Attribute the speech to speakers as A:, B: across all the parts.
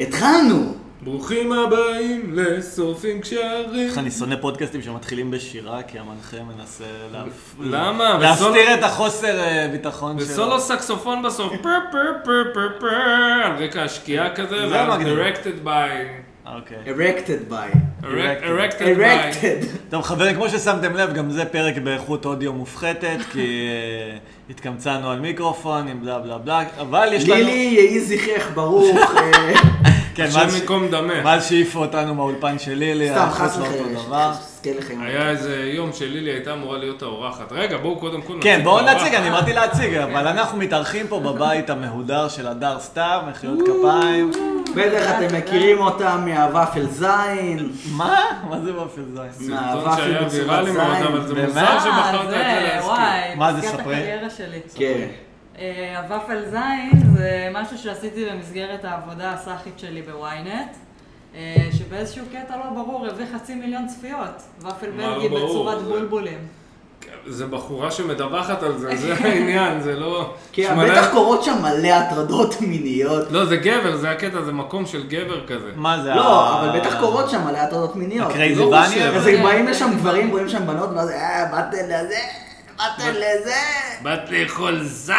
A: התחלנו!
B: ברוכים הבאים לשורפים קשרים.
C: איך אני שונא פודקאסטים שמתחילים בשירה, כי המנחה מנסה להפ-
B: למה?
C: להסתיר את החוסר אה, ביטחון שלו.
B: וסולו סקסופון בסוף,
C: כן.
B: פר פר פר פר פר, על רקע השקיעה כזה,
C: זה
B: ואז
C: המגניב.
B: directed by,
C: אה, אוקיי.
A: Erected by.
B: erect-
C: Erected.
B: erected by,
A: Erected.
C: טוב, חברים, כמו ששמתם לב, גם זה פרק באיכות אודיו מופחתת, כי אה, התקמצנו על מיקרופון עם בלה בלה בלה, אבל יש לנו...
A: לילי, יהי זכרך ברוך. אה,
C: כן,
B: השם
C: מאז-
B: ייקום דמה.
C: מאז שהעיפו אותנו מהאולפן של לילי,
A: סתם,
C: החוץ
A: חס
C: לא אותו
A: וחלילה.
C: דבר.
A: שתזכה לחיים.
B: היה איזה יום שלילי הייתה אמורה להיות האורחת. רגע, בואו קודם כל
C: כן,
B: את
C: בואו
B: האורחת.
C: נציג, אני באתי להציג, אבל אנחנו מתארחים פה בבית המהודר של הדר סתיו, מחיאות כפיים.
A: בטח אתם מכירים אותה מהוואפל זין.
C: מה? מה זה באופן זין?
B: סרטון שהיה
A: מהוואפל
B: ויראלי
A: בצורת
B: מאוד,
A: זין.
B: אבל זה
C: ומה?
B: מוזר שבחרת את
D: אה,
B: זה להזכיר.
D: וואי,
C: מה זה,
D: פסגת
C: ספרי?
D: הקריירה שלי.
A: כן.
D: אה, הוואפל זין זה משהו שעשיתי במסגרת העבודה הסאחית שלי בוויינט, אה, שבאיזשהו קטע לא ברור הביא חצי מיליון צפיות. וואפל
B: מה לא
D: בלגי
B: ברור?
D: בצורת
B: זה- כן,
D: בולבולים.
B: זה בחורה שמדווחת על זה, זה העניין, זה לא...
A: כי
B: שמונה-
A: כן, בטח קורות שם מלא הטרדות מיניות.
B: לא, זה גבר, זה הקטע, זה מקום של גבר כזה.
C: מה זה?
A: לא,
C: ה-
A: אבל בטח קורות שם מלא הטרדות מיניות. כאילו,
C: הקרייזי
B: לא
C: בני?
B: חושב.
A: אז
C: אבל-
A: הם באים לשם גברים, רואים שם בנות, ואז אה, באתם לזה, באתם לזה.
B: באת לאכול זין?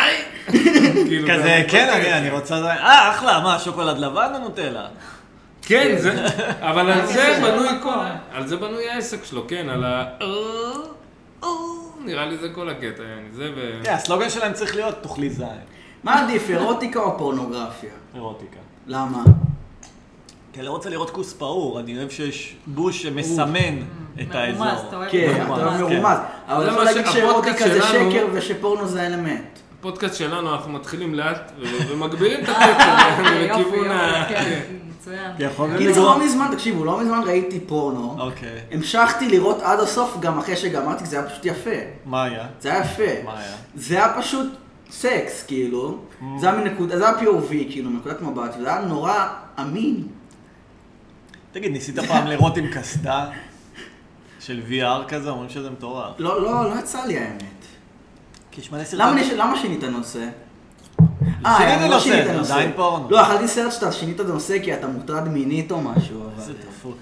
B: כאילו,
C: כזה,
B: זה-
C: כן, אני- אני רוצה... זה- אה, אחלה, מה, שוקולד לבן או נוטלה?
B: כן, זה... אבל על זה
D: זה
B: בנוי
D: לא
B: כל...
D: נכון.
B: על זה בנוי העסק שלו, כן, על ה... "או, או", נראה לי זה כל הקטע, יעני, זה ו...
C: כן, הסלוגן שלהם צריך להיות תאכלי זין.
A: מה עדיף, אירוטיקה או פורנוגרפיה?
C: אירוטיקה.
A: למה?
C: כי אני רוצה לראות כוס פעור, אני אוהב שיש בוש שמסמן את
D: מרומז,
C: האזור.
D: אתה אוהב
A: כן,
C: מרומז,
A: אתה
C: כן.
A: מרומז. אבל
B: זה
A: אפשר
B: מה
A: להגיד
B: ש-
A: שאירוטיקה זה
B: הפודקאסט שלנו-
A: שקר ושפורנו זה אלמנט.
B: הפודקאסט שלנו, אנחנו מתחילים לאט ו- ומגבירים את הקצב
D: אה, יופי,
B: לכיוון
D: יופי,
B: כן, ה...
D: כן, מצוין.
C: כי יכולנו
A: כאילו
C: לראות-
A: לא מזמן, תקשיבו, לא מזמן ראיתי פורנו.
C: אוקיי.
A: המשכתי לראות עד הסוף גם אחרי שגמרתי, כי זה היה פשוט יפה.
C: מה היה?
A: זה היה יפה.
C: מה היה? Mm.
A: זה היה פשוט סקס, כאילו. זה היה מנקודה, זה היה POV, כאילו, מנקודת מבט, וזה היה נורא אמין.
C: תגיד, ניסית פעם לראות עם קסדה של VR כזה? אומרים שזה מטורף.
A: לא, לא, לא יצא לי האמת.
C: כי יש מלא
A: למה
C: סרטונים.
A: אני- למה שינית נושא?
C: שינית
A: לא
C: נושא,
A: שינית
C: עדיין
A: נושא.
C: פורנו.
A: לא, אכלתי סרט שאתה שינית נושא כי אתה מוטרד מינית או משהו, אבל...
C: איזה דפוק.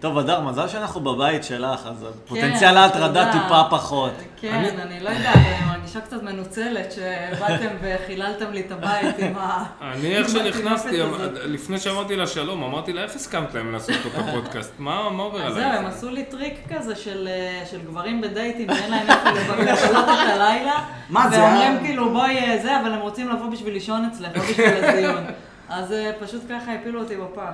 C: טוב, אדר, מזל שאנחנו בבית שלך, אז פוטנציאל ההטרדה
D: כן, תודה.
C: טיפה פחות.
D: כן, אני לא יודעת, אני מרגישה קצת מנוצלת שבאתם וחיללתם לי את הבית עם ה...
B: אני איך שנכנסתי, אמ-
D: עם המטונפת הזאת.
B: לפני שאמרתי לה שלום, אמרתי לה, איך הסכמת להם לעשות את הפודקאסט? מה מה עובר
D: אז זהו, הם
B: עליי?
D: עשו לי טריק כזה של, אה, של גברים בדייטים, אין להם איפה לבלות את הלילה.
A: מה זה היה?
D: ואומרים כאילו בואי אה, זה, אבל הם רוצים לבוא בשביל לישון אצלך, לא בשביל הדיון. אז אה, פשוט ככה הפילו אותי בפח.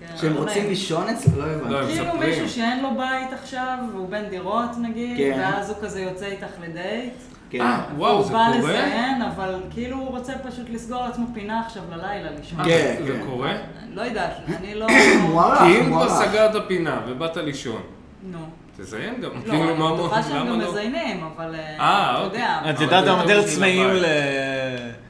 D: כן,
A: שהם
D: לא
A: רוצים
D: נעים.
A: לישון אצלי? לא הבנתי.
B: לא, הם
D: כאילו
B: מספרים.
D: מישהו שאין לו בית עכשיו, והוא בן דירות נגיד,
A: כן.
D: ואז הוא כזה יוצא איתך לדייט.
A: כן.
B: אה, וואו, זה
D: הוא בא
B: קורה?
D: לזיין, אבל כאילו הוא רוצה פשוט לסגור לעצמו פינה עכשיו ללילה, לישון.
B: אה,
A: כן,
B: זה
A: כן.
B: קורה?
D: אני לא יודעת, אני לא...
C: אה,
A: מוערך,
B: כי אם כבר
A: מוערך.
B: סגרת פינה ובאת לישון,
D: נו.
B: תזיין גם.
D: לא,
B: כאילו,
D: אני
B: מה-
D: בטוחה שהם גם
B: למה לא?
D: מזיינים, אבל אה,
B: אה,
D: אתה
B: אוקיי.
D: יודע.
C: את
B: אבל
C: יודעת,
B: זה
C: הם
B: טוב
C: יותר
B: בשביל
C: צמאים
A: לא
B: הבית.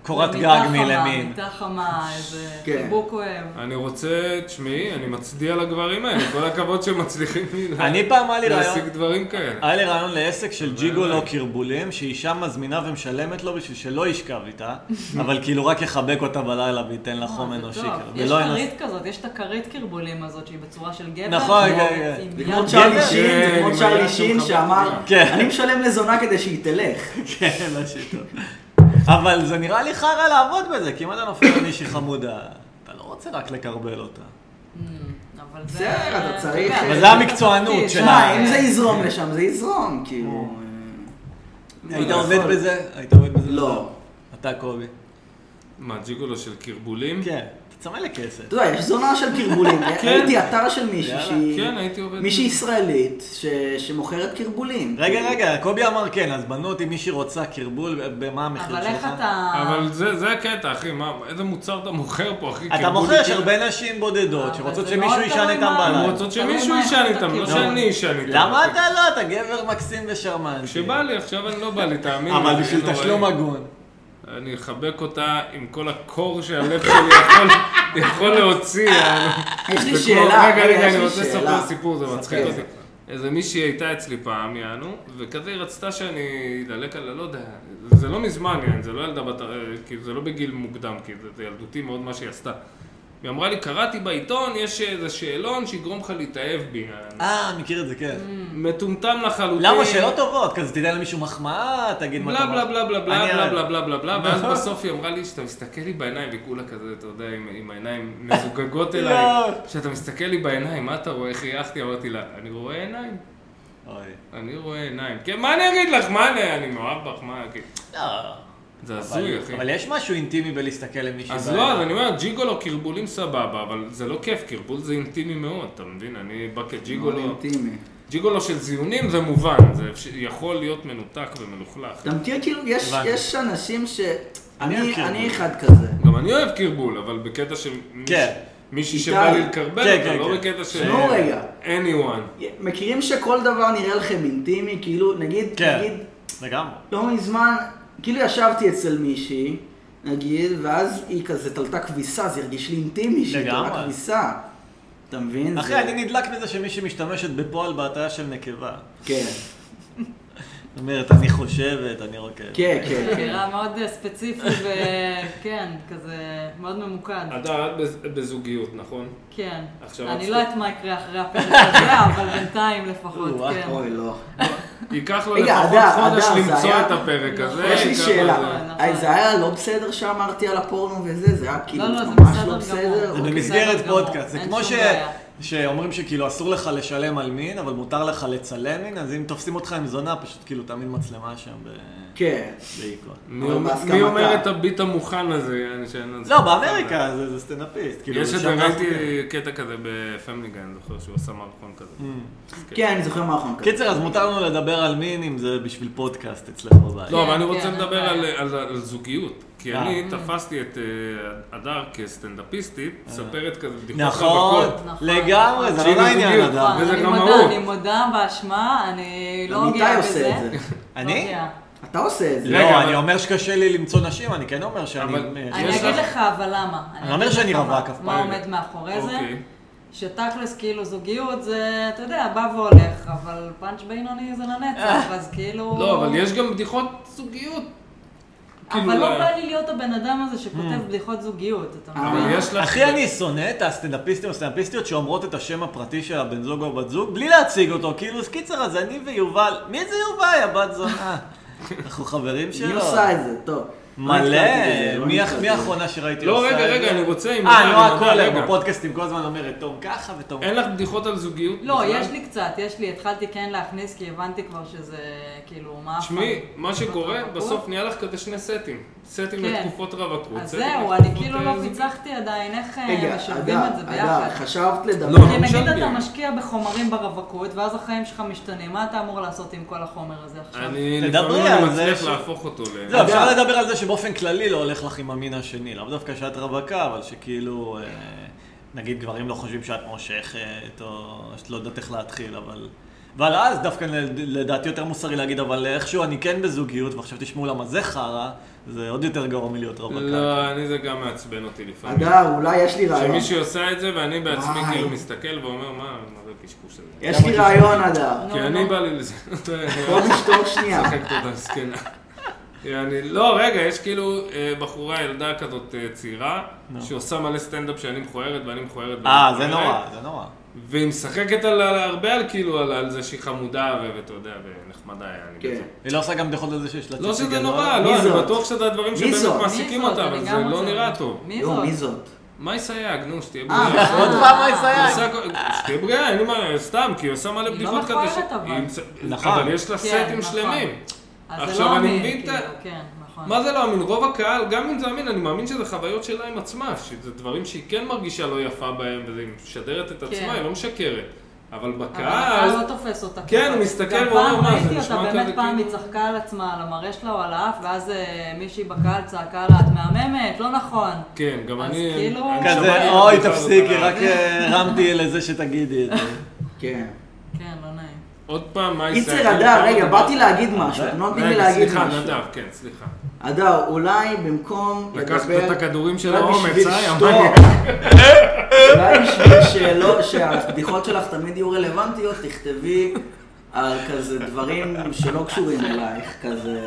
C: לקורת
D: מיטה
C: גג
D: חמה,
C: מלמין.
D: מיטה חמה, איזה
A: כן.
D: חיבוק אוהב.
B: אני רוצה, תשמעי, אני מצדיע לגברים האלה, כל הכבוד שמצליחים לי לה-
C: אני פעם היה לי
B: להשיג
C: רעיון,
B: דברים כאלה.
C: היה לי רעיון לעסק של
B: אבל-
C: ג'יגולו קרבולים, שאישה מזמינה ומשלמת לו בשביל שלא ישכב איתה, אבל כאילו רק יחבק אותה בלילה וייתן לה חום
D: אה, זה
C: אנושי.
D: טוב.
C: כאילו,
D: יש
C: ולא ינסה-
D: כרית כזאת, יש את הכרית קרבולים הזאת שהיא בצורה של גבר.
C: נכון,
D: כמו-
C: כן, כן.
D: עם
A: זה
D: יד אה,
A: כמו
D: גבר.
A: צ'רלי
B: כן,
A: שין, זה
B: עם
A: כמו
B: היד
A: צ'רלי
B: שהוא
A: שין
B: מחבק
A: שאמר,
B: אותה.
C: כן.
A: אני משלם לזונה כדי שהיא תלך.
C: כן, לא שיטות. אבל זה נראה לי חרא לעבוד בזה, כי אם אתה נופל על מישהי חמודה, אתה לא רוצה רק לקרבל אותה.
D: Mm, אבל זה...
A: בסדר, אתה צריך- אה,
D: יודע,
A: אבל
C: זה המקצוענות
D: תפקיד,
C: שלה.
A: שמע,
D: אה,
A: אם זה יזרום לשם, זה יזרום, כאילו... אה,
C: היית
A: לא
C: עובד
A: יכול.
C: בזה? היית עובד בזה?
A: לא.
C: אתה קובי.
B: מה, ג'יגולו של קרבולים?
C: כן, אתה צמא לכסף.
A: אתה יודע, יש זונה של קרבולים. ראיתי אתר של מישהי
C: יאללה.
A: שהיא...
B: כן, הייתי עובד
A: מישהי
B: בזה.
A: ישראלית ש- שמוכרת קרבולים.
C: רגע, רגע, קובי אמר כן, אז בנו אותי מישהי רוצה קרבול, במה המחיר שלך?
D: אבל איך אתה...
B: אבל זה זה הקטע, אחי, מה, איזה מוצר אתה מוכר פה, אחי?
C: אתה
B: קרבולים
C: מוכר, יש
B: כאילו-
C: הרבה נשים בודדות
B: אה,
D: אבל
C: שרוצות
D: זה
C: שמישהו
B: לא
D: מאוד
C: יישן
D: תלוי
C: איתם
D: מה-
B: הן
C: בלילה.
B: רוצות
D: תלוי מה
B: שמישהו ישן
D: איכות
B: איתם, לא
D: הקרבול.
B: שאני אשן איתם.
C: למה אתה לא? אתה גבר מקסים ושרמנטי.
B: כשבא לי, עכשיו אני לא בא לי, תאמין לי.
C: אבל
B: זה
C: בשביל
B: נוראי.
C: תשלום הגון.
B: אני אחבק אותה עם כל הקור שהלב שלי יכול- יכול להוציא.
A: יש לי
B: זה כמו-
A: שאלה,
B: רגע,
A: רגע,
B: רגע,
A: יש
B: אני
A: לי
B: רוצה לספר
A: שאלה.
B: סיפור, זה מצחיק
A: ספר.
B: אותי. איזה מישהי הייתה אצלי פעם, יענו, וכזה היא רצתה שאני אדלק על, לא יודע, זה לא מזמן, יענו, זה לא ילדה בת, אה, כאילו, זה לא בגיל מוקדם, כי זה- זה ילדותי מאוד מה שהיא עשתה. והיא אמרה לי, קראתי בעיתון, יש איזה שאלון שיגרום לך להתאהב בי.
C: אה, מכיר את זה, כן.
B: Mm. מטומטם לחלוטין.
C: למה שאלות טובות? כזה תיתן למישהו מחמאה, תגיד מה
B: אוקיי. בלה
C: אתה
B: בלה בלה בלה
C: אני- נכון.
B: בלה בלה בלה בלה בלה, ואז בסוף היא אמרה לי שאתה מסתכל לי בעיניים, וכולה כזה, אתה יודע, עם עם העיניים מזוגגות אליי,
C: לא.
B: שאתה מסתכל לי בעיניים, מה אתה רואה? איך חייכתי, אמרתי לה, אני רואה עיניים,
C: אוי.
B: אני רואה עיניים. כן, מה אני אגיד לך? מה אני, אני מאוהב בך, מה, כן.
C: לא.
B: זה הזוי,
C: אבל-
B: אחי.
C: אבל יש משהו אינטימי בלהסתכל למישהו.
B: אז
C: בעיניים.
B: לא, אז אני אומר, ג'יגולו קרבולים סבבה, אבל זה לא כיף, קרבול זה אינטימי מאוד, אתה מבין? אני בא
A: מאוד
B: כג'יגולו,
A: לא, אינטימי.
B: ג'יגולו של זיונים זה מובן, זה אפשר- יכול להיות מנותק ומלוכלך.
A: אתה מכיר כאילו, יש,
C: הבנתי.
A: יש אנשים ש...
C: אני
A: אני,
C: מכיר.
A: אני אחד כזה.
B: גם אני אוהב קרבול, אבל בקטע של מיש-
C: כן.
B: מישהי
A: איתי.
B: שבא לי לקרבל
C: כן,
B: אותה,
C: כן,
B: לא
C: כן.
B: בקטע של...
A: תשמעו רגע.
B: anyone.
A: מכירים שכל דבר נראה לכם אינטימי? כאילו, נגיד,
C: כן,
A: נגיד,
C: לגמרי.
A: לא מזמן, כאילו ישבתי אצל מישהי, נגיד, ואז היא כזה תלתה כביסה, זה הרגיש לי אינטימי שהיא תלתה
C: לגמרי.
A: כביסה. אתה מבין?
C: אחי,
A: זה-
C: אני נדלק מזה שמי שמשתמשת בפועל בהטעיה של נקבה.
A: כן,
C: זאת אומרת, אני חושבת, אני רוקדת.
A: כן, כן, כן.
D: נראה מאוד אה, ספציפי וכן, כזה מאוד ממוקד.
B: אתה את בז- בזוגיות, נכון?
D: כן.
B: עכשיו
D: אני
B: רצתי.
D: לא יודעת מה יקרה אחרי הפרק הזה, אבל בינתיים לפחות,
C: או,
D: כן.
A: אוי, לא.
B: ייקח לו
A: רגע,
B: לפחות
A: אדר,
B: חודש
A: אדר, זה
B: למצוא
A: היה- נכון.
B: את הפרק הזה.
A: יש לי
B: ככה
A: שאלה,
B: זה.
D: נכון.
A: היי, זה היה לא בסדר שאמרתי על הפורנו וזה? זה היה כאילו
D: לא, זה
A: ממש
D: בסדר
A: לא
D: גמור.
A: בסדר?
C: זה
D: אוקיי,
C: במסגרת
D: בסדר גמור,
C: פודקאסט, זה
D: אין
C: כמו
D: שום
C: ש-
D: בעיה.
C: שאומרים שכאילו אסור לך לשלם על מין, אבל מותר לך לצלם מין, אז אם תופסים אותך עם זונה, פשוט כאילו תעמיד מצלמה שם ב-
A: כן.
C: בעיקרון.
B: מי
A: אבל
B: אומר-
A: בהסכמתה.
B: מי אומר את הביט המוכן הזה? יעני, שאין על זה-
C: לא, באמריקה זה זה סטנדאפיסט. כאילו,
B: יש את
C: שם-
B: זה, ראיתי קטע כזה בפמילי גן, אני זוכר שהוא עשה מערכון כזה. כן.
A: כן, אני זוכר מה אנחנו
C: קיצר, אז מותר לנו לדבר על מין אם זה בשביל פודקאסט אצלך בבית.
B: לא, אבל
D: כן,
B: אני רוצה
D: כן,
B: לדבר
D: אין
B: על-
D: בעיה.
B: על על זוגיות. כי
C: אה.
B: אני תפסתי את אה, הדר כסטנדאפיסטית, מספרת כזה בדיחות
C: נכון,
B: רווקות.
D: נכון.
C: לגמרי, זה
B: שהיא
C: לא לעניין
B: בזוגיות.
C: אדם.
B: וזה
D: אני
B: גם
D: מודה,
B: מהות.
D: אני מודה באשמה, אני לא
A: איתי
D: מגיעה בזה.
A: עושה את זה.
D: לא
C: אני?
D: מגיעה.
A: אתה עושה את זה.
B: רגע,
C: לא,
B: אבל-
C: אני אומר שקשה לי למצוא נשים, אני כן אומר שאני...
B: אבל-
C: אה,
D: אני
B: יש
D: אגיד
B: לך-
D: לך אבל למה.
C: אני אומר
D: אגיד
C: שאני
D: לך
C: רווק
D: מה-
C: אף
D: מה
B: פעם.
D: עומד מאחורי זה?
B: אוקיי.
D: שתכלס כאילו זוגיות זה, אתה יודע, בא והולך, אבל פאנץ' בינוני זה לנצח, אז כאילו...
B: לא, אבל יש גם בדיחות זוגיות. כאילו,
D: אבל לא
B: אה,
D: בא לי להיות הבן אדם הזה שכותב בדיחות זוגיות, אתה מבין?
B: אבל יש לך...
C: אה, אחי, אני שונא את הסטנדאפיסטים הסטנדאפיסטיות שאומרות את השם הפרטי של הבן זוג או בת זוג בלי להציג אותו. כאילו, אז קיצר, אז אני ויובל, מי זה יובל, יא בת זונה? אנחנו חברים שלו.
A: היא עושה את זה, טוב. לא
C: מלא,
A: נתקלתי בזה, לא
C: מי
A: נתקלתי
C: מי
A: בזה.
C: האחרונה שראיתי
B: לא,
C: עושה
B: רגע,
C: את
B: רגע,
C: זה?
B: אני רוצה עם
C: אה,
B: נועה,
C: נועה
B: נועה, רגע.
C: קולר בפודקאסטים כל הזמן אומרת תום ככה ותום
B: אין לך בדיחות על זוגיות?
D: לא,
B: בכלל?
D: יש לי קצת, יש לי, התחלתי כן להכניס, כי הבנתי כבר שזה, כאילו, מה...
B: תשמעי,
D: הפעם?
B: מה שקורה,
D: רווקות?
B: בסוף נהיה לך כזה שני סטים. סטים
D: כן.
B: לתקופות רווקות.
D: אז
B: סטים
D: זהו,
B: לתקופות,
D: אני כאילו
B: אה,
D: לא
B: זוגיות.
D: פיצחתי עדיין איך אה,
A: רגע,
D: משלבים את זה
A: אדר, אדר,
D: ביחד.
A: חשבת לדבר?
B: לא,
D: כי נגיד
B: משלבים.
D: אתה משקיע בחומרים ברווקות, ואז החיים שלך משתנים, מה אתה אמור לעשות עם כל החומר הזה עכשיו?
B: אני
C: תדברי
B: לפעמים אני
C: על זה
B: מצליח
C: ש-
B: להפוך אותו ל... לא,
C: זהו, לא, אפשר
A: אגב-
C: לדבר על זה שבאופן כללי לא הולך לך עם המין השני, לאו דווקא שאת רווקה, אבל שכאילו, אה, נגיד גברים לא חושבים שאת מושכת, או שאת לא יודעת איך להתחיל, אבל... אבל אז דווקא לד- לדעתי יותר מוסרי להגיד, אבל איכשהו אני כן בזוגיות, ועכשיו תשמעו למה זה חרא, זה עוד יותר גרוע מלהיות רווקה.
B: לא, אני זה גם מעצבן אותי לפעמים.
A: אדר, אולי יש לי רעיון.
B: שמישהו עושה את זה ואני בעצמי
A: וואי.
B: כאילו מסתכל ואומר, מה, מה זה הקשקוש הזה?
A: יש לי רעיון, אדר.
D: נו,
B: כי
D: נו.
B: אני בא לי לזה.
A: בוא נשתוק שנייה.
B: צחקת אותה מסכנה. אני, לא, רגע, יש כאילו אה, בחורה, ילדה כזאת אה, צעירה,
C: נו.
B: שעושה מלא סטנדאפ שאני מכוערת ואני מכוערת.
C: אה,
B: ואני
C: זה
B: מכוערת,
C: נורא, זה נורא.
B: והיא משחקת על, על, הרבה על כאילו, על, על זה שהיא חמודה, ו- ואתה יודע, ונחמדה, אני
A: כן.
B: בטוח.
C: היא לא עושה גם בדיחות על זה שיש לה
B: לא
C: ציצי
B: שזה
C: גדול.
B: נורא,
A: מי
B: לא, אני
A: זאת?
B: בטוח שזה הדברים
A: מי
B: שבאמת
A: זאת?
B: מעסיקים
D: מי זאת?
B: אותה, אבל
D: אני
B: זה
D: גם
B: לא
D: רוצה.
B: נראה טוב.
D: מי
A: לא,
D: זאת?
A: מי זאת?
B: מאי סייג, נו, שתהיה
A: אה,
B: בריאה.
C: עוד פעם מה
B: היא
C: סייג.
B: לא עושה כל- שתהיה בריאה, אין לי מה, סתם, כי היא עושה מלא
D: היא
B: בדיחות
D: לא
B: כזה.
D: מכוערת,
B: ש-
D: אבל.
B: היא מצ-
C: נכון.
B: אבל יש לה
D: כן,
B: סטים
D: נכון.
B: שלמים.
D: אז זה
B: עכשיו
D: לא
B: אני
D: אמין,
B: מבין את ה-
D: כאילו, כן, נכון.
B: מה זה לא אמין? רוב הקהל, גם אם זה אמין, אני מאמין שזה חוויות שלה עם עצמה, שזה דברים שהיא כן מרגישה לא יפה בהם, והיא משדרת את עצמה,
D: כן.
B: היא לא משקרת. אבל
D: אבל הקהל
B: בקהל,
D: לא תופס אותה.
B: כן,
D: ככה.
B: הוא מסתכל
D: גם
B: ואומר,
D: פעם
B: "מה, זה
D: ראיתי
B: נשמע
D: אותה,
B: כזה
D: באמת פעם היא
B: כאילו-"
D: צחקה על עצמה, על המראה שלה או על האף, ואז אה, מישהי בקהל צעקה לה, את מהממת, לא נכון.
B: כן, גם
D: אז
B: אני...
D: כאילו-
B: אני שמעתי
C: כזה,
B: את
C: אוי,
B: הבדיחה הזאת
C: תפסיקי,
B: על
C: רק אה, הרמתי לזה שתגידי את זה.
A: כן.
D: כן, לא נעים.
B: עוד פעם, מה
A: קיצר, אדר, רגע, באתי להגיד משהו, אתם לא נותנים לי
B: לא רגע,
A: להגיד
B: סליחה,
A: משהו.
B: נדב, כן, סליחה.
A: אדר, אולי במקום לדבר...
B: לקחת את הכדורים של
A: אולי
B: האומץ,
A: בשביל
B: אה,
A: שטות,
B: ימני.
A: אולי בשביל שאלות, שהבדיחות שלך תמיד יהיו רלוונטיות, תכתבי על כזה דברים שלא קשורים אלייך, כזה...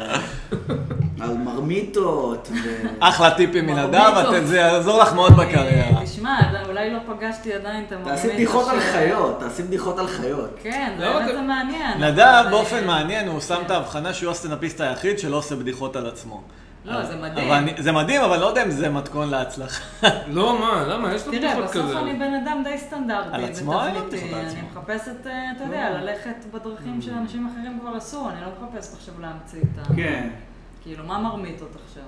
A: על מרמיתות ו...
D: אה,
C: אחלה טיפים מנדב,
D: מרבית
C: אתם-
D: טוב.
C: זה יעזור לך מאוד
D: אה,
C: בקריירה.
D: תשמע, אדר, אולי לא פגשתי עדיין את המרמית.
A: תעשי בדיחות על
D: אשר-
A: חיות, תעשי בדיחות על חיות.
D: כן,
B: למה
D: באמת
B: אתם-
D: זה מעניין.
C: נדב
D: כן. אבל- אה,
C: באופן מעניין, הוא שם את ההבחנה שהוא הסטנדאפיסט היחיד שלא עושה בדיחות על עצמו. אה,
D: לא, זה מדהים.
C: אבל אני- זה מדהים, אבל לא יודע אם זה מתכון להצלחה.
B: לא, מה, למה? יש לו
D: תראה,
B: בדיחות
D: בסוף
B: כזה.
D: אני בן אדם די סטנדרטי.
C: על עצמו אין לי
D: ותבניתי.
C: בדיחות על
D: אני
C: עצמו. Mm.
D: מחפשת, אה, אתה יודע, ללכת בדרכים שאנשים אחרים כבר עשו, אני לא מחפשת עכשיו להמציא את ה...
A: כן.
D: כאילו, מה מרמית אותך עכשיו?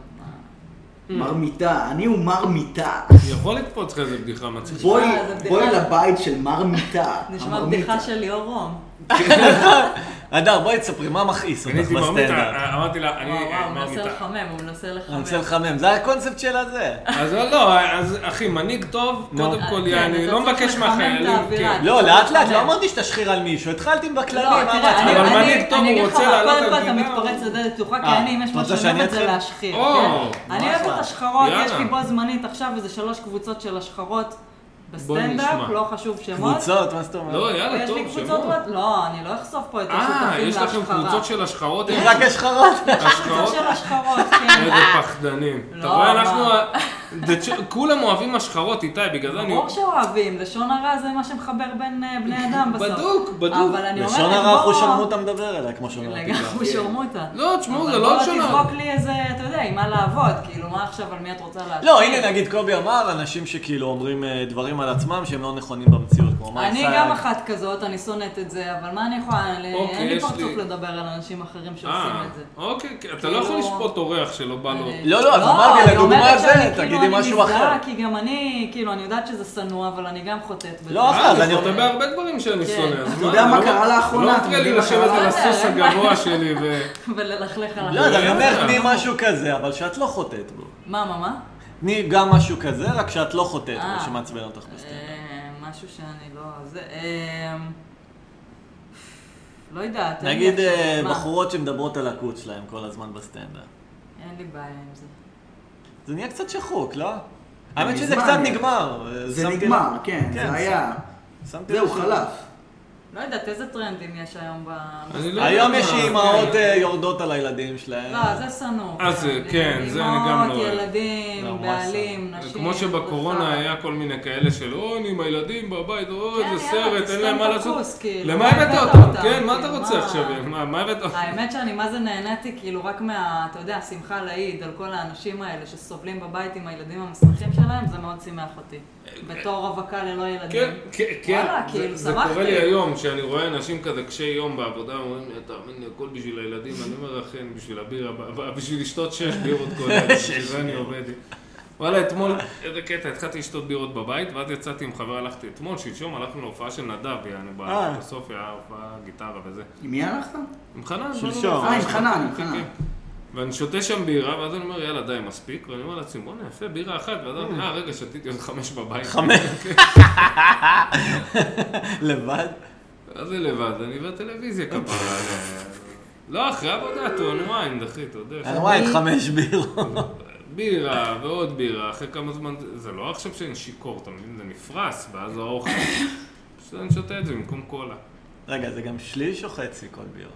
D: מה-
A: מרמיתה, אני הוא מרמיתה.
B: יכול לקפוץ לך איזה בדיחה מצחיקה.
A: בואי
D: אה, זה בדיחה.
A: בואי לבית של מרמיתה.
D: נשמע
A: המרמיתה.
D: בדיחה של ליאור רום.
C: הדר, בואי תספרי, מה מכעיס אותך
B: קניתי
C: בסטנדאפ?
B: מרמיתה, אה, אמרתי לה, אני
D: וואו, וואו, הוא מנסה
B: מרמיתה.
D: לחמם, הוא מנסה לחמם.
C: אני רוצה לחמם, זה הקונספט של הזה.
B: אז לא, אז אחי, מנהיג טוב,
C: נו.
B: קודם כל,
D: כן,
B: יעני,
D: אתה
B: לא
D: צריך
B: מבקש
D: לחמם את
B: מהחיילים,
D: האווירה.
B: כן.
C: לא, לאט לאט, לא
D: לא.
C: אמרתי שתשחיר על מישהו, התחלתי בכללי,
D: לא,
C: מה
D: תראה, אני-
C: רצית?
B: אבל
D: אני-
B: מנהיג טוב,
D: אני
B: הוא
D: אגיד לך,
B: רוצה
D: אבל
B: לעלות
D: קודם
B: על
D: כל אתה
B: גינה,
D: מתפרץ
B: הוא-
D: לדלת פתוחה,
C: אה,
D: כי אני, אם יש
C: אתה רוצה
D: משהו שאני
C: שאני
D: אוהבת זה
C: אתחיל?
D: להשחיר.
B: או,
D: כן. אני אוהבת את
C: אחלה.
D: השחרות, יש
B: יאללה.
D: לי בו זמנית עכשיו איזה שלוש קבוצות של השחרות
B: נשמע.
D: בסטנדאפ, לא חשוב שמות.
C: קבוצות, מה זאת אומרת?
B: לא, יאללה,
D: ויש לי
B: טוב,
D: קבוצות,
B: שמות.
D: וואט- לא, אני לא אחשוף פה את
B: אה,
D: השותפים
B: יש לכם
D: להשחרה.
B: קבוצות של השחרות?
C: רק השחרות.
B: השחרות?
D: קבוצות של השחרות, כן.
B: איזה פחדנים. אתה
D: לא,
B: רואה,
D: מה?
B: אנחנו... ה- זה צ'- כולם אוהבים השחרות, איתי, בגלל זה אני...
D: ברור שאוהבים, לשון הרע זה מה שמחבר בין אה, בני אדם בסוף.
B: בדוק, בדוק.
D: אבל אני אומרת,
C: לשון הרע
D: בוא-
C: חושרמוטה מדבר אליה, כמו שאומרת.
D: לגמרי שרמוטה.
B: לא, תשמעו,
D: אבל
B: זה לא
D: בוא
B: לשון הרע.
D: תזרוק לי איזה, אתה יודע, עם מה לעבוד, כאילו, מה עכשיו, על מי את רוצה להשאיר?
C: לא, הנה נגיד קובי אמר, אנשים שכאילו אומרים אה, דברים על עצמם שהם לא נכונים במציאות, כמו מייק
D: אני
C: סייג.
D: גם אחת כזאת, אני שונאת את זה, אבל מה אני יכולה, אני-
B: אוקיי,
D: אין לי
B: יש
D: פרצוף
B: לי.
D: לדבר על אנשים אחרים שעושים
B: אה,
D: את זה.
B: אוקיי, כן, אתה לא יכול
D: כאילו- אה,
B: לשפוט אורח שלא בא לו.
D: אני-
C: לא, לא, אז אמרתי,
D: אני
C: לדוגמה
D: אומרת
C: זה,
D: שאני, כאילו,
C: תגידי
D: אני
C: משהו
D: מזדהה,
C: אחר.
D: כי גם אני, כאילו, אני יודעת שזה שנוא, אבל אני גם חוטאת בזה.
C: לא,
B: אה,
C: אז
B: אני
C: אני-
B: חוטא בהרבה דברים שאני
D: כן.
B: שונא. אז
A: אתה יודע מה
B: לא-
A: קרה לאחרונה?
B: לא
A: אתה
B: מפריע לי
A: יודע מה
B: לשבת
A: קרה
B: על הסוס
D: לאחרונה?
B: הגבוה שלי ו...
D: וללכלך על
C: לא, אז אני
D: אחרים.
C: אומר, תני משהו כזה, אבל שאת לא חוטאת בו.
D: מה, מה, מה?
C: תני גם משהו כזה, רק שאת לא חוטאת
D: אה.
C: בו, שמעצבן אותך בסטנדאפ.
D: אה, משהו שאני לא... זה... אה, לא יודעת. אין לי
C: נגיד
D: עכשיו-
C: אה,
D: מה?
C: בחורות שמדברות על הקוץ שלהם כל הזמן בסטנדאפ.
D: אין לי בעיה עם זה.
C: זה נהיה קצת שחוק, לא? האמת שזה
A: מזמן
C: קצת
A: נהיה.
C: נגמר. אה,
A: כן. זה
C: שמתי לב-
A: נגמר, כן,
C: כן,
A: זה היה.
C: שמתי לב
A: זהו,
C: שזה-
A: חלף.
D: לא יודעת איזה טרנדים יש היום ב...
B: אני לא
C: היום
B: יודע
C: יש
B: מה,
C: אימהות
B: כן.
C: אה, יורדות על הילדים שלהם.
D: לא, זה שנוא.
B: אה, זה- כן, זה אני גם לא
D: אימהות,
B: אוהב.
C: לא,
D: ילדים,
C: ממש
D: בעלים, נשים.
B: כמו שבקורונה
D: בכלל.
B: היה כל מיני כאלה של אוי, אני עם הילדים בבית, אוי,
D: כן,
B: איזה
D: יאללה,
B: סרט, אין
D: תסתום
B: להם מה
D: את
B: לעשות.
D: הכוס, כאילו,
B: למה
D: מה
B: הבאת
D: הבאת
B: אותם?
D: אותם?
B: כן, מה אתה
D: כאילו,
B: רוצה
D: מה-
B: עכשיו? מה מה הבאת אותם?
D: האמת שאני מה זה נהניתי כאילו רק מה, אתה יודע, השמחה להעיד על כל האנשים האלה שסובלים בבית עם הילדים המסמכים שלהם, זה מאוד שימח אותי. בתור רווקה ללא
B: כן,
D: ילדים.
B: כן, כן.
D: וואלה,
B: זה-
D: כאילו,
B: זה
D: שמחתי.
B: קורה לי היום, שאני רואה אנשים כזה קשי יום בעבודה, אומרים לי, תאמין לי, הכל בשביל הילדים, אני אומר, אכן, בשביל הבירה, ב- ב- בשביל לשתות שש בירות כל היום, בשביל זה אני עובד. וואלה, אתמול, איזה קטע, התחלתי לשתות בירות בבית, ואז יצאתי עם חבר, הלכתי אתמול, שלשום, הלכנו להופעה של נדב, יענו,
C: אה.
B: בסופיה, הופעה, גיטרה וזה.
A: עם מי הלכת?
B: עם חנן.
C: שלשום.
B: לא, לא,
A: אה, עם
B: לא,
A: חנן, עם
B: כן,
A: חנן.
B: כן. ואני שותה שם בירה, ואז אני אומר, יאללה, די, מספיק. ואני אומר לעצמי, בואנה, יפה, בירה אחת. ואז אמרתי, אה, רגע, שתיתי עוד חמש בבית. כן.
C: חמש. לבד?
B: אז זה לבד, אני בטלוויזיה כפרה. לא, אחרי עבודה, אתה אונליין, אחי, אתה יודע.
C: אני רואה את חמש בירות.
B: בירה ועוד בירה, אחרי כמה זמן, זה לא עכשיו שאני שיכור, אתה מבין? זה נפרס, ואז האוכל. פשוט אני שותה את זה במקום קולה.
C: רגע, זה גם שליש או חצי כל בירה?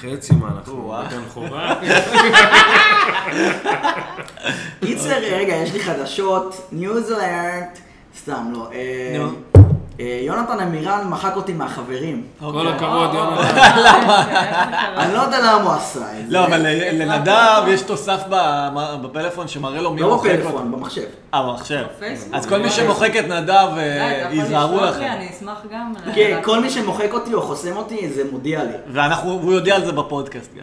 B: חצי מה אנחנו,
C: או-אה.
B: בגן חובה.
A: קיצר, רגע, יש לי חדשות, ניוזלנד, סתם לא. אה,
C: נו.
A: אה, יונתן עמירן מחק אותי מהחברים.
B: כל
C: אוקיי.
D: אה,
B: הכבוד, יונתן.
D: כן,
A: אני לא יודע למה הוא עשה את זה.
C: אה. לא, אבל ל- לנדב יש תוסף ב- בפלאפון שמראה לו מי
A: לא
C: מוחק אותו.
A: בפלאפון, במחשב.
C: אה, במחשב.
D: בפייסבוק?
C: אז כל מי שמוחק את נדב, אה, ייזהרו לכם.
D: אני אשמח גם. אה,
C: אה,
A: כן, כל מי שמוחק אותי או חוסם אותי, זה מודיע לי.
C: ואנחנו, הוא יודע על זה בפודקאסט גם.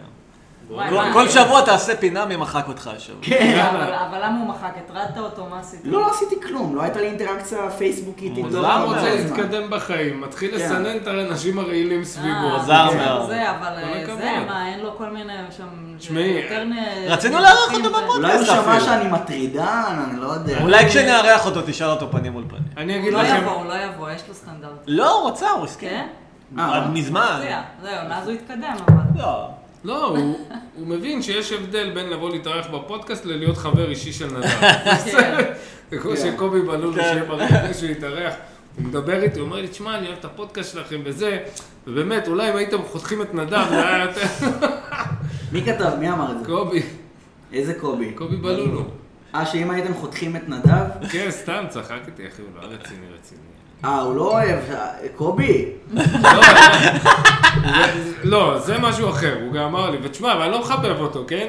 D: וואי,
C: כל-
D: מה?
C: כל שבוע תעשה פינה מי מחק אותך השבוע.
A: כן.
D: אבל אבל למה הוא מחק? הטרדת אותו? מה עשית? אה,
A: לא, לא עשיתי כלום, לא הייתה לי אינטראקציה פייסבוקית איתו. לא
B: מוזר
A: כל
C: אה,
B: רוצה
A: הזמן.
B: להתקדם בחיים, מתחיל
A: כן.
B: לסנן את האנשים הרעילים סביבו. כן.
D: אה,
C: עזר
D: זה,
C: מאוד.
D: זה, אבל
B: כל
D: אה,
B: הכבוד.
D: זה, מה, אין לו כל מיני שם...
B: תשמעי,
D: יותר נ-
C: רצינו לארח אותו
D: נרצחים ו-
C: בפודקאסט.
A: אולי הוא שמע
C: אפילו.
A: שאני מטרידן, אני לא יודע.
C: אולי כשנארח אותו תשאל אותו פנים מול פנים.
B: אני
D: הוא
B: אגיד
D: לא
B: לכם,
D: יבוא, הוא לא יבוא, יש לו סטנדרט.
C: לא, הוא רצה, הוא הסכים.
D: כן?
A: אה.
C: מזמן.
D: מפתיע. זהו, מאז הוא התקדם, אבל...
C: לא.
B: לא, הוא- הוא מבין שיש הבדל בין לבוא להתארח בפודקאסט ללהיות חבר אישי של נדב.
D: כן.
B: זה כמו שקובי בלול,
C: כן.
B: שיהיה בריא לפני שהוא יתארח, הוא מדבר איתי, הוא אומר לי, תשמע, אני אוהב את הפודקאסט שלכם וזה, ובאמת, אולי אם הייתם חותכים את נדב, זה היה יותר...
A: מי כתב? מי אמר את זה?
B: קובי,
A: איזה קובי?
B: קובי בלולו.
A: אה, שאם הייתם חותכים את נדב?
B: כן, סתם צחקתי, אחי, הוא לא רציני רציני.
A: אה, הוא לא אוהב... אה, קובי,
B: לא, זה- לא, זה משהו אחר, הוא גם אמר לי, ותשמע, אבל אני לא מחבב אותו, כן?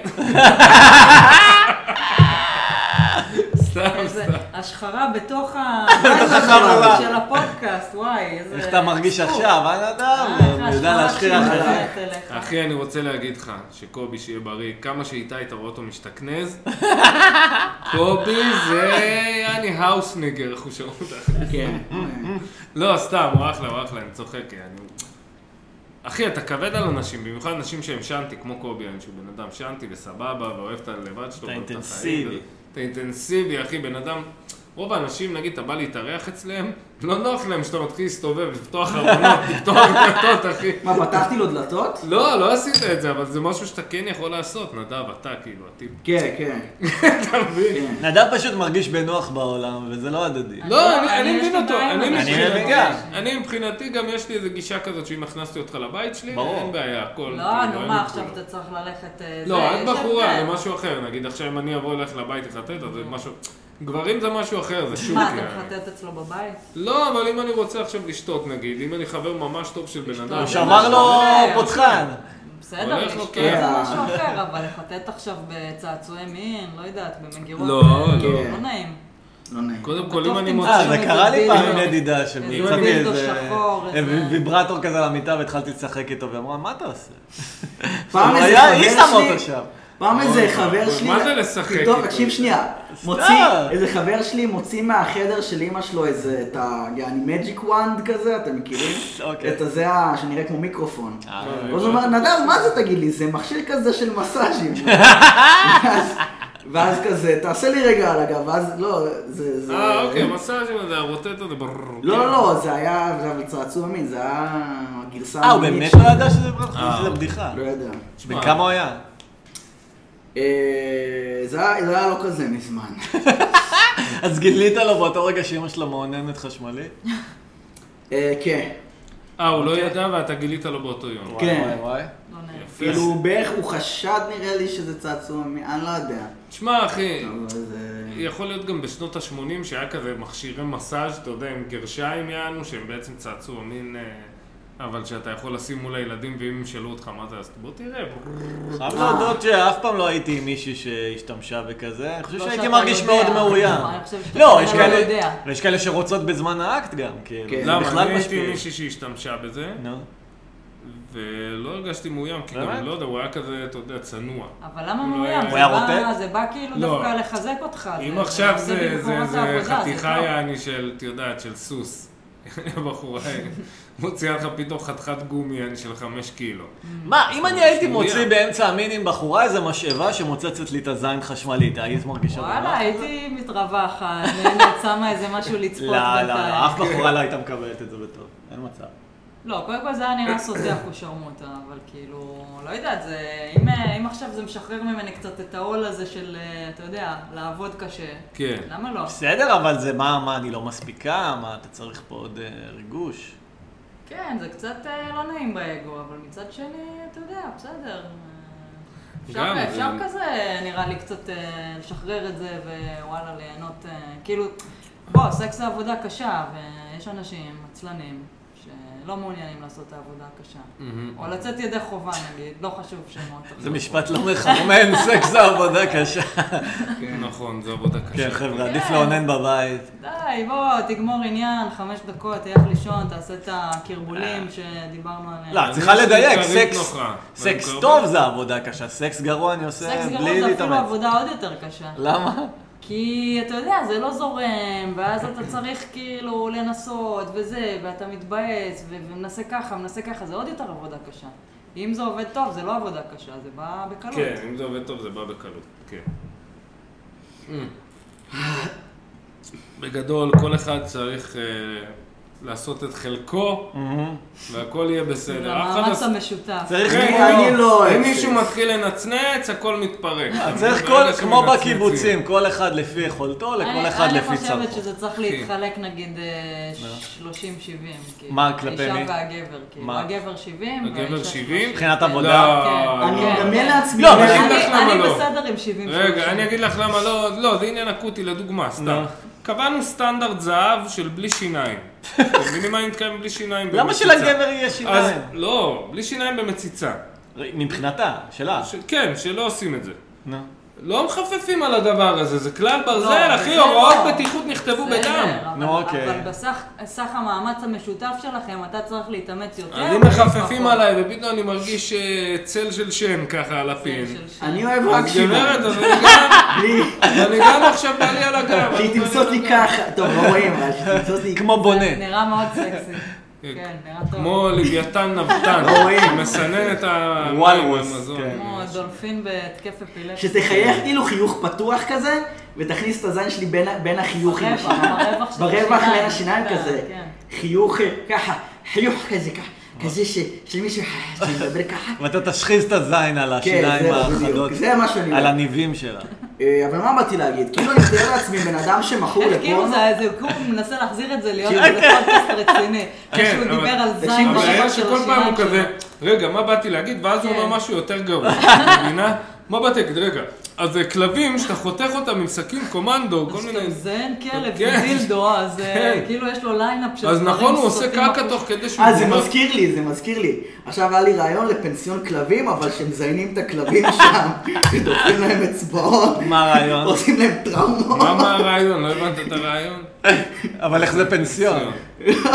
B: סתם,
D: איזה
B: סתם.
D: השחרה בתוך ה...
A: החברה.
D: של הפודקאסט, וואי, איזה...
C: איך אתה מרגיש
D: עצוב.
C: עכשיו, אה נדב?
D: אה, איך
C: הוא יודע
D: ההשחרה
C: להשחיר
D: שהיא
C: אחריו.
D: עוברת אליך.
B: אחי, אני רוצה להגיד לך, שקובי שיהיה בריא, כמה שאיתי אתה רואה אותו משתכנז, קובי זה יעני האוסניגר, איך הוא שומע אותך.
A: כן.
B: לא, סתם, הוא אחלה, הוא אחלה, אני צוחק, אני... אחי, אתה כבד על אנשים, במיוחד אנשים שהם שאנטי, כמו קובי, אני שהוא בן אדם שאנטי וסבבה, ואוהב את הלבד שלו. ואוהב את החיים,
C: אינטנסיבי.
B: אתה אינטנסיבי, אחי, בן אדם... רוב האנשים, נגיד, אתה בא להתארח אצלם, לא נוח להם שאתה מתחיל להסתובב, לפתוח ארונות, לפתוח דלתות, אחי.
A: מה, פתחתי לו דלתות?
B: לא, לא עשית את זה, אבל זה משהו שאתה כן יכול לעשות, נדב, אתה, כאילו, הטיפ.
A: כן, כן.
B: אתה מבין?
A: כן.
C: נדב פשוט מרגיש בנוח בעולם, וזה לא הדדי.
B: לא, אני- אני
D: אני- אני
B: מבין
D: יש לי
B: אותו,
D: בעיה עם
B: אני
D: זה.
C: אני
B: מבחינתי,
C: מבין.
B: אני מבחינתי גם יש לי איזה גישה כזאת שאם הכנסתי אותך לבית שלי,
C: ברור.
B: אין בעיה, הכל.
D: לא,
B: כאילו,
D: נו
B: אין
D: מה,
B: לי
D: עכשיו
B: גבולות.
D: אתה צריך ללכת... אה,
B: לא,
D: זה,
B: את
D: יש
B: בחורה,
D: הבדל.
B: זה משהו אחר, נגיד עכשיו אם אני אבוא אלייך לבית לחטט, אז זה משהו... גברים זה משהו אחר, זה שוק.
D: מה, אתה
B: יעני.
D: מחטט אצלו בבית?
B: לא, אבל אם אני רוצה עכשיו לשתות נגיד, אם אני חבר ממש טוב של בן אדם...
C: הוא שמר לו
D: אה, זה-
C: פותחן.
D: בסדר,
B: הולך לו,
D: לשתות
B: כן.
D: זה משהו אחר, אבל לחטט עכשיו בצעצועי מין, לא יודעת, במגירות...
B: לא,
D: אה,
A: לא.
D: לא נעים.
A: לא נעים.
B: קודם כל, אם
D: בטוח
B: אני
D: תמצא
B: מוצא...
C: אה, זה קרה לי
D: דילדו.
C: פעם עם ידידה
D: איזה
C: שמצאתי
D: דילדו
C: איזה
D: שחור, איזה-
C: אה, ויברטור כזה על המיטה והתחלתי לשחק איתו, והיא אמרה, מה אתה עושה?
A: פעם
C: הוא
A: איזה
C: היה-
A: חבר
C: היא שמה
A: שלי-
C: אותו שם.
A: פעם איזה חבר שלי...
B: מה זה לשחק
A: פתאום,
B: איתו?
A: תקשיב שנייה. מוציא,
C: סתם.
A: איזה חבר שלי מוציא מהחדר של אימא שלו איזה, את ה... יעני מג'יק וואנד כזה, אתם מכירים?
C: אוקיי.
A: את הזה ה- שנראה כמו מיקרופון.
C: אה,
A: אז
B: אוקיי.
A: הוא אומר, נדב, מה זה תגיד לי? זה מכשיר כזה של מסאז'ים. ואז- ואז כזה, תעשה לי רגע על הגב, ואז לא, זה... זה-
B: אה, אוקיי, מסאז'ים הזה, הרוטט הזה, ברור.
A: לא, לא, לא, זה היה, זה היה צעצוע מין, זה היה הגרסה...
C: אה, הוא
A: המינית
C: באמת
A: שלו.
C: לא ידע שזה ויברטור?
B: אה.
C: שזה בדיחה.
A: לא יודע.
C: בן כמה הוא היה?
A: אה, זה היה זה היה לא כזה מזמן.
C: אז גילית לו באותו רגע שאימא שלו מעוננת חשמלית?
A: אה, כן.
B: אה, הוא לא ידע ואתה גילית לו באותו יום.
A: כן.
C: וואי, וואי, וואי.
D: לא נעים.
B: יפה.
A: כאילו, הוא בערך, הוא חשד נראה לי שזה צעצוע מין, אני לא יודע.
B: שמע, אחי,
A: אבל זה...
B: יכול להיות גם בשנות ה-80 שהיה כזה מכשירי מסאז', אתה יודע, עם גרשיים יענו, שהם בעצם צעצוע מין... אה, אבל שאתה יכול לשים מול הילדים, ואם ישאלו אותך מה זה, אז בוא תראה.
C: חייב להודות שאף פעם לא הייתי עם מישהי שהשתמשה בכזה, אני חושב
D: לא
C: שהייתי
D: שאתה
C: מרגיש
D: יודע,
C: מאוד
D: אבל
C: מאוים.
D: אני חושבת שאתה
C: לא,
D: כנראה
C: יש
D: לא
C: כאלה,
D: יודע.
C: ויש כאלה שרוצות בזמן האקט גם,
A: כן.
C: כאילו,
B: למה?
C: בכלל
B: אני הייתי
C: משפיע.
B: מישהי שהשתמשה בזה,
C: נו,
B: ולא הרגשתי מאוים, כי
C: באמת?
B: גם, לא יודע, הוא היה כזה, אתה יודע, צנוע.
D: אבל למה
B: הוא לא היה-
D: מאוים?
C: הוא היה
D: זה בא-
C: רוטט?
D: זה בא כאילו
B: לא.
D: דווקא לחזק אותך.
B: אם
D: זה-
B: עכשיו
D: עושה
B: זה,
D: במקומות
B: זה, זה
D: העבודה, כאילו-
B: חתיכה
D: טוב.
B: יעני של, את יודעת, של סוס. הבחורה מוציאה לך פתאום חתיכת גומי יעני של חמש קילו.
C: מה, אם אני הייתי
B: מאוים.
C: מוציא באמצע המין עם בחורה איזה משאבה שמוצצת לי את הזין חשמלית, היית מרגישה
D: וואלה,
C: בנוח?
D: הייתי מתרווחת, נהנית, שמה איזה משהו לצפות
C: לא, לא,
D: בינתיים.
C: לא, אף בחורה לא הייתה מקבלת את זה בטוב, אין מצב.
D: לא, קודם כל זה היה נראה סוטח ושרמוטה, אבל כאילו, לא יודעת, זה... אם, אה, אם עכשיו זה משחרר ממני קצת את העול הזה של, אה, אתה יודע, לעבוד קשה,
B: כן.
D: למה לא?
C: בסדר, אבל זה מה, מה, אני לא מספיקה? מה, אתה צריך פה עוד אה, ריגוש?
D: כן, זה קצת אה, לא נעים באגו, אבל מצד שני, אתה יודע, בסדר. אה, אפשר,
B: גם,
D: אפשר
B: זה-
D: כזה, נראה לי, קצת אה, לשחרר את זה, ווואלה, ליהנות, אה, כאילו, בוא, סקס זה עבודה קשה, ויש אנשים עצלנים שלא מעוניינים לעשות את העבודה הקשה. או לצאת ידי חובה, נגיד, לא חשוב שמות.
C: זה משפט לא מחרמן, סקס זה עבודה קשה.
A: כן.
B: נכון, זו עבודה קשה.
C: כן, חבר'ה, עדיף לאונן בבית.
D: די, בוא, תגמור עניין, חמש דקות, תלך לישון, תעשה את הקרבולים שדיברנו עליהם.
C: לא, צריכה לדייק, סקס,
B: נוחה.
C: סקס
B: ואני
C: טוב זה עבודה קשה, סקס גרוע אני
D: סקס
C: עושה
D: גרוע
C: בלי
D: זה אפילו
C: להתאמץ.
D: עבודה עוד יותר קשה.
C: למה?
D: כי אתה יודע, זה לא זורם, ואז אתה צריך כאילו לנסות, וזה, ואתה מתבאס, ו- ומנסה ככה, מנסה ככה, זה עוד יותר עבודה קשה. אם זה עובד טוב, זה לא עבודה קשה, זה בא בקלות.
B: כן, אם זה עובד טוב זה בא בקלות, כן. בגדול, כל אחד צריך אה, לעשות את חלקו, והכל יהיה בסדר. אף אחד
D: המאמץ
B: לא-
D: המשותף.
C: צריך
B: כן,
C: כמו-
A: אני לא אוהב
B: אם מישהו
A: סקס.
B: מתחיל לנצנץ, הכל מתפרק.
C: אה, צריך כל,
B: ברגע
C: כמו
B: שמנצנצים.
C: בקיבוצים, כל אחד לפי יכולתו, לכל
D: אני-
C: אחד לפי
D: אני חושבת
C: צרכו.
D: שזה צריך
B: כן.
D: להתחלק נגיד אה, 30-70. כאילו.
C: מה, כלפי מי?
D: אישה והגבר, כאילו.
C: מה?
D: הגבר 70.
B: הגבר
D: והאישה
B: 70?
D: 30.
C: מבחינת
B: לא,
C: עבודה.
B: לא.
A: אני מדמיין לעצמי.
C: לא, אבל
D: כן. אני-
B: אגיד לך למה
D: אני
B: לא.
D: בסדר עם 70.
B: רגע, אני אגיד לך למה לא, לא, זה עניין אקוטי לדוגמה, סתם.
C: נו.
B: קבענו סטנדרט זהב של בלי שיניים. אתם מבינים מה אני מתכוון בלי שיניים
C: למה
B: במציצה?
C: שלגבר יהיה שיניים?
B: אז לא, בלי שיניים במציצה.
C: מבחינתה, שלה.
B: ש- כן, שלא עושים את זה.
C: נו.
B: לא מחפפים על הדבר הזה, זה כלל ברזל,
D: לא,
B: אחי,
D: זה לא.
B: הוראות בטיחות נכתבו בדם.
C: נו,
D: נו,
C: אוקיי.
D: אוקיי. אבל בסך סך המאמץ המשותף שלכם, אתה צריך להתאמץ יותר.
B: אז אם
D: או
B: מחפפים
D: פחות?
B: עליי, ופתאום אני מרגיש אה, צל של שן ככה על הפין.
D: של שן.
A: אני אוהב רק
B: אז גברת,
A: שיניים.
B: אז אני גם-
A: בלי-
B: אני גם עכשיו בא לי על הגב.
A: שהיא תמסות לי ככה. טוב, לא רואים, אבל שהיא תמסות לי
C: כמו בונה.
D: נראה מאוד סקסי. כן, נראה טוב.
B: כמו לוויתן נבטן,
A: רואים.
B: מסנן את ה...
C: וולרוס,
B: המזון.
C: כן.
D: כמו דולפין בהתקף אפילפסיה.
A: שתחייך כאילו חיוך פתוח כזה, ותכניס את הזין שלי בין ה- בין החיוכים.
D: ברווח, ברווח של
A: ברווח
D: השיניים.
A: בין השיניים
D: כן,
A: כזה.
D: כן.
A: חיוך אה, ככה, חיוך כזה ככה. כזה ש- שמישהו שמדבר ככה.
C: ואתה תשחיז את הזין על השיניים
A: זהו,
C: החדות.
A: בדיוק. כן, זה מה שאני
C: על
A: אומר.
C: הניבים שלה.
A: אה, אבל מה באתי להגיד? כאילו אני מתאר לעצמי בן אדם שמכור
D: איך כאילו
A: לפורנו.
D: זה, זה הוא כאילו מנסה להחזיר את זה להיות
A: כן.
D: איזה פודקאסט רציני.
B: כן,
D: כן, שהוא
B: אבל-
D: דיבר על זין
A: תקשיב,
B: אבל
D: ברווח
B: היה
D: של
B: שכל פעם הוא
D: השיניים
B: כזה,
D: שלו.
B: רגע, מה באתי להגיד? ואז הוא
D: כן.
B: אומר משהו יותר גרוע, את מבינה? מה באתי להגיד? רגע, אז אה, כלבים שאתה חותך אותם עם סכין קומנדו, כל
D: אז
B: מיני...
D: כשאתה מזיין כלב
B: כן.
D: דילדו, אז אה,
B: כן.
D: כאילו יש לו ליינאפ של
B: אז
D: דברים
B: נכון, הוא עושה
D: סוטים
B: קקה
D: החוצה.
B: תוך כדי שהוא...
A: אה, זה
B: גומר.
A: מזכיר לי, זה מזכיר לי. עכשיו היה לי רעיון לפנסיון כלבים, אבל שמזיינים את הכלבים שם, ודוחים להם אצבעות.
C: מה הרעיון?
A: עושים להם טראומות.
B: מה מה הרעיון? לא הבנת את הרעיון?
A: אוקיי.
C: אבל איך זה
A: לא
C: פנסיון?
B: לא.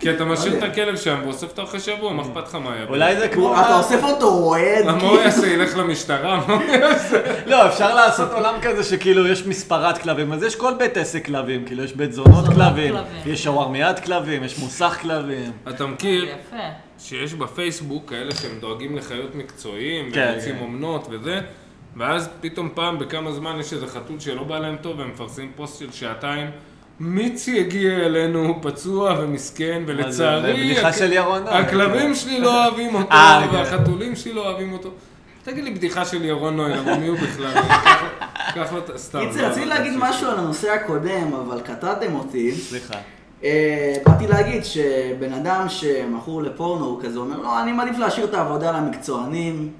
B: כי אתה משאיר את
A: יודע.
B: הכלב שם ואוסף אותו אחרי שבוע, מה אכפת לך מה היה? פה?
C: אולי זה כמו...
A: אתה אוסף אותו רועד. כאילו.
B: מה הוא יעשה? ילך למשטרה? מה הוא יעשה?
C: לא, אפשר לעשות עולם כזה שכאילו יש מספרת כלבים, אז יש כל בית עסק כלבים, כאילו יש בית זונות
D: זונות
C: כלבים,
D: כלבים.
C: יש שווארמיית כלבים, יש מוסך כלבים.
B: אתה מכיר
D: יפה.
B: שיש בפייסבוק כאלה שהם דואגים לחיות מקצועיים,
C: כן,
B: ומוצאים
C: כן.
B: אומנות וזה, ואז פתאום פעם בכמה זמן יש איזה חתול שלא בא להם טוב, והם מפרסמים פוסט של שעתיים. מיצי הגיע אלינו, הוא פצוע ומסכן, ולצערי,
C: זה בדיחה של ירון נוי.
B: הכלבים שלי לא אוהבים אותו,
C: אה, כן.
B: והחתולים שלי לא אוהבים אותו. תגיד לי בדיחה של ירון נוי, למה מי הוא בכלל? קח לו את ה... סתם.
A: קיצר,
B: לא,
A: רציתי
B: לא,
A: להגיד
B: תקשיב.
A: משהו על הנושא הקודם, אבל קטעתם אותי.
C: סליחה.
A: אה, באתי להגיד שבן אדם שמכור לפורנו, הוא כזה אומר, לא, אני מעדיף להשאיר את העבודה למקצוענים.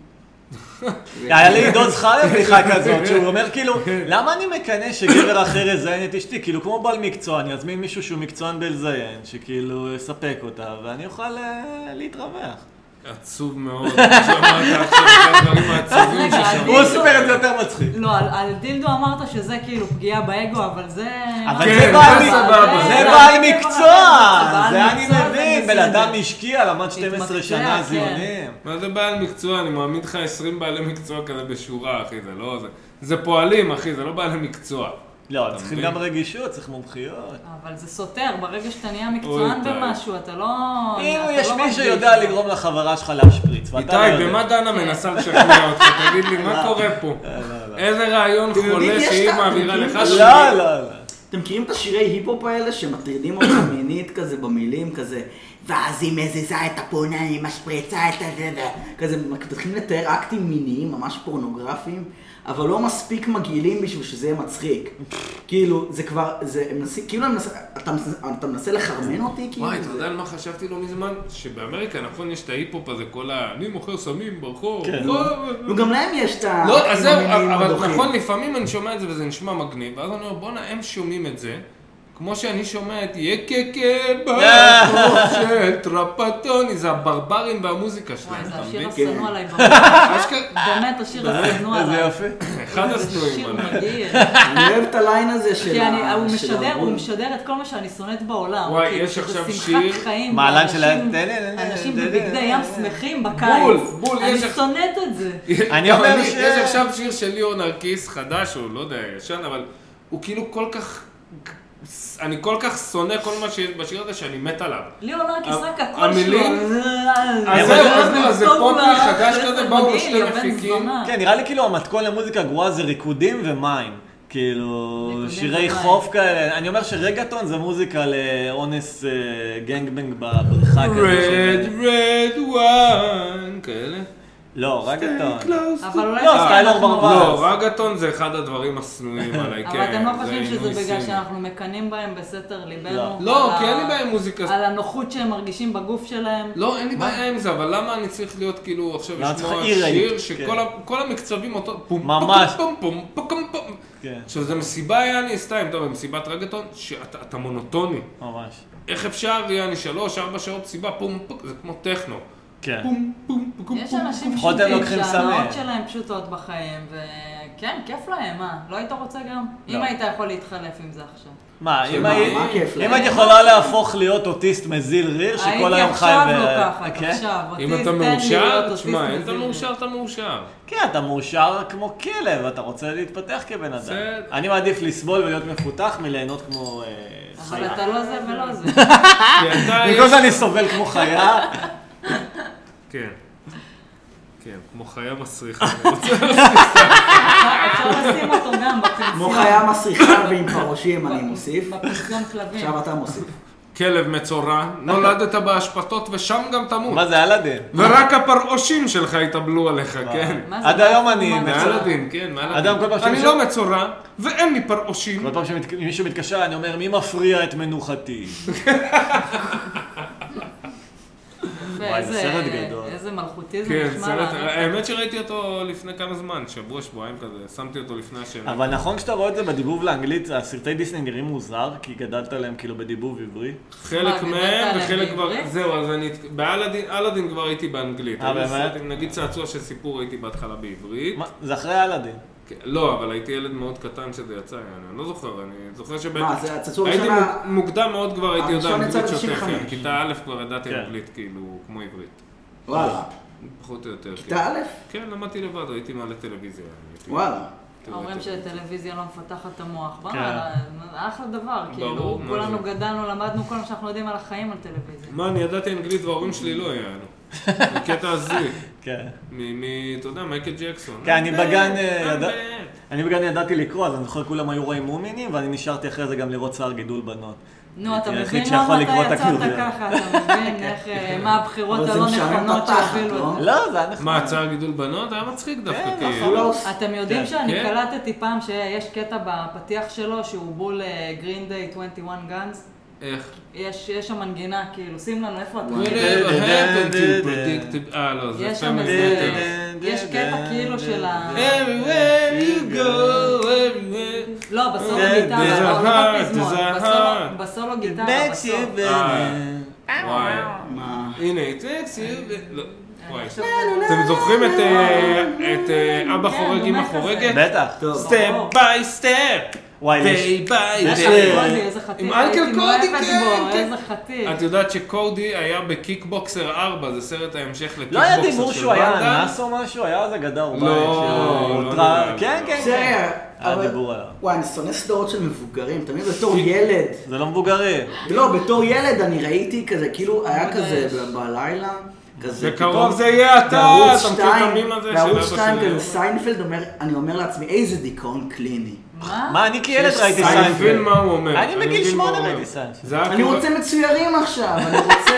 B: אה,
C: היה לי עידו זכריה בדיחה כזאת, שהוא אומר כאילו, למה אני מקנא שגבר אחר יזיין את אשתי? כאילו, כמו בעל מקצוע, אני אזמין מישהו שהוא מקצוען בלזיין, שכאילו יספק אותה, ואני אוכל אה, להתרווח.
B: עצוב מאוד, שמעת עכשיו את הדברים העצובים
D: רגע,
B: ששמעתי.
C: הוא סיפר את זה יותר מצחיק.
B: כן,
D: לא, על- על דילדו אמרת שזה כאילו פגיעה באגו, אבל זה...
C: אבל
B: כן,
C: זה בעל
B: זה
C: מקצוע,
B: סבבה.
C: זה
B: זה
C: בעל
D: בעל
C: מקצוע,
D: מקצוע,
C: זה אני
D: כן, בעל מקצוע,
C: מבין,
D: זה
C: בן
D: בסדר.
C: אדם השקיע, למד 12
D: התמקצע,
C: שנה
D: כן.
C: זיונים.
B: מה זה בעל מקצוע? אני מעמיד לך 20 בעלי מקצוע כזה בשורה, אחי, זה לא... זה, זה פועלים, אחי, זה לא בעלי מקצוע.
C: לא,
B: אתה
C: צריכים
B: מבין?
C: גם רגישות, צריך מומחיות.
D: אבל זה סותר, ברגע שאתה נהיה מקצוען
B: איתי.
D: במשהו, אתה לא...
C: אם
D: אתה
C: יש
D: לא
C: מי
D: מרגיש.
C: שיודע לגרום לחברה שלך להשפריץ, ואתה לא
B: איתי, במה
C: יודע. לא.
B: דנה
A: כן.
B: מנסה לשכנע אותך? תגיד לי, מה קורה פה? איזה רעיון
A: אתם יודעים,
B: חולה
A: יש כאילו.
B: שהיא
A: את-
B: מעבירה
A: אתם
B: לך
A: יודעים-
B: שלי?
C: לא, לא, לא.
A: אתם מכירים את השירי היפ-הופ האלה שמטרידים אותך מינית כזה במילים כזה ואז היא מזיזה את הפונה, היא משפריצה את הזה כזה מתחילים לתאר אקטים מיניים ממש פורנוגרפיים אבל לא מספיק מגעילים בשביל שזה יהיה מצחיק כאילו זה כבר, זה, הם מנסים, כאילו הם מנסים, אתה, מנס- אתה מנסה לחרמן אותי כאילו?
B: וואי, אתה
A: זה-
B: יודע על מה חשבתי לא מזמן? שבאמריקה, נכון, יש את ההיפ-הופ הזה, כל ה... אני מוכר סמים ברחוב.
C: כן.
B: לא,
A: נו גם להם יש את האקטים
B: לא, אז זהו,
A: המיניים
B: אבל
A: הדוחים.
B: נכון, לפעמים אני שומע את זה וזה נשמע מגניב, ואז אני אומר, בואנה, הם שומעים את זה, כמו שאני שומע את יקקה ברחוב של טרפטוני, זה הברברים והמוזיקה שלהם,
D: וואי, זה
B: אתה
D: השיר
B: מבין?
D: השנוא
A: כן.
D: עליי. בראש.
B: אשכרה,
D: באמת, השיר השנוא
C: איזה
D: עליי.
C: יופי.
B: אחד השנואים
D: זה
B: לא עליי.
D: שיר מדהים.
A: אני אוהב את הליין הזה של
D: כי אני-
A: ה-
D: הוא
A: של
D: משדר, הוא
A: הרבון.
D: משדר את כל מה שאני שונאת בעולם.
B: וואי,
D: כאילו,
B: יש
D: שזה
B: עכשיו
D: שמחת
B: שיר-
D: חיים.
C: מהלן
D: ואנשים-
C: של ה- דה, דה, דה,
D: אנשים
C: דה, דה,
D: בבגדי ים
C: דה, דה.
D: שמחים בקיץ.
B: בול, בול, יש
D: אני
B: אח-
D: שונאת את זה.
C: אני
B: גם
C: אומר ש-
B: לא, יש עכשיו שיר של ליאור נרקיס, חדש, או לא יודע, ישן, אבל הוא כאילו כל כך... אני כל כך שונא כל מה שיש בשיר הזה שאני מת עליו.
D: ליאור נרקיס רק
B: ה-
D: הקול שלו.
B: המילים?
D: אה,
B: אז זהו, אז
D: זה
B: לא, אז זה
D: טוב
B: פופי
D: לך,
B: חדש
D: זה
B: כזה, באו לו
D: מגעיל,
B: שתי
D: יא בן
B: מפיקים.
D: זונה.
C: כן, נראה לי כאילו המתכון למוזיקה גרועה זה ריקודים ומים. כאילו,
D: ריקודים
C: שירי
D: במים.
C: חוף כאלה. אני אומר שרגטון זה מוזיקה לאונס אה, גנגבנג בבריכה כזה.
B: רד
C: שזה-
B: רד וואן, כאלה.
C: לא,
B: Stay
C: רגטון.
B: close
D: אבל
B: to-
D: אולי...
C: לא, סטיילר
D: אנחנו-
C: ברווז.
B: לא, רגטון זה אחד הדברים השנואים עליי, כן.
D: אבל אתם לא
B: זה
D: חושבים שזה
B: עינוי
D: בגלל
B: סיני.
D: שאנחנו מקנאים בהם בסתר ליבנו?
C: לא.
B: לא,
D: על
B: כי
D: ה-
B: אין לי בעיה עם מוזיקה.
D: על הנוחות שהם מרגישים בגוף שלהם?
B: לא, אין לי בעיה עם זה, אבל למה אני צריך להיות כאילו עכשיו
C: למה צריך
B: לשמוע
C: עיר
B: שיר
C: היית? כן.
B: שכל ה- כל המקצבים אותו פום פום
C: ממש.
B: פום פום פום פום פום
C: כן,
B: עכשיו זה מסיבה יעני, סתם, אתה במסיבת רגטון, שאתה אתה מונוטוני.
C: ממש.
B: איך אפשר יעני שלוש, ארבע שעות סיבה, פום פום, זה כמו טכנו.
C: כן.
B: פום פום פום פום.
D: יש אנשים
C: לפחות הם
D: פשוטים
C: לוקחים
D: שהנאות
C: סמל.
D: שלהם פשוטות בחיים, וכן, כיף להם, מה? לא היית רוצה גם?
C: לא.
D: אם היית יכול להתחלף עם זה עכשיו.
C: מה, אם
A: מה,
C: היית-
A: מה כיף להם?
C: אם היית יכולה להפוך להיות אוטיסט מזיל ריר, שכל היום חי ב...
D: הייתי עכשיו לוקחת,
C: כן?
D: עכשיו.
B: אם
D: אוטיסט,
B: אתה
D: תן לי להיות
B: מאושר,
D: אוטיסט
B: תשמע, אם אתה
D: מזיל.
B: מאושר, אתה מאושר.
C: כן, אתה מאושר כמו כלב, אתה רוצה להתפתח כבן אדם.
B: בסדר.
C: אני מעדיף לסבול ולהיות מפותח מליהנות כמו אה,
D: אבל
C: חיה.
D: אתה לא זה ולא זה. אה?
B: כי אתה
C: במקום
B: יש-
C: שאני סובל כמו חיה,
B: כן. כן, כמו חיה מסריחה.
D: אפשר- אפשר לשים אותו גם
A: כמו
D: בפנסיון.
A: חיה מסריחה ועם פרושים, אני מוסיף.
D: בפנסיון כלבים.
A: עכשיו אתה מוסיף.
B: כלב מצורע, נולדת באשפתות ושם גם תמות.
C: מה זה אלאדין?
B: ורק הפרעושים שלך יתאבלו עליך, כן.
D: מה זה?
C: עד היום אני...
D: מה זה?
C: מצור-
B: מהילדים, כן, מהילדים.
C: אדם כל פעם
B: אני
C: שמישהו-
B: לא מצורע, ואין לי פרעושים.
C: כל פעם שמישהו מתקשר, אני אומר, מי מפריע את מנוחתי? וואי, זה
D: איזה-
C: סרט גדול.
D: איזה מלכותי זה
B: כן,
D: נשמע
B: סרט,
D: לנו.
B: האמת שראיתי אותו לפני כמה זמן, שבוע, שבועיים כזה, שמתי אותו לפני השאלה.
C: אבל נכון כשאתה רואה את זה בדיבוב לאנגלית, הסרטי דיסני נראים מוזר, כי גדלת עליהם כאילו בדיבוב עברי.
B: חלק
D: מה,
B: מהם
D: אה, דיברת
B: וחלק
D: עליהם
B: כבר...
D: בעברית?
B: זהו, אז אני... באלאדין כבר הייתי באנגלית.
C: אה,
B: היו
C: באמת?
B: סרטים, נגיד צעצוע של סיפור הייתי בהתחלה בעברית.
C: מה, זה אחרי אלאדין.
B: כן, לא, אבל הייתי ילד מאוד קטן שזה יצא, אני אני לא זוכר, אני זוכר שבאמת...
A: מה, זה הצצור
B: הייתי
A: הראשון ה-
B: מוק- מוקדם מאוד כבר הייתי יודע
A: הראשון יצא
B: אנגלית שוטפת,
A: ב-95.
B: כן, כיתה א' כבר ידעתי
C: כן.
B: אנגלית כאילו, כמו עברית.
A: וואלה.
B: פחות או יותר.
A: כיתה
B: כן.
A: א'?
B: כן, למדתי לבד, הייתי מעלה טלוויזיה. הייתי-
A: וואלה.
B: הייתי רואה
D: אומרים
B: טלוויזיה.
D: שטלוויזיה לא מפתחת את המוח.
C: כן.
D: וואלה, אחלה דבר,
B: ברור,
D: כאילו,
B: מה
D: כולנו
B: זה?
D: גדלנו, למדנו כל מה שאנחנו יודעים על החיים על טלוויזיה.
B: מה, אני ידעתי אנגלית וההורים שלי לא יענו. זה קטע הזוי.
C: כן.
B: מ... מ- אתה יודע, מייקל ג'קסון.
C: כן, אני
B: I'm
C: בגן,
B: back,
C: אה,
B: I'm
C: ידע-
B: back.
C: אני בגן ידעתי לקרוא, אז אני זוכר כולם היו רואים מומינים, ואני נשארתי אחרי זה גם לראות שיער גידול בנות.
D: נו,
C: הייתי
D: אתה מבין
C: היחיד שיכול
D: למה אתה
C: לקרוא את
D: יצרת
C: הכלוביה.
D: ככה, אתה מבין איך, אה, מה הבחירות
A: אבל זה
D: הלא
A: משעמם את
D: נכונות
A: התחת,
D: שהובילו
A: לא?
D: את זה.
C: לא, זה היה נחמד.
B: מה, צער גידול בנות? היה מצחיק דווקא,
C: כן,
B: כאילו.
A: פולוס.
D: אתם יודעים
C: כן.
D: שאני
B: כן.
D: קלטתי פעם שיש קטע בפתיח שלו שהוא בול אה, גרין דיי 21 גאנס.
B: איך?
D: יש יש שם מנגינה, כאילו, שים לנו איפה אתה.
B: Whatever
C: דה,
B: happened
C: דה,
B: to
C: דה.
B: predictable- אה, לא, זה
D: יש שם
B: family
D: איזה-
B: matters.
D: יש קטע כאילו של ה-
B: Everywhere you go, everywhere.
D: לא, בסולו
C: כן,
D: גיטרה,
C: זה
D: לא,
B: hard,
D: לא בפזמון,
B: זה
D: בסולו-
B: hard.
D: בסולו
C: It
D: גיטרה,
C: makes
D: בסוף.
C: you
B: אה.
C: better.
B: וואי.
A: מה?
B: הנה, it takes you... ו- לא, וואי.
D: עכשיו-
B: אתם זוכרים את אה, את אה, אבא
D: כן,
B: חורג
D: נו,
B: אמא
D: מה כזה?
B: חורגת?
C: בטח.
A: טוב.
B: סטפ ביי סטפ,
C: וואי, יש-
B: דיי ביי
C: יש
D: אנקל
B: דיי.
D: קודי, איזה חתיך,
B: עם אנקל
D: הייתי
B: קודי,
D: מאוהבת
B: כן,
D: בו,
B: כן.
D: איזה חתיך.
B: את יודעת שקודי היה בקיקבוקסר 4, זה סרט ההמשך לקיקבוקסר של
C: לא היה דיבור שהוא היה
B: ונדאם.
C: אנס או משהו? היה איזה גדר בית
B: לא,
C: שהוא
B: לא
C: הותרה-
B: נראה.
C: כן, כן, כן.
A: בסדר,
C: היה
A: אבל-
C: דיבור עליו.
A: וואי, אני שונא סדרות של מבוגרים, תמיד בתור ילד.
C: זה לא מבוגרים.
A: לא, בתור ילד אני ראיתי כזה, כאילו, היה
D: לא יודע,
A: כזה
D: יש.
A: ב- בלילה, כזה...
B: בקרוב
A: פתאום-
B: זה יהיה אתה,
A: בערוץ
B: אתה מכיר את
A: שתיים-
B: המים הזה של
A: בערוץ
B: אבא
A: שתיים
B: שלי?
A: כזה סיינפלד אומר, אני אומר לעצמי, איזה דיכאון קליני.
D: מה?
C: מה, אני כילד ראיתי
B: אני מבין
C: סיינפלד.
B: מה הוא אומר.
C: אני בגיל
B: מבין מה
C: שמונה
B: הוא אומר.
C: ראיתי סיינפלד.
B: זה היה
A: אני
B: כאילו-
A: רוצה מצוירים עכשיו, אני רוצה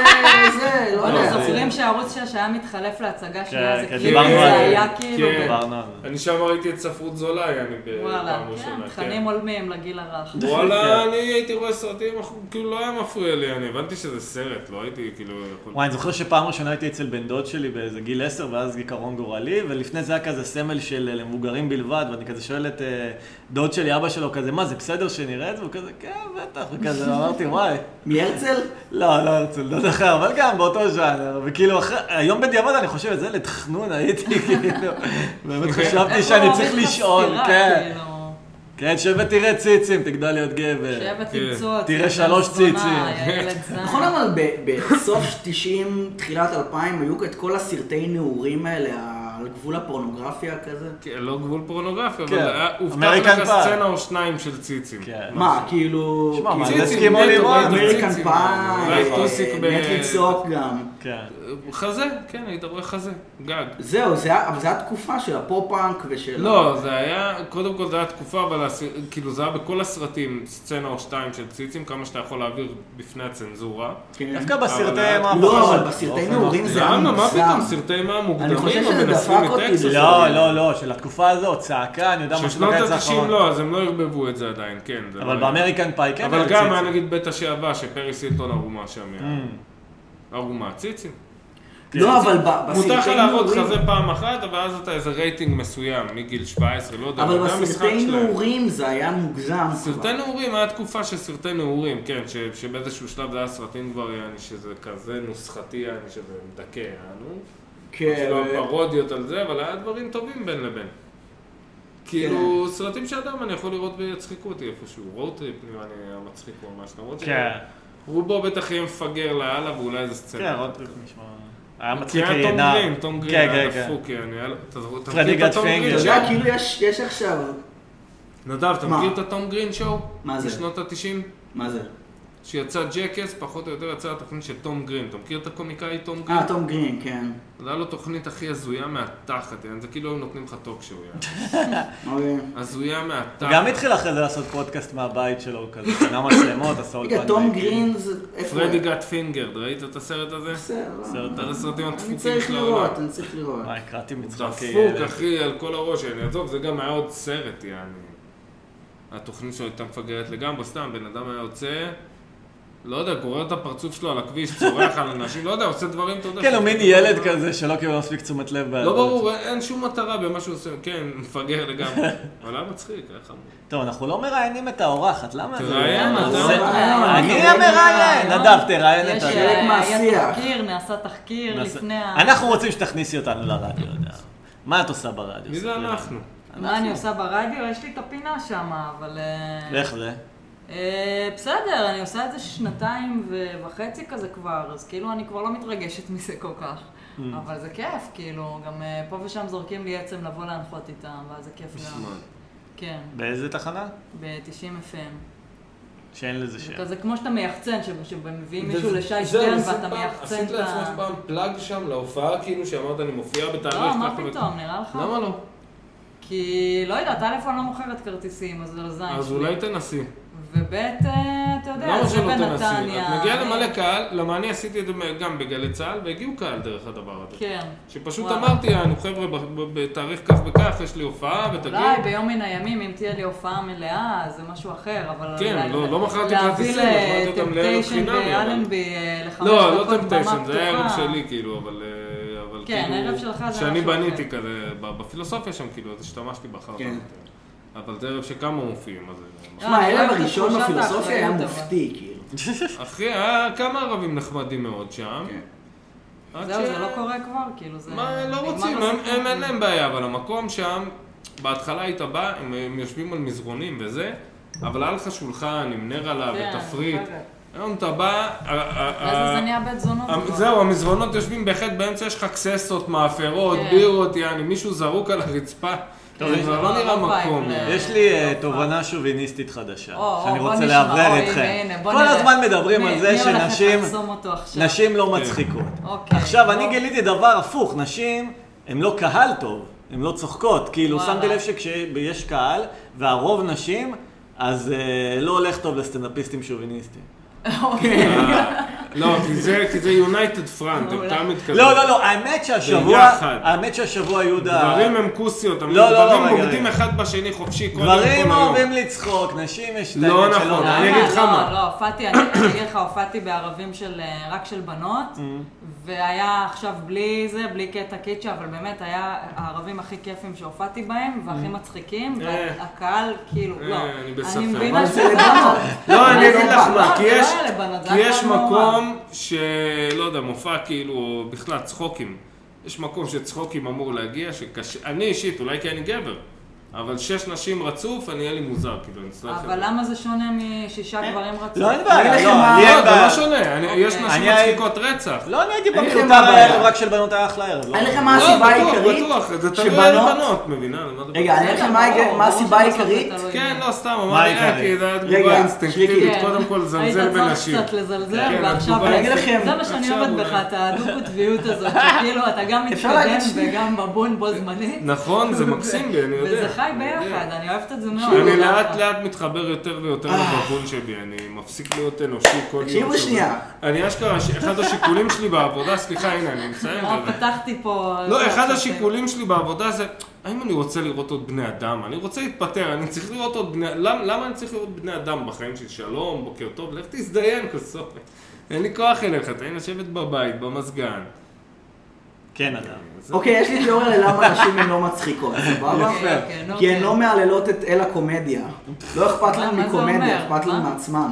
A: זה, לא
D: אתם
A: יודע.
D: זוכרים שערוץ 6 היה מתחלף להצגה שנייה, זה
C: כן,
D: כאילו,
C: דיברנו
D: זה
C: על זה.
D: היה כאילו,
B: כן.
D: ב-
C: דיברנו על זה.
B: אני שם ראיתי את ספרות זולה, יעני,
D: וואלה,
B: בפעם
D: כן,
B: ראשונה.
D: תכנים הולמים לגיל הרך.
B: וואלה,
C: כן.
B: אני הייתי רואה סרטים, אנחנו- כאילו לא היה מפריע לי, אני הבנתי שזה סרט, לא הייתי כאילו... יכול-
C: וואי, אני זוכר שפעם ראשונה הייתי אצל בן דוד שלי באיזה גיל 10, ואז גיקרון גורלי, ולפני זה היה כזה סמל של אה, למבוגרים בלבד, ואני כזה שואל את אה, דוד שלי, אבא שלו, כזה, מה, זה בסדר שנראה את זה? והוא כזה, כן, בטח, וכזה, אמרתי, וואי.
A: מהרצל?
D: אה.
C: לא, לא הרצל, דוד אחר, אבל גם באותו ז'אנר, וכאילו, אחרי- היום בדיעבד אני חושב, איזה ילד חנון הייתי, כאילו, באמת חשבתי
D: איפה
C: שאני
D: הוא
C: צריך
D: הוריד לך
C: לשאול,
D: סטירה,
C: כן,
D: כאילו?
C: כן, שב ותראה ציצים, תגדל להיות גבר.
D: שבט
B: כן.
D: למצוא,
C: תראה שלוש ציצים.
A: נכון אבל ב- בסוף 90, תחילת 2000, היו את כל הסרטי נעורים האלה, ה- על גבול הפורנוגרפיה כזה?
B: כן, לא גבול פורנוגרפיה,
C: כן.
B: אבל היה- הובטח
C: American
B: לך
C: Pie.
B: סצנה או שניים של ציצים.
C: כן.
A: מה, כאילו...
C: שמע,
A: כאילו-
C: מה,
B: ציצים,
C: זה סכימו
B: נטו,
C: לירון.
B: נטו
A: אמריקן
B: ציצים. אולי טוסיק
A: פאי,
B: ב-
A: מטריקס הוק גם.
C: כן.
B: חזה, כן, היית רואה חזה, גג.
A: זהו, זה היה- אבל זו הייתה תקופה של הפופ-פאנק
C: כן.
A: ושל...
B: לא, זה היה, קודם כל זה היה תקופה, אבל הס- כאילו זה היה בכל הסרטים, סצנה או שתיים של ציצים, כמה שאתה יכול להעביר בפני הצנזורה.
A: כן.
C: דווקא
B: אבל-
C: בסרטי מה...
A: לא, אבל בסרטי נעורים זה היה
B: למה? מה
A: מוגזם.
B: פתאום סרטי מה
A: אני חושב
B: מוקדמים,
A: שזה
B: המנסים
A: דפק אותי,
B: מטקסס?
A: זה
C: לא, לא, לא, של התקופה הזאת, צעקה, אני יודע מה
B: ששנות
C: שבקיץ
B: ה-90
C: האחרון.
B: לא, אז הם לא ערבבו את זה עדיין, כן. זה
C: אבל
B: לא-
C: באמריקן פאי כן
B: אבל
C: היה
B: גם
C: ציצים.
B: היה נגיד בית השעבה, שפריס הילטון ערומה שם.
C: Mm.
B: היה. ערומה, ציצים.
A: לא, אבל ב-
B: מותר לך
A: בסרטי
B: לעבוד
A: נעורים...
B: חזה פעם אחת, אבל אז אתה איזה רייטינג מסוים, מגיל 17, לא יודע.
A: אבל
B: זה המשחק
A: בסרטי
B: שלהם.
A: נעורים זה היה מוגזם.
B: סרטי
A: כבר.
B: נעורים, היה תקופה של סרטי נעורים, כן, ש- שבאיזשהו שלב זה היה סרטים כבר, יעני, שזה כזה נוסחתי, יעני, שזה מדכא, יענו.
A: כן.
B: כאילו פרודיות על זה, אבל היה דברים טובים בין לבין.
A: כן.
B: כאילו, סרטים שאדם אני יכול לראות ויצחיקו אותי איפשהו, רואוטריפ נראה לי היה מצחיק או משהו, למרות
C: כן,
B: שרובו בטח יהיה מפגר לאללה ואולי איזה סצנה.
C: כן, עוד פעם נשמע... היה
B: כי
C: מצחיק
B: כן, היה תום
C: כעינה.
B: גרין, תום גרין
C: כן,
B: היה
C: כן, כן.
B: דפוק, יעני, היה לו- אתה זוכר- אתה
C: פרדי
B: מכיר את התום
C: גטפינגר.
B: גרין
A: אתה יודע,
B: שואו?
A: כאילו יש יש עכשיו...
B: נדב, אתה
A: מה?
B: מכיר את התום גרין שואו?
A: מה זה?
B: בשנות ה-90?
A: מה זה?
B: שיצא ג'קס, פחות או יותר יצא התוכנית של תום גרין. אתה מכיר את הקומיקאי תום גרין?
A: אה, תום גרין, כן.
B: זה היה לו תוכנית הכי הזויה מהתחת, יעני, זה כאילו היו נותנים לך טוק שואו, יעני.
A: אוקיי.
B: הזויה מהתחת.
C: גם התחיל אחרי זה לעשות פודקאסט מהבית שלו, כזה, קנה מצלמות, עשה אולפן.
A: רגע, תום
D: אה,
C: ביתי.
A: גרין זה... איפה
B: פרדי
A: הוא?
B: גאט פינגרד, ראית את הסרט הזה?
A: בסדר, לא.
C: סרט
B: אחד הסרטים
A: אני
B: הדפוקים
A: צריך
B: של העולם.
A: לראות, אני צריך לראות.
C: מה, הקראתי מצחוקי
B: דפוק,
C: ילד.
B: אחי, על כל הראש, אני עזוב, זה גם היה עוד סרט, יעני. התוכנית שלו הייתה מפגרת לגמרי, סתם, בן אדם היה יוצא, לא יודע, גורר את הפרצוף שלו על הכביש, צורח על אנשים, לא יודע, עושה דברים, אתה יודע.
C: כן, הוא
B: שאתה-
C: מין ילד כזה שלא קיבל מספיק תשומת לב.
B: לא ברור, אין- אין שום מטרה במה שהוא עושה, כן, מפגר לגמרי. אבל היה מצחיק, היה חמור.
C: טוב, אנחנו לא מראיינים את האורחת, למה זה?
B: תראיין,
C: למה
B: אתה-
C: זה-
A: אה,
C: אני
A: אה,
C: המראיין,
D: אה,
C: נדב, תראיין
D: יש, אה,
C: את
A: אה,
C: ה...
A: חלק מהשיח.
D: היה תחקיר, נעשה תחקיר
C: נעשה-
D: לפני ה...
C: אנחנו רוצים שתכניסי אותנו לרדיו, נדב. מה את עושה ברדיו?
B: מי זה
C: ספרי לנו.
B: אנחנו?
D: מה אני עושה ברדיו? יש לי את הפינה שם, אבל... אה,
C: ואיך זה?
D: אה, בסדר, אני עושה את זה שנתיים ו- וחצי כזה כבר, אז כאילו אני כבר לא מתרגשת מזה כל כך.
B: Mm.
D: אבל זה כיף, כאילו, גם אה, פה ושם זורקים לי עצם לבוא להנחות איתם, ואז זה כיף גם. כן,
C: באיזה תחנה?
D: ב-90
B: כן.
D: FM.
C: שאין לזה
D: זה
C: שם.
D: כזה כמו שאתה מייחצן, ש- שמביאים מישהו
B: וזה-
D: לשי
B: זהו,
D: שטרן
B: עשית
D: ואתה
B: פעם-
D: מייחצן
B: עשית
D: את ה...
B: לעצמך פעם פלאג שם להופעה, כאילו, שאמרת אני מופיע בתאריך.
D: לא, מה
B: ככה וככה"?
D: פתאום, נראה לך?
B: למה לא?
D: כי לא יודעת, א' אני לא מוכרת כרטיסים, אז זה לא זין
B: אז
D: שלי.
B: אולי תנסי.
D: וב' אה, אתה יודע,
B: למה
D: זה אה,
B: שלא תנסי?
D: בנתניה.
B: את מגיעה
D: אני-
B: למלא קהל, למה אני עשיתי את זה גם בגלי צה"ל, והגיעו קהל דרך הדבר הזה.
D: כן.
B: שפשוט
D: וואלה.
B: אמרתי, יענו חבר'ה, ב- ב- בתאריך כך וכך, יש לי הופעה, ותגיעו.
D: אולי ביום מן הימים, אם תהיה לי הופעה מלאה, אז זה משהו אחר, אבל...
B: כן,
D: אולי-
B: לא- לא מכרתי כרטיסים,
D: להביא
B: מכרתי אותם לערב
D: לטמפטיישן
B: חינמי, אבל-
D: באלנבי אה, לחמש דקות במה
B: לא,
D: פתוחה.
B: לא טמפטיישן, זה היה ערב שלי, כאילו, אבל... אה, אבל
D: כן,
B: כאילו,
D: ערב שלך זה
B: שאני
D: משהו אחר.
B: בניתי כזה, ב- בפילוסופיה שם, כאילו, אז השתמשתי באחר כך.
A: כן.
B: אבל זה ערב שכמה מופיעים, אז... זה-
A: שמע,
D: אה,
A: הערב
D: אוהבת את
A: הראשון
D: תחושת
A: בפילוסופיה היה
D: האחריות, אבל.
A: מופתי, כאילו.
B: אחי, היה אה, כמה ערבים נחמדים מאוד שם.
A: כן.
B: עד
D: זהו,
B: ש-
D: זה לא קורה כבר, כאילו, זה...
B: אוקיי. מה, לא
D: נגמר
B: רוצים,
D: הסיפור.
B: הם- הם אין להם בעיה, אבל המקום שם, בהתחלה היית בא, הם- הם יושבים על מזרונים וזה, אבל היה לך שולחן עם נר עליו
D: כן,
B: ותפריט.
D: בסדר.
B: היום אתה בא, אה, ה- ה-
D: ואז זה
B: ה-
D: נהיה בית זונות.
B: המ-
D: כבר.
B: אה, זהו, המזרונות יושבים בהחלט באמצע, יש לך קססות, מאפרות,
D: כן.
B: בירות, יעני, מישהו זרוק על הרצפה.
C: טוב,
B: זה
C: יש-
B: כבר לא נראה
D: לא וייב
B: מקום.
D: ל-
B: יעני.
C: יש לי אה, תובנה שוביניסטית חדשה,
D: או, או,
C: שאני
D: בוא
C: רוצה
D: נשמע,
C: לאוורר
D: או, הנה,
C: אתכם.
D: הנה, בוא
C: כל
D: נראה.
C: הזמן מדברים
D: מי-
C: על זה
D: מי הולך
C: שנשים
D: לחסום אותו עכשיו?
C: נשים לא
B: כן.
C: מצחיקות.
D: אוקיי,
C: עכשיו, אני
D: בוא.
C: גיליתי דבר הפוך, נשים הן לא קהל טוב, הן לא צוחקות. כאילו,
D: וואלה.
C: שמתי לב שכשיש קהל, והרוב נשים, אז אה, לא הולך טוב לסטנדאפיסטים שוביניסטים.
D: אוקיי.
B: אה, לא, כי זה- כי זה יונייטד פרנט, הם
D: מעולה.
B: תמיד כזה.
C: לא, לא, לא, האמת שהשבוע,
B: ביחד.
C: האמת שהשבוע יהודה...
B: גברים הם כוסיות, הם
C: לא, לא, לא,
B: גברים
C: רגע,
B: בוגדים
C: רגע. לא
B: אחד בשני חופשי כל יום,
C: גברים
B: כל היום.
C: אוהבים לצחוק, נשים יש את
B: לא
C: האמת
B: נכון,
C: שלא...
B: אני אגיד לך מה.
D: לא, לא, הופעתי, אני אני אגיד לך, הופעתי בערבים של, אה, רק של בנות,
B: Mm.
D: והיה עכשיו בלי זה, בלי קטע קיצ'ה, אבל באמת היה הערבים הכי כיפים שהופעתי בהם, והכי מצחיקים,
B: Mm. אה.
D: והקהל כאילו,
B: אה,
D: לא.
B: אני בספק.
D: אני מבינה
A: אבל
D: שזה
A: זה לבנות.
B: לא, אני אגיד לך
D: לא,
B: מה, כי
D: זה לא
B: יש,
D: היה לבנות, זה
B: כי
D: היה
B: יש
D: קהל מעורב.
B: מקום שלא יודע, מופע כאילו, או בכלל צחוקים. יש מקום שצחוקים אמור להגיע, שקשה, אני אישית, אולי כי אני גבר, אבל שש נשים רצוף, אני, יהיה לי מוזר, כאילו, אני אצטרך...
D: אבל למה זה שונה
B: אה.
D: משישה גברים רצו?
C: לא, אין בעיה,
A: אני אלך עם
C: לא,
A: ה-
C: לי
B: לא,
C: אין
B: זה לא
C: בעיה.
B: שונה, אני- יש
D: אוקיי.
B: נשים
C: אני-
B: מצחיקות רצח.
C: לא, אני הייתי
A: אין לכם
C: במקום
A: מה הבעיה.
C: רק של בנות היה אחלה ערב. לא.
A: אין לכם מה
B: לא,
A: הסיבה
B: בטוח,
A: העיקרית
B: בטוח, זה תלוי על
A: שבנות...
B: בנות, מבינה? לא למה אתה-
A: רגע, אני אגיד לך מה
D: ברור,
A: העיקר- מה
D: ברור
A: הסיבה
D: שבסוף זה
A: העיקרית.
D: תלוי.
B: כן, לא, סתם,
C: מה
B: אמרתי,
C: העיקר?
B: אה, כי זה היה
A: רגע,
B: תגובה אינסטינקטיבית,
A: כן.
B: קודם כל לזלזל
D: היית
B: בנשים.
D: צריך קצת לזלזל,
B: כן,
D: ועכשיו...
B: התגובה
A: אני אגיד לכם,
D: זה מה שאני
B: עכשיו
D: אוהבת
B: אולי.
D: בך, את הדו-קוטביות הזאת, שכאילו אתה גם
A: אפשר להגיד
D: מתקדם
A: שני-
D: וגם מבון בו זמנית.
B: נכון, זה מקסים בי, אני יודע.
D: וזה חי
B: אני יודע.
D: ביחד, לא, אני אוהבת את זה מאוד.
B: אני
D: זה
B: לאט
D: אחלה.
B: לאט מתחבר יותר ויותר לבבון שבי, אני מפסיק להיות אנושי כל יום.
A: אה. תקשיבו
B: שעובר.
A: שנייה.
B: אני אשכרה, ש- אחד השיקולים שלי בעבודה, סליחה, הנה, אני מסיים.
D: אה,
B: את זה.
D: פתחתי פה...
B: לא, אחד
D: עכשיו,
B: השיקולים שלי בעבודה זה, האם אני רוצה לראות עוד בני אדם? אני רוצה להתפטר, אני צריך לראות עוד בני... למ, למה אני צריך לראות בני אדם בחיים שלי? שלום, בוקר טוב, לך תזדיין כסוף. אין לי כוח אליך, תן לי לשבת בבית, במזגן.
C: כן, אדם.
A: אוקיי, יש לי תיאוריה ללמה נשים הן לא מצחיקות, סבבה?
D: אוקיי, אוקיי, נו,
A: כי הן
D: כן.
A: לא מהללות את אל הקומדיה. לא אכפת
D: מה
A: להן
D: זה
A: מקומדיה,
D: אומר?
A: אכפת להן
D: מה?
A: מעצמן.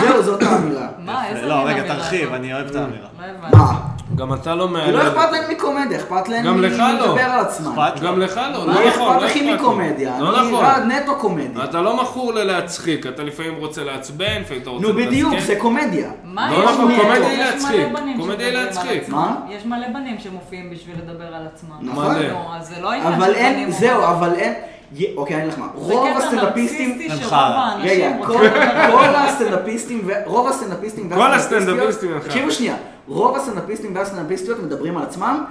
A: זהו, זאת האמירה.
D: מה, איזה
C: לא,
D: מין
C: רגע,
D: אמירה
C: תרחיב,
D: זאת?
C: אני אוהב את האמירה.
D: לא הבנתי.
A: מה?
B: גם אתה לא
A: כי לא
B: מהלל.
A: אכפת להן מקומדיה, אכפת להן
B: גם לך לא.
A: לדבר על עצמן.
C: אכפת?
B: גם לך לא, לא
A: לי
B: נכון,
A: אכפת
B: לא
A: הכי
B: לי.
A: מקומדיה,
B: לא
A: אני
B: נכון.
A: בעד נטו קומדיה.
B: אתה לא מכור ללהצחיק, אתה לפעמים רוצה לעצבן, לפעמים אתה רוצה... כן.
A: נו בדיוק,
B: לתסכל.
A: זה קומדיה.
D: מה,
B: לא
D: יש
B: נכון,
D: מלא-
B: קומדיה
D: יש
B: היא להצחיק.
D: מלא בנים
B: קומדיה היא
D: שמדברים על
B: להצחיק.
D: עצמם.
A: מה?
D: יש מלא בנים שמופיעים בשביל לדבר על עצמם.
A: נכון.
B: מלא.
D: נו, אז זה לא עניין
A: אבל
D: של
A: אין,
D: בנים או
A: זהו,
D: בנות.
A: אבל אין... י- אוקיי, אני אגיד לך מה.
D: זה
A: רוב
D: קטע
A: הסטנדאפיסטים... נכון.
D: נרקיסיסטי
C: הם
D: שרוב
C: חרא.
A: רגע,
D: האנשים רוצים
A: כל
D: לדבר על
A: כל
D: עצמם.
A: הסטנדאפיסטים, ו- רוב הסטנדאפיסטים
B: כל הסטנדאפיסטים הם חרא.
A: תקשיבו שנייה, רוב הסטנדאפיסטים והסטנדאפיסטיות מדברים על עצמם,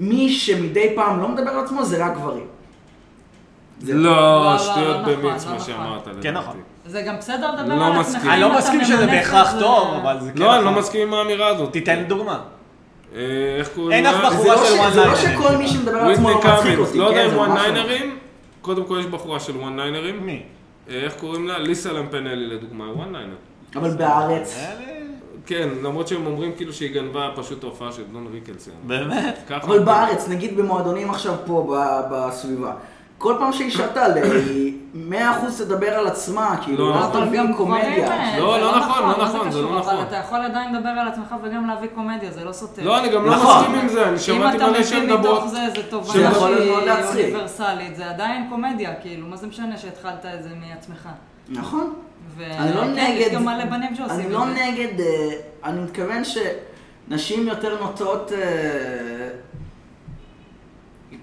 A: מי שמדי פעם לא מדבר על עצמו זה רק גברים.
B: לא,
D: לא,
B: שטויות
D: לא נכון,
B: במיץ,
D: לא
B: מה
D: נכון.
B: שאמרת.
C: כן,
B: לדעתי.
C: נכון.
D: זה גם בסדר לדבר
B: לא
D: על עצמך.
B: מסכים.
D: אם
C: אני לא
D: אתה
C: מסכים שזה
D: ממנף,
C: בהכרח
D: אז,
C: טוב,
D: אה,
C: אבל זה כן...
B: לא, אני
C: נכון.
B: לא מסכים עם האמירה הזאת.
C: תיתן דוגמה.
B: אה, איך קוראים
C: אין
B: לה?
C: אף בחורה
A: זה לא
C: של
A: ש-
C: one
A: זה לא
C: liner.
A: שכל מי שמדבר על עצמו
B: וויטני
A: לא מצחיק
B: קאמינס,
A: אותי,
B: לא יודע
A: כן, זה
B: אם
A: ממש
B: וואן
A: לא.
B: ניינרים, קודם כל יש בחורה של וואן ניינרים,
C: מי?
B: איך קוראים לה? ליסה למפנלי לדוגמה, היא וואן ניינר.
A: אבל בארץ,
B: אה,
C: אלה-
B: כן, למרות שהם אומרים כאילו שהיא גנבה פשוט הופעה של דון ריקלסון.
C: באמת?
B: ככה.
A: אבל בארץ, נגיד במועדונים עכשיו פה ב- בסביבה. כל פעם שהיא שתה, היא 100% תדבר על עצמה, כאילו,
B: לא,
A: לא
B: אבל
D: אבל
A: תבין
D: גם
A: קומדיה.
D: גברים, אה,
B: לא,
D: זה
B: לא נכון, לא
D: מה
B: נכון, זה לא
D: קשור?
B: נכון.
D: אבל אתה יכול עדיין לדבר על עצמך וגם להביא קומדיה, זה לא סותר.
B: לא, אני גם לא
A: נכון.
B: מסכים עם זה, אני שמעתי מלא
D: אם אתה
B: שהן
D: מבין
B: מדברות.
D: מתוך זה, זה תובנה
A: שזה יכול
D: שהיא
A: מאוד להצחיק.
D: אוניברסלית, זה עדיין קומדיה, כאילו, מה זה משנה שהתחלת את זה מעצמך.
A: נכון.
D: ו-
A: אני לא
D: כן,
A: נגד...
D: יש גם מלא בנים שעושים
A: אני
D: את
A: לא
D: זה.
A: נגד... אה, אני מתכוון שנשים יותר נוטות... אה,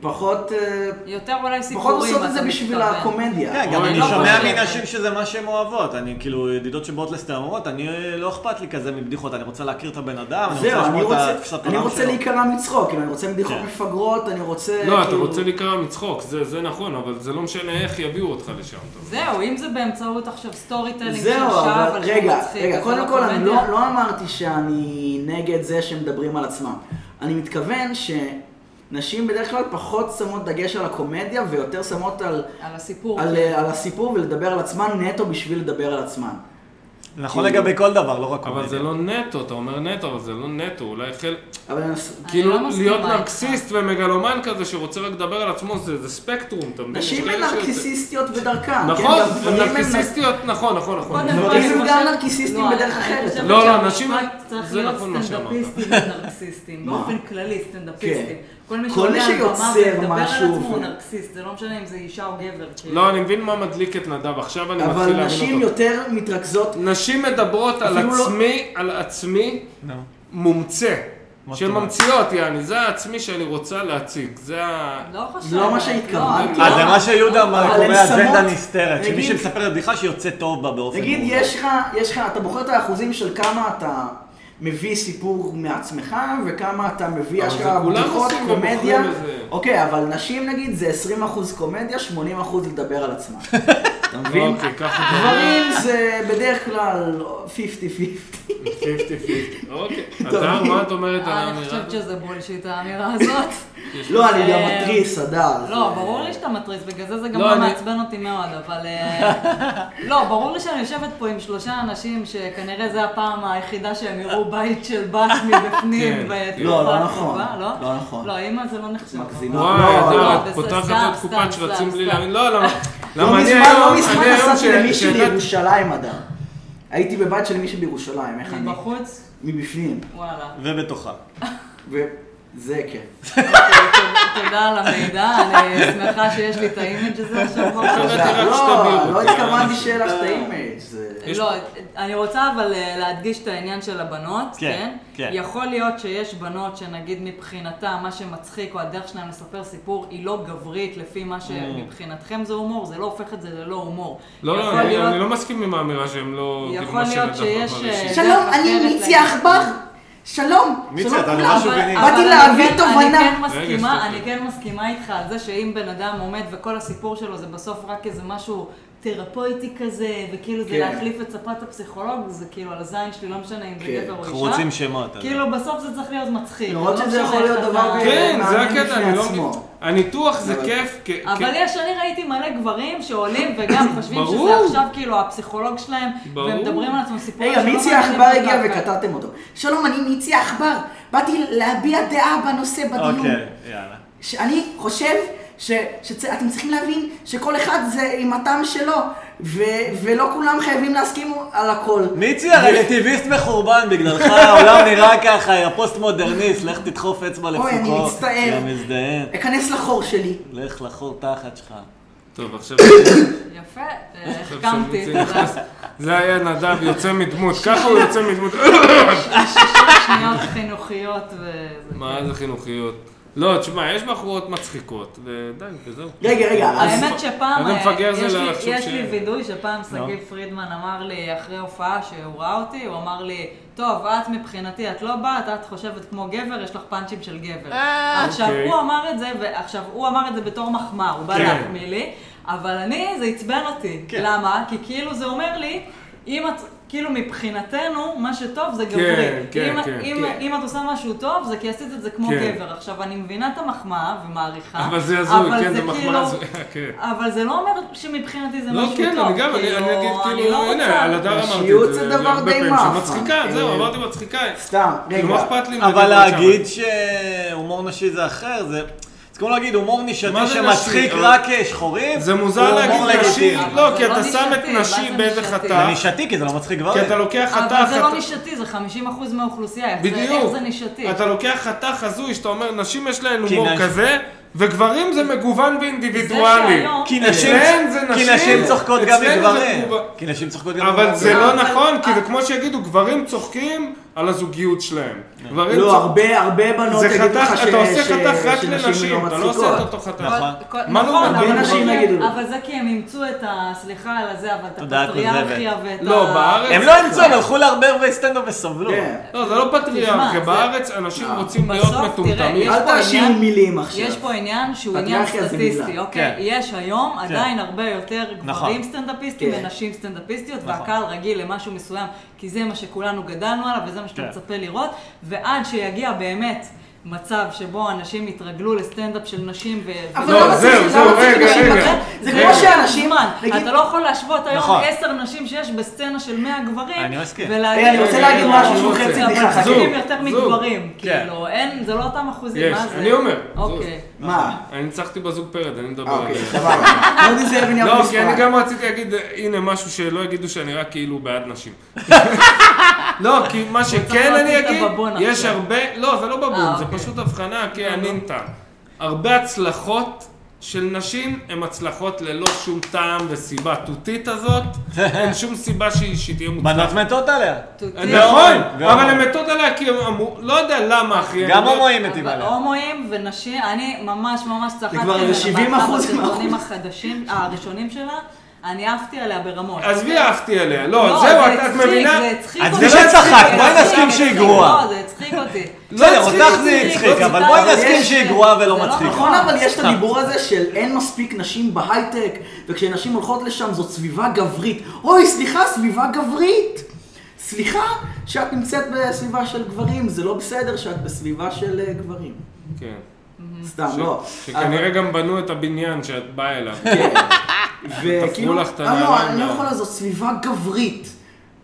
A: פחות... אה,
D: יותר אולי סיפורים,
A: פחות עושות את זה
D: אתה
A: בשביל
D: מתכוון.
A: הקומדיה.
C: כן, גם
B: אוי,
C: אני
B: לא
C: שומע
D: חושב.
C: מנשים שזה מה שהן אוהבות. אני כאילו, ידידות שבאות לסטר אומרות, אני אה, לא אכפת לי כזה מבדיחות, אני רוצה להכיר את הבן אדם, אני
A: זהו,
C: רוצה
A: אני
C: לשמוע
A: רוצה-
C: את התפיסת
A: אני
C: עולם
A: רוצה
C: שלו.
A: להיקרע מצחוק, כאילו, אני רוצה בדיחות
C: כן.
A: מפגרות, אני רוצה...
B: לא, אתה
A: כאילו-
B: רוצה להיקרע מצחוק, זה זה נכון, אבל זה לא משנה איך יביאו אותך לשם. אתה יודע.
D: זהו, אם זה באמצעות עכשיו סטורי טיילינג של
A: זהו,
D: שעה,
A: אבל
D: אבל שהוא
A: רגע,
D: מצחיק,
A: רגע,
D: זה
A: קודם כל אני
D: קומדיה.
A: לא לא אמרתי שאני נגד זה שמדברים על עצמם. אני מתכוון שנשים בדרך כלל פחות שמות דגש על הקומדיה ויותר שמות על...
D: על הסיפור.
B: כן.
A: על, אה, על הסיפור ולדבר על עצמן נטו בשביל לדבר על עצמן.
C: זה נכון לגבי כל דבר, לא רק
B: אבל זה לא
C: קומדיה.
B: נטו, אתה אומר נטו, אבל זה לא נטו, אולי חלק...
A: אבל אני מס-
D: אני לא
B: כאילו,
D: מסכימה
B: להיות
D: איתך.
B: נרקסיסט ומגלומן כזה שרוצה רק לדבר על עצמו, זה זה ספקטרום, אתה מבין? יש
A: נשים
B: כאלה
A: הן
B: שיוצא-
A: נרקיסיסטיות בדרכן.
B: נכון,
A: כן, גם גברים הם
B: נרקסיסטיות, נכון, נכון, נכון.
D: קודם כל,
A: גברים
D: אני
A: הם גם
D: חושבת-
A: נרקיסיסטים
D: לא,
A: בדרך
D: אני
A: אחרת.
D: חושבת
B: לא, לא,
D: שהמשפט
B: אנשים-
D: צריך
B: זה
D: להיות
B: נכון מה שאמרת.
D: סטנדאפיסטים ונרקסיסטים,
A: מה? כן.
D: באופן כללי סטנדאפיסטים. כל מי
A: כל
D: שעולה
A: מי
D: על במה
A: שיוצר
D: ומדבר על
A: משהו
D: עצמו הוא
A: ו-
D: נרקסיסט, זה לא משנה אם זה אישה או גבר. כאילו.
B: לא, אני מבין מה מדליק את נדב, עכשיו אני
A: נרק-
B: מתחיל
A: אבל
B: להבין
A: נשים
B: אותו.
A: יותר מתרכזות...
B: נשים מדברות על
A: אפילו לא-
B: עצמי, על עצמי
C: נו.
B: מומצא.
C: מה
B: שהן
C: זאת אומרת?
B: ממציאות, יעני, זה העצמי שאני רוצה להציג, זה ה...
D: לא חשבת.
A: לא מה שהתכוונתי.
D: לא,
C: אה, זה
D: לא.
C: מה שיהודה אמר,
A: אבל הן
C: קורא אג'נדה
A: שמות-
C: נסתרת, שמי
A: נגיד-
C: שמספר בדיחה שיוצא טוב בה באופן
A: נגיד,
C: מובן.
A: יש לך, יש לך, אתה בוחר את האחוזים של כמה אתה מביא סיפור מעצמך, וכמה אתה מביא
B: אבל זה
A: אשכרה
B: כולם
A: בדיחות,
B: עושים לא ובוחרים
A: קומדיה.
B: איזה-
A: אוקיי, אבל נשים נגיד זה 20% קומדיה, 80% לדבר על עצמם. אתה מבין?
B: אוקיי, ככה
A: גברים זה בדרך כלל 50-50.
B: זה 50-50. אוקיי.
A: טוב.
B: אדר, מה את אומרת על
D: אה, אני
B: האמירה
D: חושבת
B: הזאת?
D: שזה בולשיט האמירה הזאת.
A: לא, אני גם
D: אה,
A: מתריס, אדר.
D: לא,
A: זה-
D: ברור לי שאתה מתריס, בגלל זה זה גם
B: לא,
D: לא
B: אני-
D: מעצבן אותי מאוד, אבל... אה, לא, ברור לי שאני יושבת פה עם שלושה אנשים שכנראה זו הפעם היחידה שהם יראו בית של בת מבפנים
B: כן.
D: בתקופה
A: לא, לא
D: הקרובה,
A: נכון.
D: לא?
A: לא נכון.
D: לא, אימא זה לא נחשב.
A: מגזימה.
D: אבל-
B: וואי,
A: לא,
B: אדר,
A: לא,
B: את
D: בסדר,
B: פותחת
D: סתם,
B: את קופת
D: סתם,
B: שרצים
D: סתם,
B: בלי
D: סתם.
B: להאמין. לא, למה?
A: לא
B: למה אני
A: מזמן,
B: היום...
A: לא מזמן
B: אני היום
A: נסעתי
B: ש-
A: למישהי
B: שהגעתי-
A: בירושלים, אדר. הייתי בבית של מישהי בירושלים, איך אני?
D: מבחוץ?
A: מבפנים.
D: וואלה.
C: ובתוכה.
A: ו- זה כן.
D: אוקיי, תודה- תודה על המידע, אני שמחה שיש לי את האימג' הזה עכשיו בראש.
B: תודה. אה, רק שתביאו
A: לא,
B: אותי.
A: לא התכוונתי שיהיה לך את האימייג'. זה-
B: יש-
D: לא, אני רוצה אבל אה, להדגיש את העניין של הבנות,
C: כן,
D: כן?
C: כן.
D: יכול להיות שיש בנות שנגיד מבחינתה, מה שמצחיק או הדרך שלהם לספר סיפור היא לא גברית לפי
C: Mm.
D: מה שמבחינתכם זה הומור, זה לא הופך את זה ללא הומור.
B: לא,
D: יכול
B: לא, אני-
D: להיות-
B: אני לא מסכים עם האמירה שהם לא... כאילו,
D: יכול
B: מה שהם
D: להיות שיש,
B: בדף הפרישי.
D: אה,
A: שלום, אני מיצי עכבר. שלום.
C: מיצי,
A: שלום
C: אתה
A: כולם.
C: ממש
D: אבל-
C: שובניסט.
D: אבל
A: באתי
D: אני
A: להביא
D: כן-
A: תובנה.
D: אני כן
B: רגע,
D: מסכימה, אני
B: שתקי.
D: כן מסכימה איתך על זה שאם בן אדם עומד וכל הסיפור שלו זה בסוף רק איזה משהו תרפויטי כזה, וכאילו זה
A: כן.
D: להחליף את ספת הפסיכולוג, זה כאילו על הזין שלי, לא משנה אם זה
A: כן.
D: גבר או אישה.
C: אנחנו רוצים שמות. אז-
D: כאילו בסוף זה צריך להיות מצחיק.
A: למרות
D: זה לא
A: שזה
D: משנה
A: יכול להיות
D: איך
A: דבר
D: אתה-
A: ב-
B: כן, זה
A: מאמין
B: הקטע,
A: בפני
B: אני לא מבין.
A: עצמו.
B: הניתוח זה
A: אבל-
B: כיף, כ-
D: אבל
B: כ-
D: יש, אני ראיתי מלא גברים שעולים וגם חושבים
B: כן. ברור.
D: שזה עכשיו כאילו הפסיכולוג שלהם,
B: ברור.
D: והם מדברים על עצמם סיפורים
A: רגע,
D: שלא
A: מיצי
D: מעניינים
A: עכבר
D: אותם.
A: הגיע וקטעתם אותו. שלום, אני מיצי עכבר. באתי להביע דעה בנושא בדיון.
C: אוקיי, יאללה.
A: שאני חושב ש, שאתם צריכים להבין שכל אחד זה עם הטעם שלו, ו, ולא כולם חייבים להסכים על הכל.
C: מיצי הרלטיביסט מחורבן, בגללך העולם נראה ככה, יא פוסט-מודרניסט, לך תדחוף אצבע לפוקו.
A: אוי, אני מצטער.
C: יא מזדיין,
A: אכנס לחור שלי.
C: לך לחור תחת שלך.
B: טוב, עכשיו...
D: יפה, אה,
B: עכשיו
D: החכמתי,
B: שמיצי
D: תודה.
B: נכנס. זה היה נדב יוצא מדמות, ככה הוא יוצא מדמות.
D: שניות חינוכיות וזה.
B: מה זה חינוכיות? לא, תשמע, יש בחורות מצחיקות, ודי, וזהו.
A: רגע, רגע, אז...
D: האמת שפעם,
B: איזה
D: אה,
B: מפגר זה
D: יש לי-
B: לחשוב
D: יש
B: ש-
D: לי וידוי שפעם שגיב
C: נו.
D: פרידמן אמר לי אחרי הופעה שהוא ראה אותי, הוא אמר לי, טוב, את מבחינתי, את לא באת, את חושבת כמו גבר, יש לך פאנצ'ים של גבר. עכשיו,
B: אוקיי.
D: הוא אמר את זה, ועכשיו, הוא אמר את זה בתור מחמאה, הוא בא
B: כן.
D: להחמיא לי, אבל אני, זה עצבן אותי.
C: כן.
D: למה? כי כאילו זה אומר לי, אם את... כאילו מבחינתנו, מה שטוב זה גברי.
B: כן,
D: אם,
B: כן,
D: אם,
A: כן.
D: אם את עושה משהו טוב, זה כי עשית את זה כמו
B: כן.
D: גבר. עכשיו, אני מבינה את המחמאה ומעריכה,
B: אבל זה הזוי,
D: אבל
B: כן, זה
D: כאילו-
B: מחמאה הזויה, כן.
D: אבל זה לא אומר שמבחינתי זה
B: לא,
D: משהו
B: כן,
D: טוב.
B: אני גם, אני אני אגיד
D: לא
B: כאילו,
D: רוצה-
B: הנה, על הדר אמרתי
A: אישיות
B: את
A: זה
B: זה,
A: דבר
B: הרבה
A: די
B: פעמים,
A: מאפן.
B: שמצחיקה, זהו,
A: אה,
B: אמרתי מצחיקה.
A: סתם,
B: כאילו, מה
A: רגע.
B: אכפת לי? אם
C: אבל
B: נגיד
C: להגיד
B: שם?
C: שהומור נשי זה אחר, זה... זה כמו להגיד הומור נישתי
B: מה זה
C: שמצחיק
B: נשי?
C: רק אה, שחורים,
B: זה
C: הוא
B: מוזר
C: הומור
B: להגיד נשי,
C: לגיטימי.
B: לא, כי
D: אבל
B: אתה
D: זה לא
B: שם את
D: נשתי, מה זה
B: נשי באיזה
D: נשתי?
C: זה
B: חתך,
C: נשתי כי זה לא מצחיק
B: כי אתה
C: גברים.
B: לוקח חתך,
D: אבל זה
B: אתה-
D: לא נישתי, זה 50% מהאוכלוסייה. איך זה- איך
B: בדיוק.
D: זה נישתי?
B: אתה לוקח חתך הזוי, שאתה אומר, נשים יש להן
C: כי
B: הומור
C: נש-
B: כזה, וגברים זה מגוון
D: זה
B: ואינדיבידואלי.
D: שהיום-
C: כי
B: אצלם
C: נשים-
B: זה
C: כי
B: נשים,
C: נשים צוחקות גם
B: אצלם זה
C: לגברים.
B: מובן.
C: כי נשים צוחקות גם לגברים.
B: אבל זה לא
D: אבל- אה-
B: נכון, כי זה כמו שיגידו, גברים צוחקים על הזוגיות שלהם. גברים
A: לא,
B: צוחקים...
A: הרבה, הרבה בנות
B: זה
A: יגידו לך
B: חתך,
A: ש-
B: אתה עושה
A: ש-
B: חתך רק
A: שנשים
B: לנשים, אתה לא
A: מצחיקות.
B: עושה את אותו חתך.
C: נכון.
D: כל-
B: מה לא,
D: נכון,
B: הרבה
D: אבל
A: נשים
D: זה-
A: יגידו לי.
D: אבל זה כי הם אימצו את ה... סליחה על הזה, אבל את
C: תודה,
D: הפטריארכיה
C: כוזבת.
D: ואת ה...
B: לא, בארץ...
C: הם לא אימצו, הם הלכו להרבה הרבה סטנדאפ וסבלו.
A: כן.
B: לא, זה לא פטריארכיה,
D: תשמע, זה-
B: בארץ אנשים
A: אה.
B: רוצים להיות
D: בסוף,
B: מטומטמים.
D: תראה, יש
A: אל
D: פה
A: תאשימו
D: עניין-
A: מילים עכשיו.
D: יש פה עניין שהוא עניין
A: פטריארכיה זה
D: סטטיסטי,
A: מילה.
D: אוקיי?
C: כן.
D: יש היום עדיין הרבה יותר
C: נכון.
D: גברים סטנדאפיסטים
A: כן.
D: ונשים סטנדאפיסטיות,
C: נכון.
D: והקהל רגיל למשהו מסוים, כי זה מה שכולנו גדלנו עליו וזה מה שאתה
C: כן.
D: מצפה לראות, ועד שיגיע באמת מצב שבו אנשים יתרגלו לסטנדאפ של נשים ו...
A: אבל
B: לא,
A: למה צריך
B: זהו, זהו,
A: למה צריך
B: רגע,
A: להגיד
B: רגע.
A: לכם? זה
B: רגע.
A: כמו שאנשים... נגיד-
D: אתה לא יכול להשוות היום
C: נכון.
D: עשר נשים שיש בסצנה של מאה גברים,
C: אני מסכים.
D: ולהגיד- אה,
A: אה, אני
B: רוצה להגיד משהו שהוא
A: חצי
D: אבל
A: בדיחה,
D: גברים
B: זוג,
D: יותר
B: זוג.
D: מגברים,
C: כן.
D: כאילו, אין, זה לא אותם אחוזים,
B: יש,
D: מה זה?
B: אני אומר, זוג.
D: אוקיי.
A: מה?
B: אני ניצחתי בזוג פרד, אני מדבר
A: אה,
B: על
A: אוקיי,
B: זה.
A: סבבה. מודי זאב עניין
B: לא, כי
A: מספר.
B: אני גם רציתי להגיד, הנה משהו שלא יגידו שאני רק כאילו בעד נשים. לא, כי מה שכן
D: להוציא
B: אני
D: את
B: אגיד,
D: הבבון
B: יש
D: עכשיו.
B: הרבה, לא, זה לא בבון,
D: אה,
B: זה
D: אוקיי.
B: פשוט הבחנה, כי הנינטה. הרבה הצלחות של נשים הן הצלחות ללא שום טעם וסיבה. התותית הזאת, אין שום סיבה שהיא שהיא תהיה מוצלחת.
C: בנות מתות עליה.
D: תותים.
B: נכון,
C: גם
B: אבל הן
C: הומואים.
B: מתות עליה כי הן אמרו, לא יודע למה אחי.
C: גם
B: אני לא-
C: הומואים מתים
D: אבל
C: עליה.
D: הומואים ונשים, אני ממש ממש צחקתי
A: זה כבר
D: עליה
A: 70%
D: באחד הסרטונים החדשים, הראשונים שלה, אני עפתי עליה ברמות.
B: עזבי עפתי עליה,
D: לא,
B: לא, זהו,
D: זה
B: את- את
D: הצחיק,
B: מבינה?
D: זה הצחיק
C: אז
D: אותי.
C: זה לא צחק,
D: זה
C: בואי
D: הצחיק,
C: נסכים
D: זה
C: שהיא
D: הצחיק.
C: גרועה.
D: לא, זה הצחיק אותי.
C: בסדר,
B: מצחיק
C: אותך
B: אותי,
C: זה
B: לא
C: הצחיק, אבל
D: מצחיק.
C: בואי
D: אבל
C: נסכים
D: יש-
C: שהיא גרועה
D: זה
C: ולא
D: לא
C: מצחיקה.
D: נכון.
A: נכון, אבל יש את הדיבור הזה של אין מספיק נשים בהייטק, וכשנשים הולכות לשם זאת סביבה גברית. אוי, סליחה, סביבה גברית! סליחה שאת נמצאת בסביבה של גברים, זה לא בסדר שאת בסביבה של אה, גברים.
B: כן.
A: סתם,
B: ש-
A: לא.
B: שכנראה גם בנו את הבניין שאת באה אליו.
A: אבל- כן.
B: תפרו
A: וכאילו,
B: לך את
A: אה, לא,
B: הנעליים
A: אני לא
B: גם.
A: יכולה, זאת סביבה גברית.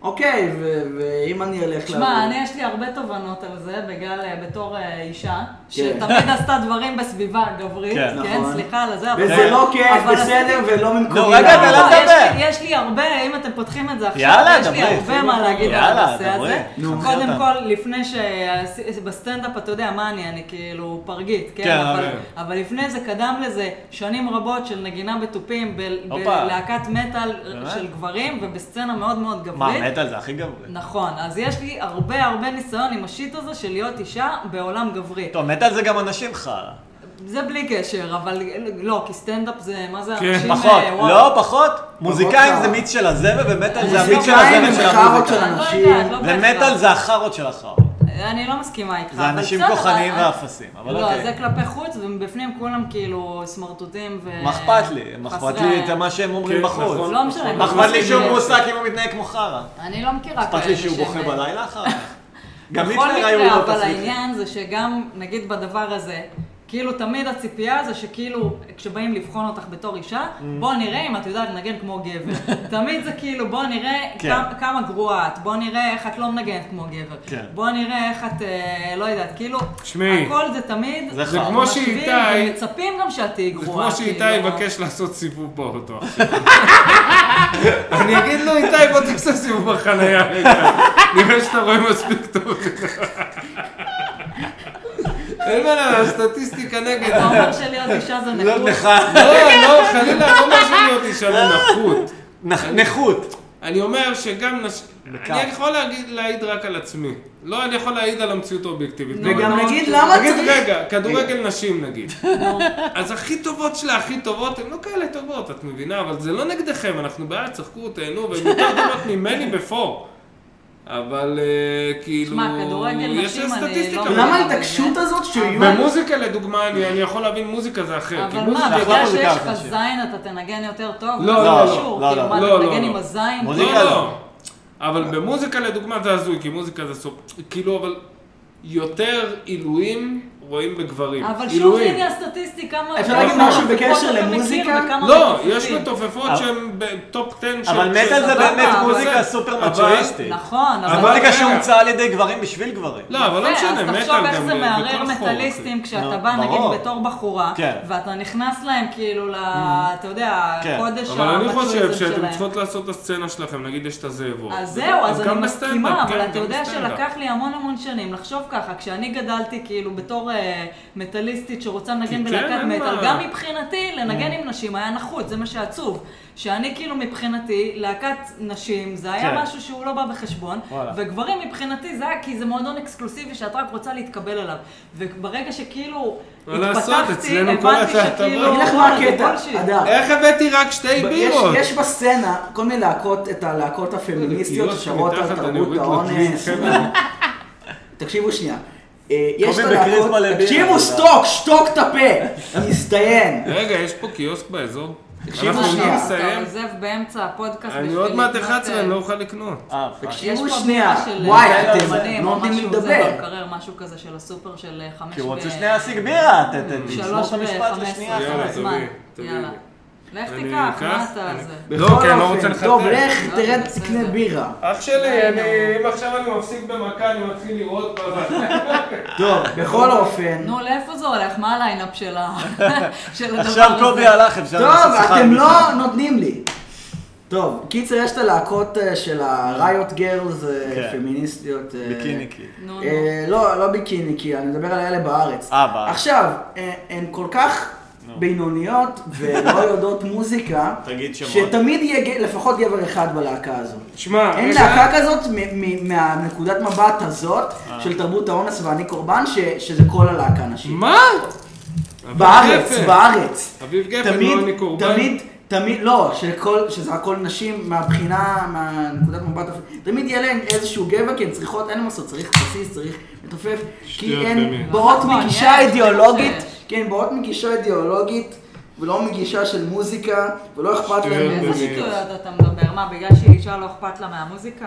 A: אוקיי, ו- ואם אני אלך
D: תשמע, אני יש לי הרבה תובנות על זה, בגלל, אה, בתור אה, אישה, שתמיד
A: כן.
D: עשתה דברים בסביבה גברית,
C: כן,
D: כן,
A: נכון.
D: סליחה על זה, אבל...
A: וזה לא כיף,
D: אבל
A: בסדר,
D: עשיתי-
A: ולא ממקומי.
C: לא, רגע,
A: לעמוד.
C: אתה
D: לא,
C: לא
D: יש
C: מדבר.
D: לי- יש לי הרבה, אם אתם פותחים את זה עכשיו,
C: יאללה,
D: יש לי
C: דברי,
D: הרבה מה להגיד על
C: יאללה,
D: הנושא
C: דברי.
D: הזה.
C: נו.
D: קודם
C: אותנו.
D: כל, לפני ש... בסטנדאפ, אתה יודע, מה אני, אני כאילו פרגית,
C: כן,
D: כן? אבל-
B: אבל-
D: אבל לפני זה קדם לזה שנים רבות של נגינה בתופים ב-
C: הופה.
D: בלהקת מטאל
C: באמת?
D: של גברים ובסצנה מאוד מאוד גברית.
C: מה, מת על זה הכי גברי.
D: נכון, אז יש לי הרבה הרבה ניסיון עם השיט הזה של להיות אישה בעולם גברי.
C: טוב, מת על זה גם אנשים חרא.
D: זה בלי קשר, אבל לא, כי סטנדאפ זה, מה זה
B: כן,
D: אנשים...
C: פחות,
D: אה, וואו.
C: לא פחות, מוזיקאים
A: חרא.
C: זה מיץ של הזבל ומט על זה המיץ של
A: מוזיקאים
C: הזבל
A: הם
C: של
A: חרות של
C: המוזיקה.
D: אני לא
A: אנשים.
D: יודעת, לא
C: ומט
D: בהכרח.
C: על זה החרות של החרא.
D: אני לא מסכימה איתך.
C: זה
D: אבל
C: אנשים
D: בסדר,
C: כוחניים
D: אבל-
C: ואפסים, אבל
D: לא,
C: אוקיי.
D: זה כלפי חוץ, ומבפנים כולם כאילו סמרטוטים ו...
C: מה אכפת לי? מה אכפת לי את
D: אה, חסרי-
C: מה שהם אומרים
B: כן,
C: בחוץ?
B: נכון.
D: לא משנה.
C: מה אכפת לי
D: זה-
C: שהוא מועסק אם הוא מתנהג כמו חרא?
D: אני לא מכירה
C: אכפת לי שהוא
D: שהם-
C: בוכה בלילה אחר כך? גם
D: בכל
C: היטלר היו
D: מקרה,
C: לא
D: אבל
C: תסליחים.
D: העניין זה שגם, נגיד בדבר הזה, כאילו תמיד הציפייה זה שכאילו, כשבאים לבחון אותך בתור אישה,
C: Mm.
D: בוא נראה אם את יודעת לנגן כמו גבר. תמיד זה כאילו, בוא נראה
C: כן.
D: כמה- כמה גרועה את, בוא נראה איך את לא מנגנת כמו גבר.
C: כן.
D: בוא נראה איך את, אה, לא יודעת, כאילו,
B: תשמעי,
D: הכל זה תמיד,
C: זה
B: זה
C: חרא.
B: כמו
D: משווים
B: שאיתי-
D: ומצפים גם שאת תהיי
B: זה
D: גרועה.
B: כמו שאיתי
D: כאילו.
B: יבקש לעשות סיבוב באוטו עכשיו. אני אגיד לו, איתי, בוא תעשה סיבוב בחנייה רגע. נראה שאתה רואה מספיק טוב. אין מה לעשות, הסטטיסטיקה נגד.
D: אתה אומר שלהיות אישה זה
C: לא
D: נקוד.
C: נכה-
B: לא, לא, חלילה, לא מאשים אותי שאני נחות.
C: נכ- נכות.
B: אני אומר שגם נש...
C: בכף.
B: אני יכול להגיד, להעיד רק על עצמי. לא, אני יכול להעיד על המציאות האובייקטיבית.
A: וגם
D: נו,
A: נגיד
D: נו,
A: למה
B: נגיד,
A: צריך...
B: רגע, כדורגל נשים נגיד. אז הכי טובות שלה, הכי טובות, הן לא כאלה טובות, את מבינה? אבל זה לא נגדכם, אנחנו בעד, צחקו, תהנו, והן יותר טובות ממני בפור. אבל אה, כאילו...
D: שמע, כדורגל
B: יש
D: נשים, אני
B: סטטיסטיקה.
D: לא-
A: למה ההתעקשות הזאת שיהיו...
B: במוזיקה לדוגמה, אני אני יכול להבין מוזיקה זה אחר. כי
D: אבל
B: מוזיקה-
D: מה,
C: אחלה
D: בגלל
C: מוזיקה,
D: שיש
C: אני
D: לך
C: חושב.
D: זין אתה תנגן יותר טוב?
B: לא,
D: זה
B: לא,
D: קשור,
C: לא,
D: כאילו,
C: לא,
D: מה,
B: לא,
D: אתה
B: לא,
D: מנגן
B: לא.
D: עם הזין?
C: מוזיקה
B: לא,
C: לא.
B: לא. אבל במוזיקה לדוגמה זה הזוי, כי מוזיקה זה סופ... כאילו, אבל יותר עילויים רואים בגברים.
D: אבל שוב,
B: עילויים.
D: הנה הסטטיסטיקה, מה...
A: אפשר
D: כמה
B: להגיד
A: משהו
D: מצופות
A: בקשר
D: אתה מכיר
A: למוזיקה?
D: וכמה
B: לא,
D: מצופים.
B: יש מתופפות
C: אבל-
B: שהן בטופ 10 של...
C: אבל מת
B: של-
C: על זה
D: סבבה,
C: באמת
D: אבל-
C: מוזיקה סופר
B: אבל-
C: מצ'ואיסטית.
D: נכון,
C: זה
B: אבל-
D: אבל...
C: מוזיקה
B: רגע.
C: שהומצאה על ידי גברים בשביל גברים.
B: לא, אבל לא
D: יפה,
B: משנה,
D: אז
B: מת
D: תחשוב
B: על
D: איך
B: גם
D: זה
B: ב-
D: מערער
B: בכל חור,
D: מטאליסטים כשאתה
C: נו,
D: בא
C: ברור.
D: נגיד בתור בחורה,
C: כן.
D: ואתה נכנס להם כאילו ל... אתה יודע,
C: כן.
D: הקודש
B: אבל אני חושב
D: המצ'ואיזם
B: שאתם
D: שלהם.
B: צריכות לעשות את הסצנה שלכם, נגיד יש את הזאבות.
D: אז זהו, אז אני
B: גם בסטנדאפ,
D: מסכימה, אבל
B: כן,
D: אתה
B: גם
D: יודע
B: בסטנדאפ.
D: שלקח לי המון המון שנים לחשוב ככה. כשאני גדלתי, כאילו, בתור אה, מטאליסטית שרוצה לנגן
B: כן,
D: בלהקת
B: אין
D: מטאל,
B: מה. Mm.
D: גם מבחינתי, לנגן עם נשים היה נחות, זה מה שעצוב. שאני כאילו מבחינתי, להקת נשים, זה
C: כן.
D: היה משהו שהוא לא בא בחשבון,
C: וואלה.
D: וגברים מבחינתי זה היה כי זה מועדון אקסקלוסיבי שאת רק רוצה להתקבל אליו. וברגע שכאילו
B: מה לעשות,
D: התפתחתי,
B: אצלנו כל
D: הבנתי
B: אתה- אתה
D: שכאילו,
B: בא.
A: אני אגיד לך
D: וואלה,
A: מה
D: זה
A: הקטע,
D: bullshit.
A: אדם.
B: איך הבאתי רק שתי
A: יש,
B: בירות?
A: יש בסצנה כל מיני להקות, את הלהקות הפמיניסטיות
B: יופי,
A: ששרות על
B: אה, כאילו מתחת, אני כן,
A: תרבות
B: אוריד לו קליפ,
A: האונס.
B: חבר'ה.
A: תקשיבו שנייה. אה, יש את
C: קובי בקריזמה
A: הלהקות,
C: לבירה,
A: תקשיבו
C: תודה.
A: שתוק, שתוק את הפה, מצטיין.
B: רגע, יש פה קיוסק באזור?
A: תקשיבו
B: אנחנו
A: שנייה.
B: עומדים
D: אתה
B: לסיים.
D: עוזב באמצע הפודקאסט
B: אני
D: בשביל
B: עוד מעט
D: לקנות,
B: 11,
D: אה,
B: אני לא אוכל לקנות.
C: אה, פאק.
D: יש פה
A: תקשיבו
D: בדיחה
A: שנייה,
D: של,
A: וואי,
D: אה,
A: אתם
D: אומנים
A: לא
D: או
A: נותנים לי
D: משהו, זה
A: לדבר.
D: במקרר, משהו כזה של הסופר של אה, חמש
C: כי הוא רוצה
D: ב-
C: שנייה להשיג בירה, ת- ת- תשמור
D: שלוש
C: את המשפט
D: ב-15.
C: לשנייה.
B: יאללה,
D: יאללה,
B: תביאי,
D: זמן.
B: תביאי.
D: יאללה. לך
B: אני
D: תיקח, מה
B: אקח,
D: אתה
B: אני-
D: זה?
B: לא,
C: אוקיי,
B: כי אני לא
A: בכל
B: רוצה
A: אופן, טוב,
B: לחתן.
A: לך,
D: לא,
A: תרד,
D: בסדר.
A: תקנה בירה.
B: אח שלי,
D: אני-
B: אם עכשיו אני מפסיק במכה, אני מתחיל לראות
A: טוב, בכל אופן,
D: נו, לאיפה זה הולך? מה הליינאפ של ה... של הדבר הזה?
C: עכשיו קובי הלך, אפשר
A: טוב,
C: שיחה
A: אתם
C: על
A: לא
C: מישהו.
A: נותנים לי. טוב, קיצר, יש את הלהקות אה, של הריוט גרלס,
C: כן.
A: פמיניסטיות. אה,
C: ביקיני קיד.
D: נו, נו.
A: אה, לא, לא ביקיני, כי אני מדבר על אלה בארץ.
C: אה, בארץ.
A: עכשיו, אה, הן כל כך בינוניות ולא יודעות מוזיקה,
C: תגיד שמות.
A: שתמיד יהיה ג- לפחות גבר אחד בלהקה הזאת.
B: שמע,
A: אין
B: רגע.
A: להקה כזאת מ- מ- מהנקודת מבט הזאת
B: אה.
A: של תרבות האונס ואני קורבן, ש- שזה כל הלהקה נשית.
B: מה?
A: בארץ,
B: גפן.
A: בארץ.
B: אביב גפן,
A: תמיד,
B: לא אני קורבן.
A: תמיד, תמיד, לא, שכל, שזה הכל נשים מהבחינה, מהנקודת מבט, הפ- תמיד יהיה להן איזשהו גבר, כי הן צריכות, אין מה לעשות, צריך בסיס, צריך מתופף,
B: שטויות
A: כי הן
B: באמת.
A: באות
D: נכון,
A: מגישה
D: יש,
A: אידיאולוגית,
D: יש.
A: כי הן באות מגישה אידיאולוגית, ולא מגישה של מוזיקה, ולא אכפת
B: שטויות
A: להן
B: באמת.
D: איזה
A: מוזיקה.
D: שטויות אתה מדבר? מה, בגלל שהיא אישה לא אכפת לה מהמוזיקה?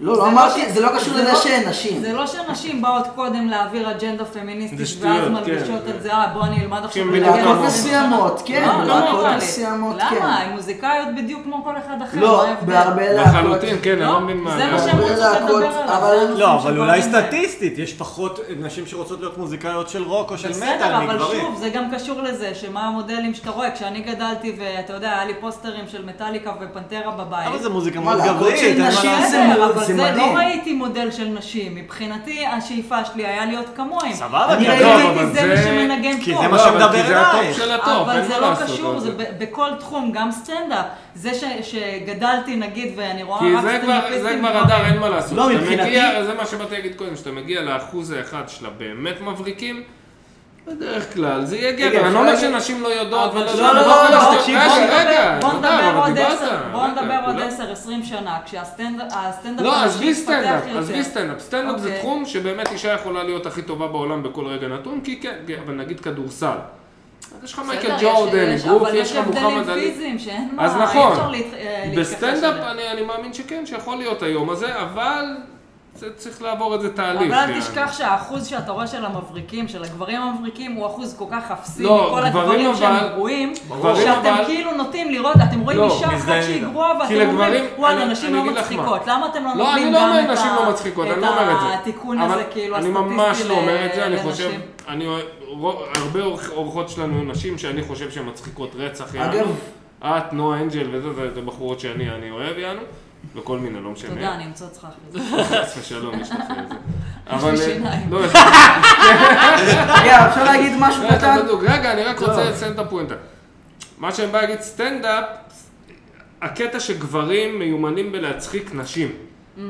A: לא, לא
D: זה
A: אמרתי,
D: ש-
A: זה לא קשור לזה
D: לא-
A: שהן נשים.
D: זה לא שנשים באות קודם להעביר אג'נדה פמיניסטית,
B: זה
D: ואז
B: שטויות,
D: מלבישות
B: כן.
D: את זה, אה, בוא אני אלמד עכשיו
B: בדיוק לא
D: לנגן
B: כמוך.
D: על זה."
A: מסוימות, כן,
D: לא, לא
A: להקות
D: נורא לי.
A: מסוימות, כן.
D: למה? הן מוזיקאיות בדיוק כמו כל אחד אחר,
A: לא,
D: מה ההבדל?
A: בהרבה להקות.
B: לחלוטין, כן, אני
D: לא,
B: לא מבין מה.
D: זה מה
B: אבל-
D: שהם רוצים
A: להקות,
D: לדבר
A: אבל-
D: עליו.
C: לא, אבל אולי סטטיסטית, יש פחות נשים שרוצות להיות מוזיקאיות של רוק או של מטאל
D: בסדר, אבל
C: מגברים.
D: שוב, זה גם קשור לזה, שמה המודלים שאתה רואה. כשאני גדלתי, ואתה יודע, היה לי פוסטרים של מטאליקה ופנטרה בבית.
C: אבל זה מוזיקה
A: וואלה,
C: מאוד
A: הכל של
C: גברית, אין מה
A: נשים
C: לעשות.
A: זה
D: בסדר,
A: מאוד-
D: אבל
A: זה
D: זה
A: מדהים.
D: לא ראיתי מודל של נשים. מבחינתי, השאיפה שלי היה להיות כמוהם.
C: סבבה,
A: אני
C: כי
A: ראיתי
C: הכל-
B: את אבל
D: זה
B: זה-
D: מי שמנגן
C: כי
D: פה.
C: זה מה
B: לא, אבל
C: שמדבר
B: כי זה הטופ
C: אלייך.
B: של הטופ,
D: אבל
B: אין
D: זה
B: מה
D: לא
B: לעשות.
D: קשור, זה ב- בכל תחום, גם סטנדאפ. זה ש- שגדלתי, נגיד, ואני רואה
B: כי זה
D: רק
B: כבר, זה
D: סטנדאפיסטים
B: כבר
D: גברים.
B: הדר, אין מה לעשות.
A: לא,
B: כשאתה
A: מבחינתי-
B: מגיע- זה מה שבאתי להגיד קודם, כשאתה מגיע לאחוז האחד של הבאמת מבריקים, בדרך כלל זה יהיה
A: רגע,
B: גבר. אני לא אומר
A: אפשר להגיד-
B: שנשים לא יודעות,
D: אבל
B: ולא-
A: לא, לא,
B: אבל
A: לא,
B: שתי-
A: לא,
D: תקשיב,
A: רגע,
D: בוא נדבר-
B: רגע, מותר,
D: בוא
B: אבל
D: נדבר עוד
B: דיברת,
D: עשר, בוא
B: רגע,
D: נדבר עוד
B: כולם-
D: 10-20 שנה, כשהסטנדאפ הנשי
B: לא, עזבי
D: יתפתח
B: סטנדאפ,
D: יותר.
B: עזבי סטנדאפ. סטנדאפ זה
D: אוקיי.
B: תחום שבאמת אישה יכולה להיות הכי טובה בעולם בכל רגע נתון, כי כן, אבל נגיד כדורסל. אז יש לך מייקל
D: בסדר, יש-
B: ג'ורדן,
D: יש-
B: גוף,
D: אבל
B: יש לך מוחמד
D: הבדלים
B: עלי.
D: פיזיים שאין מה,
B: אז
D: אי
B: נכון,
D: אפשר להת- אה, להתכחש
B: בסטנדאפ
D: לזה.
B: אני, אני מאמין שכן, שיכול להיות היום הזה, אבל זה צריך לעבור איזה תהליך.
D: אבל אל
B: יעני.
D: תשכח שהאחוז שאתה רואה של המבריקים, של הגברים המבריקים, הוא אחוז כל כך אפסי
B: לא,
D: מכל
B: גברים
D: הגברים
B: אבל-
D: שהם גרועים,
B: ברור.
D: שאתם
B: אבל-
D: כאילו נוטים לראות, אתם רואים
B: לא,
D: אישה אחת
C: מזדהים
D: שהיא
C: איתה.
D: גרועה,
B: כי
D: ואתם אומרים,
B: לגברים-
D: וואלה,
B: אני-
D: נשים
B: אני
D: לא
B: אגיד לך מה.
D: מצחיקות, למה אתם לא
B: לא, אני
D: נותנים
B: לא
D: גם
B: אומר
D: את ה-
B: נשים לא מצחיקות, אני לא אומר את זה.
D: את התיקון
B: אבל
D: הזה, כאילו,
B: אני
D: הסטטיסטי
B: ממש לא אומר את זה, אני
D: לנשים?
B: חושב, אני, אוהב- רו- הרבה אורח- אורחות שלנו הן נשים שאני חושב שהן מצחיקות רצח, יענו.
A: אגב-
B: את, נועה אנג'ל וזה, זה- זה בחורות שאני אני אוהב, יענו. וכל מיני, לא משנה.
D: תודה, אני אמצא אותך אחרי זה.
B: חס ושלום, יש לך את זה. אבל...
D: לי שיניים.
B: לא, יש
A: רגע, אפשר להגיד משהו
B: רגע,
A: קטן? לא.
B: אתה בדוק. רגע, אני רק רוצה לציין את הפואנטה. מה שאני בא להגיד, סטנדאפ, הקטע שגברים מיומנים בלהצחיק נשים.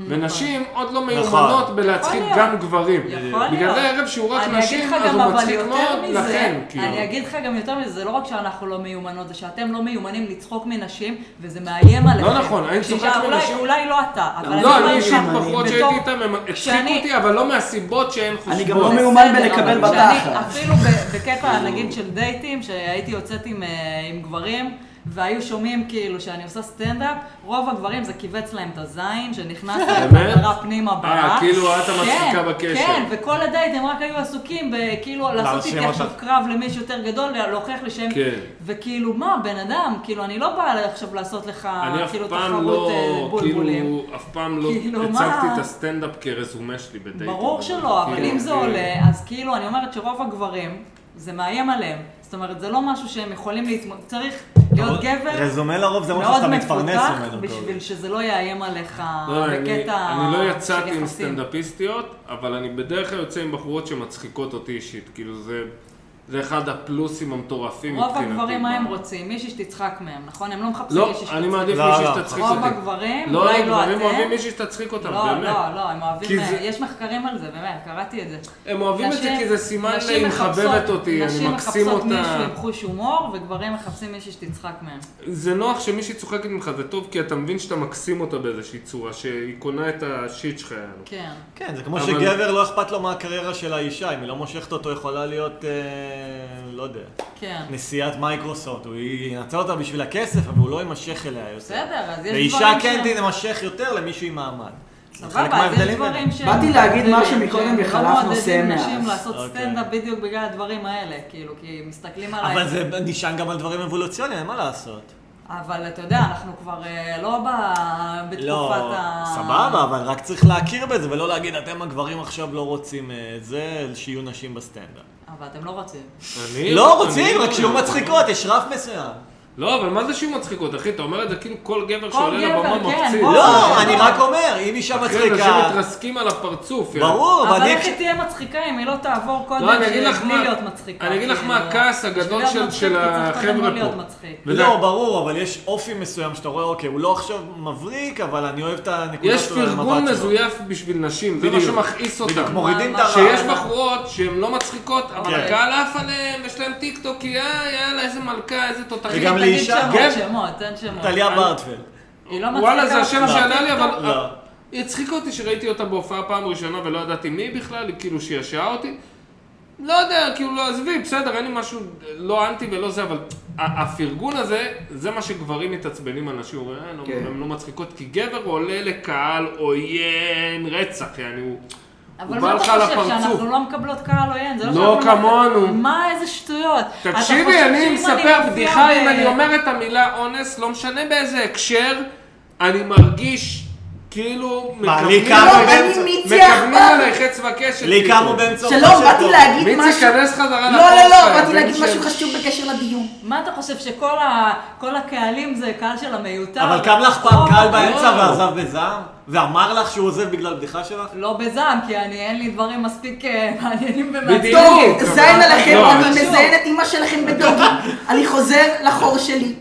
B: ונשים עוד לא מיומנות
C: נכון.
B: בלהצחיק
D: Mm, נכון. יכול
B: גם
D: להיות.
B: גברים.
D: יכול
B: בגלל
D: להיות.
B: זה ערב שהוא רק
D: אני אגיד
B: נשים,
D: לך
B: אז
D: גם,
B: הוא
D: אבל
B: מצחיק
D: יותר
B: מאוד,
D: מזה,
B: לכן, כאילו.
D: אני אגיד לך גם יותר מזה, זה לא רק שאנחנו לא מיומנות, זה שאתם לא מיומנים לצחוק מנשים, וזה מאיים עליכם.
B: נכון, אני צוחק
D: כשאישה- אולי-
B: מנשים.
D: אולי לא אתה, אבל
B: לא, אני
D: אומרת
B: אישית
D: לך,
B: בחורות
D: בתור-
B: שהייתי איתן, הם הצחיקו
D: כשאני-
B: אותי, אבל לא מהסיבות שהן חושבות.
A: גם לא מיומן
D: בסדר,
A: בלקבל
D: אבל כשאני-
A: בתחת.
D: אפילו ב- בקטע, נגיד, של דייטים, שהייתי יוצאת עם, אה, עם גברים, והיו שומעים כאילו שאני עושה סטנדאפ, רוב הגברים זה כיווץ להם את הזין, שנכנס להם
B: באמת?
D: חזרה פנימה ברק.
B: אה, כאילו את המצחיקה
D: כן,
B: בקשר.
D: כן, וכל הדייט הם רק היו עסוקים
A: לא,
D: בכאילו לעשות
C: להרשים
D: התייחסות
C: אותך.
D: קרב למישהו יותר גדול, להוכיח לי שהם...
B: כן.
D: וכאילו, מה, בן אדם, כאילו, אני לא באה עכשיו לעשות לך,
B: אני אף
D: כאילו,
B: פעם
D: תחרות אה,
B: לא,
D: בולבולים.
B: כאילו, אף פעם לא
D: כאילו,
B: הצגתי
D: מה?
B: את הסטנדאפ כרזומה שלי בדייטים.
D: ברור שלא, אבל
B: כאילו,
D: אם זה
B: כאילו,
D: עולה, אז כאילו, אני אומרת שרוב הגברים, זה מאיים עליהם. זאת אומרת, זה לא משהו שהם יכולים להתמודד, צריך להיות גבר
C: רזומה לרוב זה משהו
D: מאוד
C: שאתה מתפרנס
D: מפותח,
C: ממנו. אתה יודע.
D: בשביל שזה לא יאיים עליך
B: לא, אני,
D: בקטע
B: אני לא
D: של
B: יצאתי עם
D: יחסים.
B: סטנדאפיסטיות, אבל אני בדרך כלל יוצא עם בחורות שמצחיקות אותי אישית, כאילו זה, זה אחד הפלוסים המטורפים
D: רוב הגברים, מה הם
B: ב-
D: רוצים? מישהי שתצחק מהם, נכון? הם לא מחפשים
B: לא,
D: מישהי
B: אני
D: שתצחק.
B: מעדיף
C: לא,
B: מישהי
C: לא.
B: שתצחיק אותי.
D: רוב הגברים,
B: לא,
D: אולי לא
B: הגברים אוהבים
D: אתם.
B: מישהי שתצחיק אותם,
D: לא,
B: באמת.
D: לא, לא, הם אוהבים,
B: כי זה-
D: יש מחקרים על זה, באמת, קראתי את זה.
B: הם אוהבים את זה
D: נשים-
B: כי זה סימן
D: נשים
B: שהיא
D: מחפשות-
B: מחבבת אותי, אני מקסים
D: נשים מחפשות מישהו
B: אותה.
D: עם חוש הומור, וגברים מחפשים מישהי שתצחק מהם.
B: זה נוח שמישהי צוחקת ממך, זה טוב כי אתה מבין שאתה מקסים אותה באיזושהי צורה, שהיא קונה את השיט שלך. יענו.
D: כן.
C: כן, זה כמו
B: אבל-
C: שגבר לא אכפת לו מה הקריירה של האישה, אם היא לא מושכת אותו, יכולה להיות, אה, לא יודע,
D: כן.
C: נשיאת מייקרוסופט, הוא ינצל אותה בשביל הכסף, אבל הוא לא יימשך אליה יותר.
D: בסדר, אז יש
C: ואישה
D: דברים
C: כן
D: שהם-
C: תימשך יותר למישהו עם מעמד. זה חלק
D: סבבה, אז יש
C: מההבדלים ביניהם.
D: דברים ש...
A: באתי להגיד משהו מקודם וחלף נושא
D: לא מעודדים
A: מאז.
D: נשים לעשות
C: אוקיי.
D: סטנדאפ בדיוק בגלל הדברים האלה, כאילו, כי מסתכלים עליי.
C: אבל זה נשען גם על דברים אבולוציוניים, אין מה לעשות.
D: אבל אתה יודע, אנחנו כבר אה, לא ב...
C: לא,
D: בתקופת ה...
C: סבבה, אבל רק צריך להכיר בזה, ולא להגיד, אתם הגברים עכשיו לא רוצים אה, את זה, שיהיו נשים בסטנדאפ.
D: אבל אתם לא רוצים.
B: אני-
C: לא
B: כאילו, אני-
C: רוצים, רק שיהיו מצחיקות, יש רף מסוים.
B: לא, אבל מה זה שיהיו מצחיקות, אחי? אתה אומר את זה כאילו כל גבר
D: כל
B: שעולה
D: גבר,
B: לבמה
D: כן,
B: מפציץ.
D: בוא.
C: לא,
D: אה,
C: אני
D: לא.
C: רק אומר, אם אישה
B: אחי, אנשים
C: מצחיקה...
B: מתרסקים על הפרצוף. יענו.
C: ברור,
D: אבל
C: ואני...
D: איך היא תהיה מצחיקה אם היא לא תעבור קודם
B: לא, אני אגיד לך
D: בלי
B: מה-
D: להיות מצחיקה?
B: אני אגיד לך
D: כאילו,
B: מה הכעס
D: בשביל
B: הגדול
D: להיות
B: של-
D: מצחיק,
B: של
D: אתה צריך קודם
B: החבר'ה
D: לא
B: פה.
D: להיות מצחיק.
B: וזה-
C: לא, ברור, אבל יש אופי מסוים שאתה רואה, אוקיי, הוא לא עכשיו מבריק, אבל אני אוהב את הנקודה
B: יש
C: שלו, על
B: פרגון
C: המבט שלו.
B: מזויף בשביל נשים, זה מה
C: בדיוק.
B: שמכעיס
C: בדיוק,
B: אותם.
C: מורידים את
D: מה-
C: הרף.
B: שיש בחורות שהן לא מצחיקות, אבל
C: כן.
B: הקהל עף עליהן, יש להן טיק טוק, אה, יאללה, איזה מלכה, איזה תותחית.
C: וגם
D: תגיד
C: לאישה,
D: שמות,
B: גבר-
D: שמות, תן שמות.
C: טליה ברטפלד.
D: היא לא מצחיקה.
B: וואלה, זה השם
D: אותך.
B: שעלה לי, אבל...
C: לא.
B: היא הצחיקה אותי שראיתי אותה בהופעה פעם ראשונה ולא ידעתי מי היא בכלל, היא כאילו שעשעה אותי. לא יודע, כאילו, לא, עזבי, בסדר, אין לי משהו, לא אנטי ולא זה, אבל ה- הפרגון הזה, זה מה שגברים מתעצבנים על נשים, אומרים, "אה, לא-
A: כן.
B: הן לא מצחיקות, כי גבר עולה לקהל עוין רצח, יעני, הוא...
D: אבל
B: בא
D: מה אתה
B: לך על
D: חושב,
B: הפרצוף.
D: שאנחנו לא מקבלות קהל עוין? זה
B: לא
D: שאנחנו
B: כמונו.
D: מה, איזה שטויות. אתה חושב
B: תקשיבי, אני
D: שאם
B: מספר
D: מופיעה
B: בדיחה, אם
D: ב-
B: אני אומר את המילה אונס, לא משנה באיזה הקשר, אני מרגיש כאילו
C: לי
B: מכוונים
C: קמו
B: עלייך-
A: באמצע-
B: מכוונים עלייך עץ וקשת.
C: לי
B: כאילו.
C: קמו באמצע
A: שלום, באתי להגיד
B: מיצי,
A: משהו...
B: כנס חזרה
A: לא, לא,
B: לפוסט,
A: לא, באתי
B: הבן
A: להגיד
B: של-
A: משהו חשוב בקשר לדיון.
D: מה אתה חושב, שכל ה- כל הקהלים זה קהל של המיותר?
C: אבל קם לך פעם
D: רוב-
C: קהל באמצע
B: לא.
C: ועזב בזעם? ואמר לך שהוא עוזב בגלל בדיחה שלך?
D: לא בזעם, כי אני, אין לי דברים מספיק אה, מעניינים
B: בדיוק.
D: ומעצבנים.
A: טוב,
B: אבל-
A: זין עליכם, אוקיי,
B: לא,
A: אני
B: אבל-
A: מזיין את אמא שלכם בדוגי. אני חוזר לחור שלי.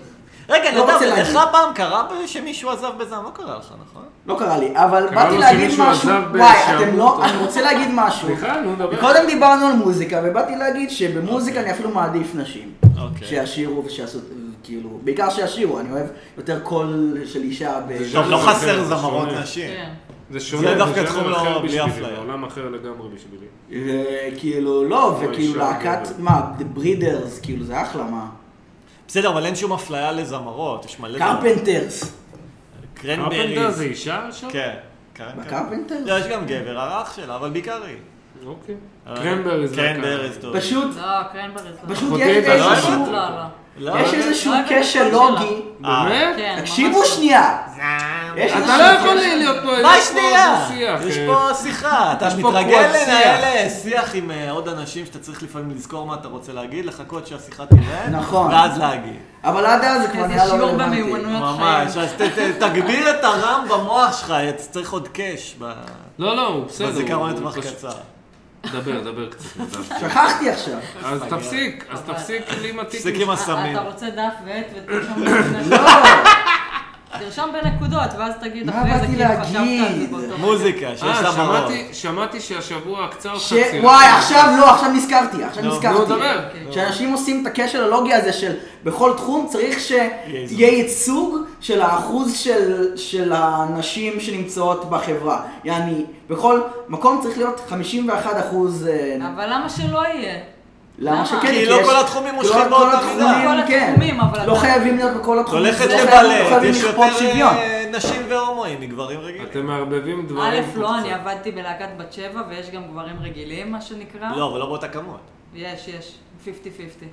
C: רגע,
A: לא רוצה
C: נדב,
A: להגיד.
C: לך פעם קרה שמישהו עזב בזעם? לא קרה לך, נכון?
A: לא קרה לי, אבל
B: קרה
A: באתי
B: לו
A: להגיד
B: שמישהו
A: משהו,
B: עזב
A: וואי,
B: בשעמום
A: אתם לא,
B: אותו.
A: אני רוצה להגיד משהו.
B: סליחה, נו, דבר.
A: קודם דיברנו על מוזיקה, ובאתי להגיד שבמוזיקה אני אפילו מעדיף נשים.
C: אוקיי.
A: שישירו ושיעשו, כאילו, בעיקר שישירו, אני אוהב יותר קול של אישה ב...
C: טוב, לא
B: זה
C: חסר
B: שונה, זה
C: זמרות
B: שונה.
C: נשים.
D: כן.
B: זה שונה,
C: דווקא
B: זה
C: תחום
B: ז'אנר
C: לא-
B: אחר
C: בלי
B: בשבילי,
C: אפליה.
B: זה עולם אחר לגמרי בשבילי.
A: וכאילו, לא,
B: אוי,
A: וכאילו
B: שם
A: להקת,
B: גבר.
A: מה, The Breeders, כאילו, זה אחלה, מה?
C: בסדר, אבל אין שום אפליה לזמרות, יש מלא...
A: קרפנטרס.
B: קרפנדר
C: קרנבריז.
B: זה אישה עכשיו?
C: כן. קרן-
A: בקרפנטרס?
C: לא, יש גם גבר, הרח שלה, אבל בעיקר היא.
B: אוקיי.
C: אה,
B: קרנבריז. להקה.
C: קרנבריז, טוב.
A: פשוט,
D: לא, קרנברי זה לא.
A: פשוט
B: אחותי
A: יש
B: הייתה לא
A: איזשהו,
B: אוהבת.
D: לא, לא.
C: לא,
A: יש
C: לא.
A: איזשהו
D: לא אוהבת את
A: קשר
D: הקול שלה.
A: לוגי.
C: אה.
B: באמת?
D: כן, ממש
A: תקשיבו
D: לא.
A: שנייה. יש
B: אתה
A: איזשהו
B: לא יכול
A: קשר-
B: להיות פה,
C: מה
B: יש פה
C: שנייה?
B: דו-שיח,
C: יש
B: אה,
C: פה שיחה, אתה
B: יש פה
C: מתרגל
B: קוואט
C: לנהל אה, שיח עם אה, עוד אנשים שאתה צריך לפעמים לזכור מה אתה רוצה להגיד, לחכות שהשיחה תראה,
A: נכון.
C: ואז להגיד.
A: אבל עד אז זה כבר נהיה
D: איזה
A: לא
D: שיעור
A: רלוונטי.
D: במיומנויות חיים.
C: ממש, לא אז ת- ת- תגביר את הרם במוח שלך, אה, צריך עוד קאש ב-
B: לא, לא, הוא בסדר.
C: בזיכרון כן.
B: הוא-
C: לטווח
B: הוא פשוט-
C: קצר.
B: דבר, דבר קצת. נדב.
A: שכחתי עכשיו.
B: אז תפסיק, אז תפסיק לי עם התיק.
C: תפסיק עם הסמים.
D: אה, אתה
B: אה,
D: רוצה דף ועט ותרשום
A: לא,
D: בנקודות? תרשום בנקודות, ואז תגיד
A: מה
D: אחרי זה
A: באתי
D: כאילו חשבת על זה
A: להגיד?
D: באותו...
C: מוזיקה, שיש
B: אה,
C: לה מראות.
B: שמעתי- שמעתי שהשבוע הקצר
A: ש-
B: חצי.
A: וואי, עכשיו לא, עכשיו נזכרתי, עכשיו
C: נו,
B: נו,
A: נזכרתי.
D: כן,
B: דבר.
A: שאנשים לא. עושים את הקשר הלוגי הזה של בכל תחום צריך
C: ייצוג.
A: שיהיה ייצוג של האחוז של, של הנשים שנמצאות בחברה. יעני, בכל מקום צריך להיות 51 אחוז. אה,
D: אבל למה שלא יהיה?
A: למה
D: למה?
A: שכן?
D: כי
C: לא
A: יש-
C: כל התחומים מושכים
A: לא כל
C: באותה
A: התחומים,
D: מידה.
A: כן.
D: כל התחומים, אבל
A: לא
D: אתה-
A: חייבים להיות בכל התחומים.
C: הולכת
A: לא חייבים- לא
C: לבלט,
A: חייבים
C: יש יותר
A: לכפות שוויון.
C: אה, נשים והומואים מגברים רגילים.
B: אתם מערבבים
D: א',
B: דברים.
D: לא, אני עבדתי בלהקת בת שבע, ויש גם גברים רגילים, מה שנקרא.
C: לא, אבל לא באותה כמות.
D: יש, יש. 50-50.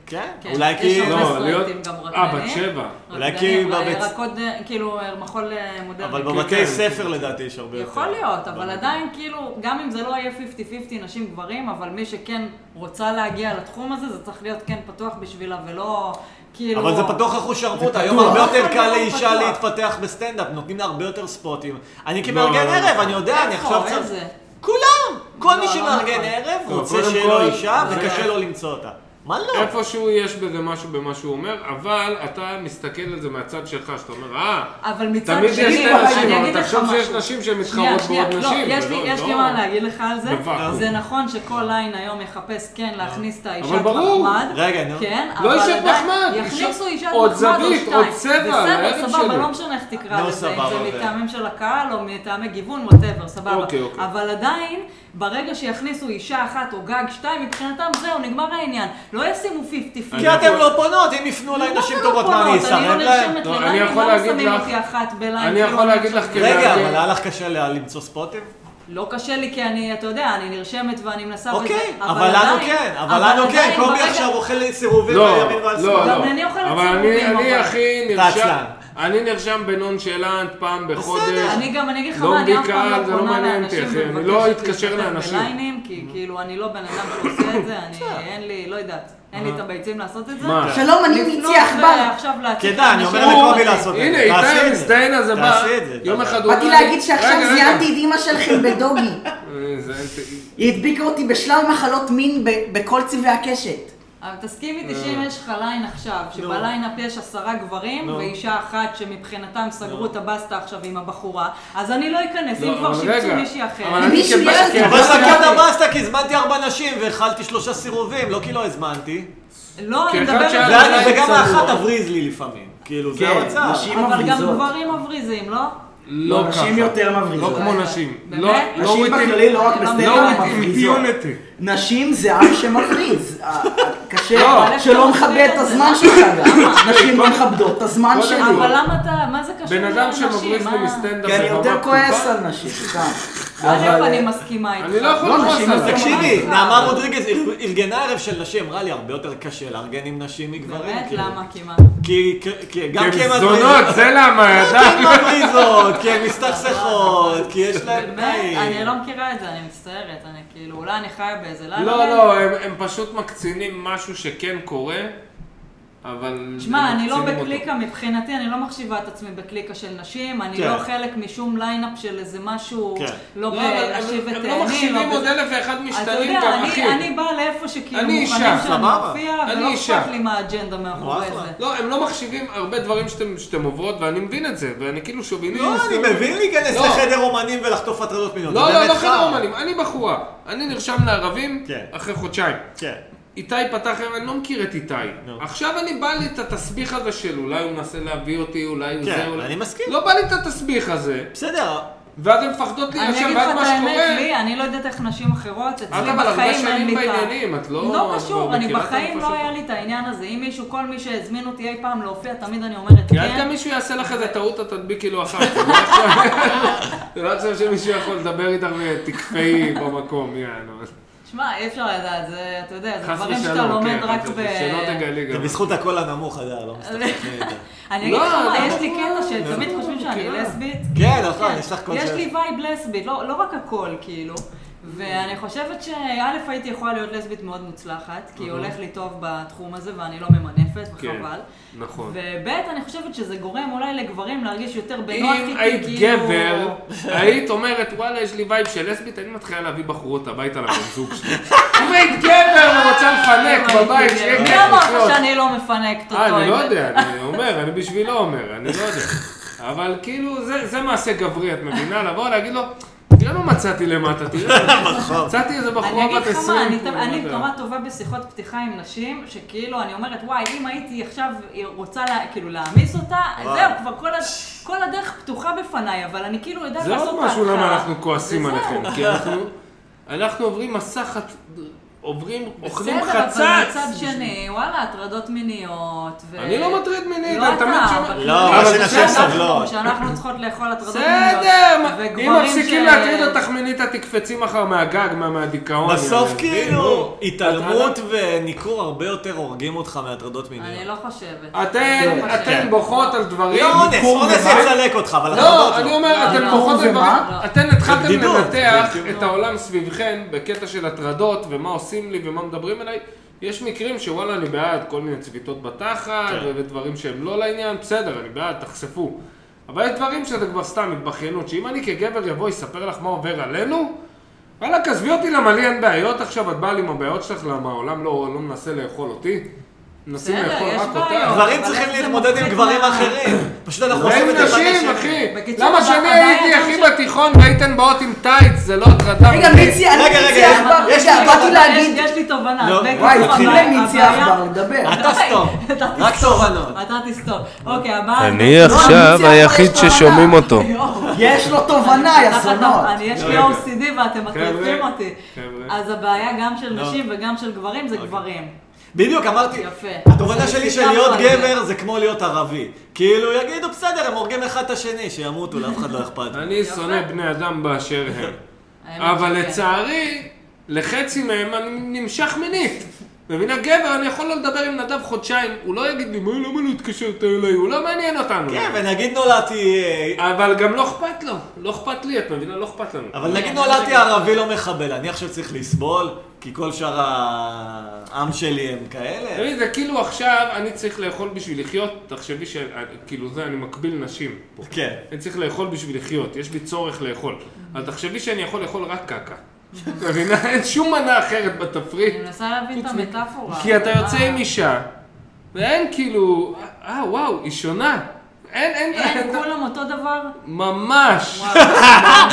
C: כן? אולי
D: יש
C: כי-
D: הרבה
B: לא,
D: סטרייטים,
B: להיות-
D: גם
B: אה,
D: רקדנים.
B: בת שבע.
C: אולי
D: רקדנים,
C: כי
D: אולי
C: בבית-
D: רקוד, אה, כאילו, אה, מחול אה, מודרני.
C: אבל
D: כן.
B: כן.
C: בבתי ספר לדעתי יש הרבה יותר.
D: יכול להיות, אבל
C: לא.
D: עדיין כאילו, גם אם זה לא יהיה 50-50 נשים גברים, אבל מי שכן רוצה להגיע לתחום הזה, זה צריך להיות כן פתוח בשבילה, ולא כאילו...
C: אבל זה פתוח אחוז שרמוט, היום
A: פתוח.
C: הרבה יותר
D: אבל
C: קל
D: לא
C: לאישה
D: פתוח.
C: להתפתח בסטנדאפ, נותנים לה הרבה יותר ספוטים. אני
B: לא,
C: כמארגן
B: לא,
C: ערב,
B: לא.
C: אני יודע, אני
D: איפה?
C: עכשיו צריך...
D: איזה?
C: כולם! כל
D: לא,
C: מי
D: לא
C: שמארגן
D: נכון.
C: ערב
B: לא,
C: רוצה
B: קודם
C: שיהיה
B: כל,
C: לו אישה
B: זה- כן.
C: וקשה לו למצוא אותה. מה לא?
B: איפשהו יש בזה משהו במה שהוא אומר, אבל אתה מסתכל על זה מהצד שלך, שאתה אומר, אה,
D: אבל מצד שני,
B: תמיד יש שתי
D: אני
B: נשים,
D: אגיד
B: אבל
D: לך
B: תחשוב שיש
D: משהו.
B: נשים
D: שנייה,
B: שמתחרות
D: שנייה,
B: בעוד
D: לא,
B: נשים.
D: יש
B: זה
D: לי-
B: לא-
D: יש לי
B: לא-
D: מה להגיד לך על זה.
B: בוואקום.
D: זה נכון שכל ליין היום יחפש כן להכניס את האישת
B: אבל ברור.
D: מחמד.
C: רגע, נו.
D: כן,
B: לא
D: אבל
B: אישת
D: עדיין
B: מחמד,
D: יכניסו
B: אישה-
D: אישת מחמד
B: עוד
D: או
B: זווית,
D: שתיים.
B: עוד צבע, לערב
D: בסדר, סבבה,
B: שלי.
D: לא משנה איך תקרא
C: נו,
D: לזה, אם
C: סבבה, אוקיי.
D: זה
C: זה-
D: מטעמים של הקהל או מטעמי גיוון, ווטאבר, סבבה.
B: אוקיי, אוקיי.
D: אבל עדיין, ברגע שיכניסו אישה אחת או גג שתיים, מבחינתם זהו, נגמר העניין. לא ישימו 50-50.
C: כי אתם לא פונות, אם יפנו אליי נשים טובות, מה אני
D: אני לא
C: אסרב להם?
D: נרשמת
B: לא,
D: לליין,
B: אני
D: למה
B: יכול להגיד
D: שמים
B: לך-
D: אותי אחת בליין?
B: אני
D: כאילו,
B: יכול להגיד לך
D: נרשמת?
C: רגע,
B: כמארגן-
C: אבל היה לך קשה לה- למצוא ספוטים?
D: לא קשה לי כי אני, אתה יודע, אני נרשמת ואני מנסה
C: אוקיי,
D: וזה,
C: אבל לנו
D: עדיין-
C: כן, אבל לנו כן,
D: עדיין
C: קובי
D: ברגע-
C: עכשיו אוכל סירובים
B: לא,
C: לימין ועל
B: לא,
C: שמאל.
B: לא.
D: גם אני אוכלת
B: אבל אני,
D: סיבובים,
B: אני
D: אבל-
B: הכי
C: אתה
B: נרשם,
C: עצלן.
B: אני נרשם בנונשלנט פעם בחודש.
D: אני גם, אני אגיד לך
B: לא
D: מה, אני אף
B: בלי
D: פעם
B: קהל,
D: לא
B: זה לא
D: פונה
B: מעניין
D: לאנשים
B: אותי, אחי, אני
D: ומבקשת
B: לא אתקשר
D: להשתתף
B: לאנשים.
D: בליינים, כי כאילו, אני לא בן אדם שעושה את זה, אני, אין לי, לא יודעת, אין לי את הביצים לעשות את זה.
B: אה. מה?
A: שלום, אני
D: לפנות
A: מיצי עכבר.
D: ועכשיו להציג
C: כדאי, אני
D: אנשים
C: אומר
D: לא
C: לקובי
D: מתאים.
C: לעשות את
B: הנה,
C: זה. תעשי
B: איתי
C: את זה.
B: המזדיין הזה בא,
C: תעשי את זה,
B: יום
C: תעשי.
B: אחד הוא
D: לא
A: באתי
B: אומר לי,
A: להגיד שעכשיו
B: רגע, רגע.
A: זיינתי את אימא שלכם בדוגי.
B: אה, זה- זה-
A: היא הדביקה אותי בשלל מחלות מין ב- בכל צבעי הקשת.
D: אבל תסכים איתי
B: לא.
D: שאם אה, יש לך ליין עכשיו,
C: לא.
D: שבליינאפ יש עשרה
B: לא.
D: גברים, ואישה אחת שמבחינתם סגרו את הבסטה עכשיו עם הבחורה, אז אני לא אכנס, אם
B: לא,
D: כבר
B: אבל
D: שיבצו
B: רגע,
D: מישהי
B: אבל
D: אחרת.
B: אני כן
A: מישהו
B: כבא-
A: ילד,
B: כבא-
C: אבל
A: לא
C: סכנת
A: סגרתי.
C: הבאסטה, כי הזמנתי ארבע נשים ואכלתי שלושה סירובים, לא כי לא הזמנתי.
D: לא, אני
B: כאחד
D: מדברת
B: שהיה
D: על
B: לו
D: ליין
B: ליין
C: וגם
B: צרוד.
C: האחת תבריז לי לפעמים. כאילו, זה
A: כן,
C: המצב.
A: נשים
D: אבל גם
A: מבריזות.
D: גברים מבריזים, לא?
B: לא ככה.
A: נשים יותר מבריזות.
B: לא כמו נשים.
D: באמת?
B: לא-
D: נשים
B: לא
A: נשים
B: with
A: בכללי לא רק
D: לא
A: בסטנדאפ
D: with
A: מבריזות.
B: impunity.
A: נשים זה עם שמכריז. אה,
B: לא.
A: קשה, שלא מכבד את הזמן שלך גם. נשים לא מכבדות את הזמן
B: קודם
A: שלי.
D: אבל למה אתה, מה זה קשור
B: בן אדם
D: לנשים?
B: שמבריז
D: מה-
B: לי מסטנדאפ
A: כי אני
B: בבמה
A: יותר כועס
B: פתוחה,
A: על נשים, סתם.
D: א',
A: אבל-
D: אני מסכימה איתך.
B: אני לא יכול
A: לא,
B: לכעוס
A: נשים
B: עליו.
A: זה
C: תקשיבי,
D: אה,
C: נעמה
D: אה.
C: רודריגז אר- ארגנה ערב של נשים, אמרה לי, הרבה יותר קשה לארגן עם נשים מגברים.
D: באמת?
C: כאילו.
D: למה? כי מה?
C: כי כי- כי- גם כי
B: כי
C: הן
B: הם
C: מבריזות.
B: זונות, זה למה,
C: כי הן
B: ידעתי.
C: מבריזות, כי הן מסתכסכות, כי יש להן
D: באמת?
C: תנאים.
D: אני לא מכירה את זה, אני מצטערת. אני כאילו, אולי אני חיה באיזה לילה.
B: לא, לא, הם- הם פשוט מקצינים משהו שכן קורה, אבל...
D: שמע,
B: הם
D: אני לא
B: מקצינים אותו.
D: בקליקה מבחינתי, אני לא מחשיבה את עצמי בקליקה של נשים, אני
C: כן.
D: לא חלק משום ליינאפ של איזה משהו,
C: כן.
D: לא
B: לא, אבל הם-
D: בלהשיב
B: הם
D: ותאנים.
B: לא מחשיבים עוד אלף ואחד
D: אתה
B: משתנים
D: יודע,
B: גם,
D: אני-
B: אחי.
D: אני באה לאיפה שכאילו
B: אני
D: מוכנים
B: אישה,
D: שאני
C: סבבה.
D: מופיעה,
B: אני
D: ולא
B: אישה.
D: אכפת לי מה האג'נדה מאחורי
C: אחלה.
D: זה.
B: לא, הם לא מחשיבים הרבה דברים שאתם שאתם עוברות, ואני מבין את זה, ואני כאילו שוביניסט.
C: לא, אני מבין להיכנס
B: לא.
C: לחדר אומנים ולחטוף הטרדות מיניות.
B: לא,
C: זה
B: לא,
C: באמת
B: לא
C: חרא.
B: חדר אומנים, אני בחורה. אני נרשם לערבים
C: כן.
B: אחרי חודשיים.
C: כן.
B: איתי פתח, אני לא מכיר את איתי.
C: נו.
B: עכשיו אני בא לי את התסביך הזה של אולי הוא מנסה להביא אותי, אולי הוא
C: כן,
B: זה, אולי...
C: אני מסכים.
B: לא בא לי את התסביך הזה,
C: בסדר,
B: ואז הן מפחדות
D: אני
B: להירשם,
D: אגיד לך
B: ואז
D: את
B: מה שקורה...
D: האמת, לי, אני לא יודעת איך נשים אחרות,
B: את
D: אצלי
B: אבל הרבה
D: בחיים אין
B: שנים
D: לי את ה...
B: בעניינים, את לא...
D: לא
B: את
D: קשור,
B: כבר
D: אני
B: מכירה את
D: בחיים לא
B: הנפשות.
D: היה לי את העניין הזה. אם מישהו, כל מי שהזמין אותי אי פעם להופיע, תמיד אני אומרת
B: כי עד
D: כן.
B: גם מישהו יעשה לך איזה טעות, את תדביקי לו אחר כך. זה לא עכשיו- זה לא עכשיו שמישהו יכול לדבר איתך ותקפאי במקום, יענו.
D: שמע, אי אפשר לדעת, זה, אתה יודע, זה
B: חס
D: דברים שאתה
B: ושלום,
D: לומד
B: כן,
D: רק
B: חס
D: ב...
B: ושלום, שלא תגלי
C: זה
B: גם.
C: בזכות הקול הנמוך, אתה יודע, לא מסתכלים יותר.
D: אני אגיד
B: לא,
D: לך מה,
B: למה?
D: יש לי קטע שתמיד חושבים שאני
B: מכירה.
D: לסבית.
C: כן, נכון, יש לך קול
D: יש
C: של-
D: לי וייב לסבית, לא לא רק הכל, כאילו. ואני חושבת שא' הייתי יכולה להיות לסבית מאוד מוצלחת, כי הולך לי טוב בתחום הזה ואני לא ממנפת,
B: כן.
D: וחבל.
B: נכון.
D: וב' אני חושבת שזה גורם אולי לגברים להרגיש יותר בנוח איתי,
B: אם
D: כאילו...
B: היית גבר, היית אומרת, וואלה, יש לי וייב של לסבית, אני מתחילה להביא בחורות הביתה לבן זוג שלי. אם היית גבר ורוצה
D: לא,
B: לפנק בבית, שיהיה
D: מי
B: כיף
D: אמר
B: לחיות.
D: לך שאני לא מפנקת אותו?
B: אה, אני לא
D: אם-
B: יודע, אני אומר, אני בשבילו אומר, אני לא יודע. אבל כאילו, זה- זה מעשה גברי, את מבינה? לבוא להגיד לו, תראה מה מצאתי למטה, תראה. מצאתי איזה
D: אני
B: בחורה
D: אגיד
B: בת
D: לך מה, אני
B: עשרים. כאילו,
D: תמ- אני נורא טובה בשיחות פתיחה עם נשים, שכאילו אני אומרת, וואי, אם הייתי עכשיו רוצה לה- כאילו להעמיס אותה,
C: וואו.
D: זהו, כבר כל הד- כל הדרך פתוחה בפניי, אבל אני כאילו יודעת
B: זה
D: לעשות
B: עוד
D: את
B: משהו למה
D: ההתחלה.
B: אנחנו כועסים
D: וזהו.
B: עליכם, כי אנחנו אנחנו עוברים מסע חצ... עוברים, אוכלים
D: בסדר,
B: חצץ.
D: אבל מצד שני, וואלה, הטרדות מיניות. ו-
B: אני לא מטריד מינית,
D: לא
B: אני תמיד
D: אתה,
B: שומע...
D: אבל-
C: לא,
B: אבל
C: אבל
B: בסדר. לא.
C: שנשים סובלות.
D: שאנחנו צריכות לאכול הטרדות מיניות.
B: בסדר, אם
D: וגברים
B: מפסיקים
D: ש-
B: להטריד אותך מינית, את תקפצי מחר מהגג, מה- מהדיכאון.
C: בסוף
B: אני לא מבין, לא- נו.
C: כאילו, התעלמות וניכור הרבה יותר הורגים אותך מהטרדות
D: אני
C: מיניות.
D: לא חושבת.
B: אתן,
D: לא
B: אתן
D: חושבת.
B: בוכות על דברים.
C: לא אונס,
B: ניכור
C: אונס
B: ומה?
C: יצלק אותך, אבל
B: לא,
C: הטרדות
B: אני
C: לא.
B: אומר, אתן
D: לא,
B: פחות
A: לא, זה
B: לבד,
D: מה?
B: אתן התחלתם
C: בדידות,
B: לנתח
C: בדידות.
B: את העולם סביבכם בקטע של הטרדות ומה עושים לי ומה מדברים אליי. יש מקרים שוואלה אני בעד כל מיני צביטות בתחת
C: כן.
B: ו- ודברים שהם לא לעניין, בסדר, אני בעד, תחשפו. אבל יש דברים שזה כבר סתם התבכיינות, שאם אני כגבר יבוא יספר לך מה עובר עלינו, וואלה, עזבי אותי למה לי אין בעיות עכשיו, את באה לי עם הבעיות שלך, למה העולם לא, לא מנסה לאכול אותי? מנסים
D: בסדר,
B: לאכול
D: יש
B: רק
D: בעיות.
B: אותך.
C: גברים
D: אבל
C: צריכים
D: זה
C: להתמודד עם
D: מפחיד
C: גברים
D: מה-
C: אחרים. פשוט אנחנו עושים
B: ואין
C: את זה
B: נשים, אחי.
C: בנשים.
D: אוקיי, בקיצור,
B: למה
D: הבעיה
B: שאני
D: היא
B: הייתי הכי
D: ש-
B: בתיכון והייתם באות עם טייץ, זה לא הטרדה.
A: רגע,
B: מינית.
A: מיצי, אני
C: רגע,
A: מיצי
C: רגע,
A: עכבר,
C: יש-
A: רגע,
D: רגע,
A: באתי
D: אבל
A: להגיד,
D: יש יש לי תובנה.
C: לא,
D: בקיצור,
A: וואי, התחיל
D: הבעיה-
A: למיצי
D: הבעיה-
A: עכבר לדבר.
C: אתה סתום,
D: לא, אתה תסתום.
C: רק תובנות.
D: אתה תסתום. אוקיי, הבעיה...
E: אני
A: לא,
E: עכשיו היחיד ששומעים אותו.
A: יש לו תובנה, יא זונות.
D: אני יש לי
B: רגע.
D: OCD ואתם מטריפים
B: לא, חבר'ה,
D: אותי.
B: חבר'ה. אוקיי.
D: אז הבעיה גם של
C: לא.
D: נשים וגם של גברים זה גברים.
C: בדיוק, אמרתי,
D: יפה.
C: התובנה
D: אז
C: שלי של
D: סיכמנו
C: להיות
D: על זה.
C: גבר זה כמו להיות ערבי. כאילו, יגידו, בסדר, הם הורגים אחד את השני, שימותו, לאף אחד לא אכפת.
B: אני שונא בני אדם באשר הם.
D: האמת
B: אבל
D: שכן.
B: לצערי, לחצי מהם אני נמשך מינית. מבינה, גבר, אני יכול לא לדבר עם נדב חודשיים, הוא לא יגיד לי, מה, למה לא התקשרת אליי? הוא לא מעניין אותנו.
C: כן, ונגיד נולדתי... אה,
B: אבל גם לא אכפת לו, לא אכפת לי, את מבינה? לא אכפת לנו.
C: אבל נגיד נולדתי ערבי לא מחבל, אני עכשיו צריך לסבול, כי כל שאר העם שלי הם
B: אתה
C: כאלה?
B: מבין, זה כאילו עכשיו אני צריך לאכול בשביל לחיות, תחשבי ש... כאילו זה, אני מקביל נשים פה.
C: כן.
B: אני צריך לאכול בשביל לחיות, יש לי צורך לאכול. אז תחשבי שאני יכול לאכול רק קקה. את מבינה? אין שום מנה אחרת בתפריט.
D: אני מנסה להבין את
B: חוץ מ-
D: המטאפורה. אה,
B: כי אתה
D: אבל
B: יוצא
D: מה-
B: עם אישה, ואין כאילו... אה, וואו, היא שונה. אין, אין,
D: אין, כולם אותו דבר?
B: ממש.
D: וואו,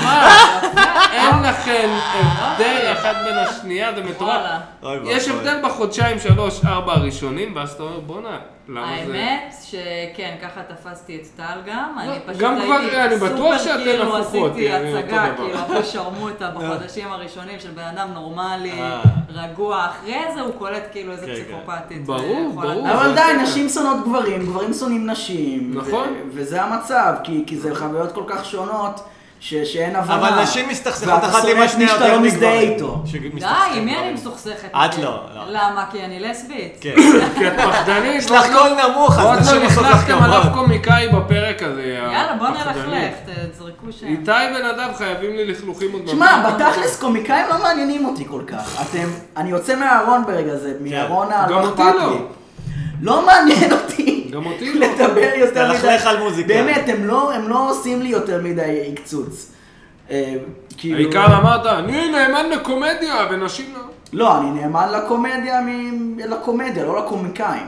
B: ממש. אין לכם הבדל אחד בין השנייה, זה מטורף.
D: וואלה.
C: אוי ואבוי.
B: יש הבדל בחודשיים, שלוש, ארבע הראשונים, ואז אתה אומר, בואנה, למה זה...
D: האמת שכן, ככה תפסתי את טל גם,
B: לא,
D: אני פשוט
B: גם כבר, אני
D: הייתי
B: בטוח
D: סופר
B: שאתן
D: כאילו
B: הפוכות,
D: עשיתי
B: אני אותו
D: הצגה,
B: דבר. אה.
D: כאילו עשו שרמוטה בחודשים הראשונים של בן אדם נורמלי,
C: אה.
D: רגוע, אחרי זה הוא קולט כאילו איזה אה,
C: כן, כן.
D: פסיכופטית.
B: ברור,
D: וחולת
B: ברור. זה
D: נפש.
A: אבל די,
B: בסדר.
A: נשים שונאות גברים, גברים שונאים נשים.
B: נכון.
A: ו- וזה המצב, כי כי זה חוויות כל כך שונות, ש- שאין הבנה.
C: אבל נשים מסתכסכות אחת עם
A: ואתה שונא את מי
C: השנייה
A: שאתה
C: יותר
A: לא
C: מגברים.
A: מזדהה איתו.
D: די, עם מי אני מסוכסכת?
C: את לא, לא.
D: למה? כי אני לסבית?
C: כן.
B: כי את פחדנית.
C: יש
D: לא,
C: לך קול נמוך,
B: עוד
C: אז נשים
B: לא
C: עושות לך
B: נכנסתם על אף
C: כמובן.
B: קומיקאי בפרק הזה.
D: יאללה,
B: אה,
D: בוא
B: הפחדנים.
D: נלכלך, תזרקו שם.
B: איתי ונדב חייבים לי לכלוכים עוד
A: שמע, בתכלס קומיקאים לא מעניינים אותי כל כך. אתם, אני יוצא מהארון ברגע זה,
C: כן.
A: מהארון
B: גם
A: הלא
B: אותי
A: אכפת
B: לא.
A: לי. לא מעניין אותי.
B: גם אותי לא.
A: לדבר יותר מדי.
C: ללכלך על מוזיקה.
A: באמת, הם לא, הם לא עושים לי יותר מדי הקצוץ. אה, כאילו-
B: העיקר אמרת, אני נאמן לקומדיה, ונשים לא.
A: לא, אני נאמן לקומדיה, מ... לקומדיה, לא לקומיקאים.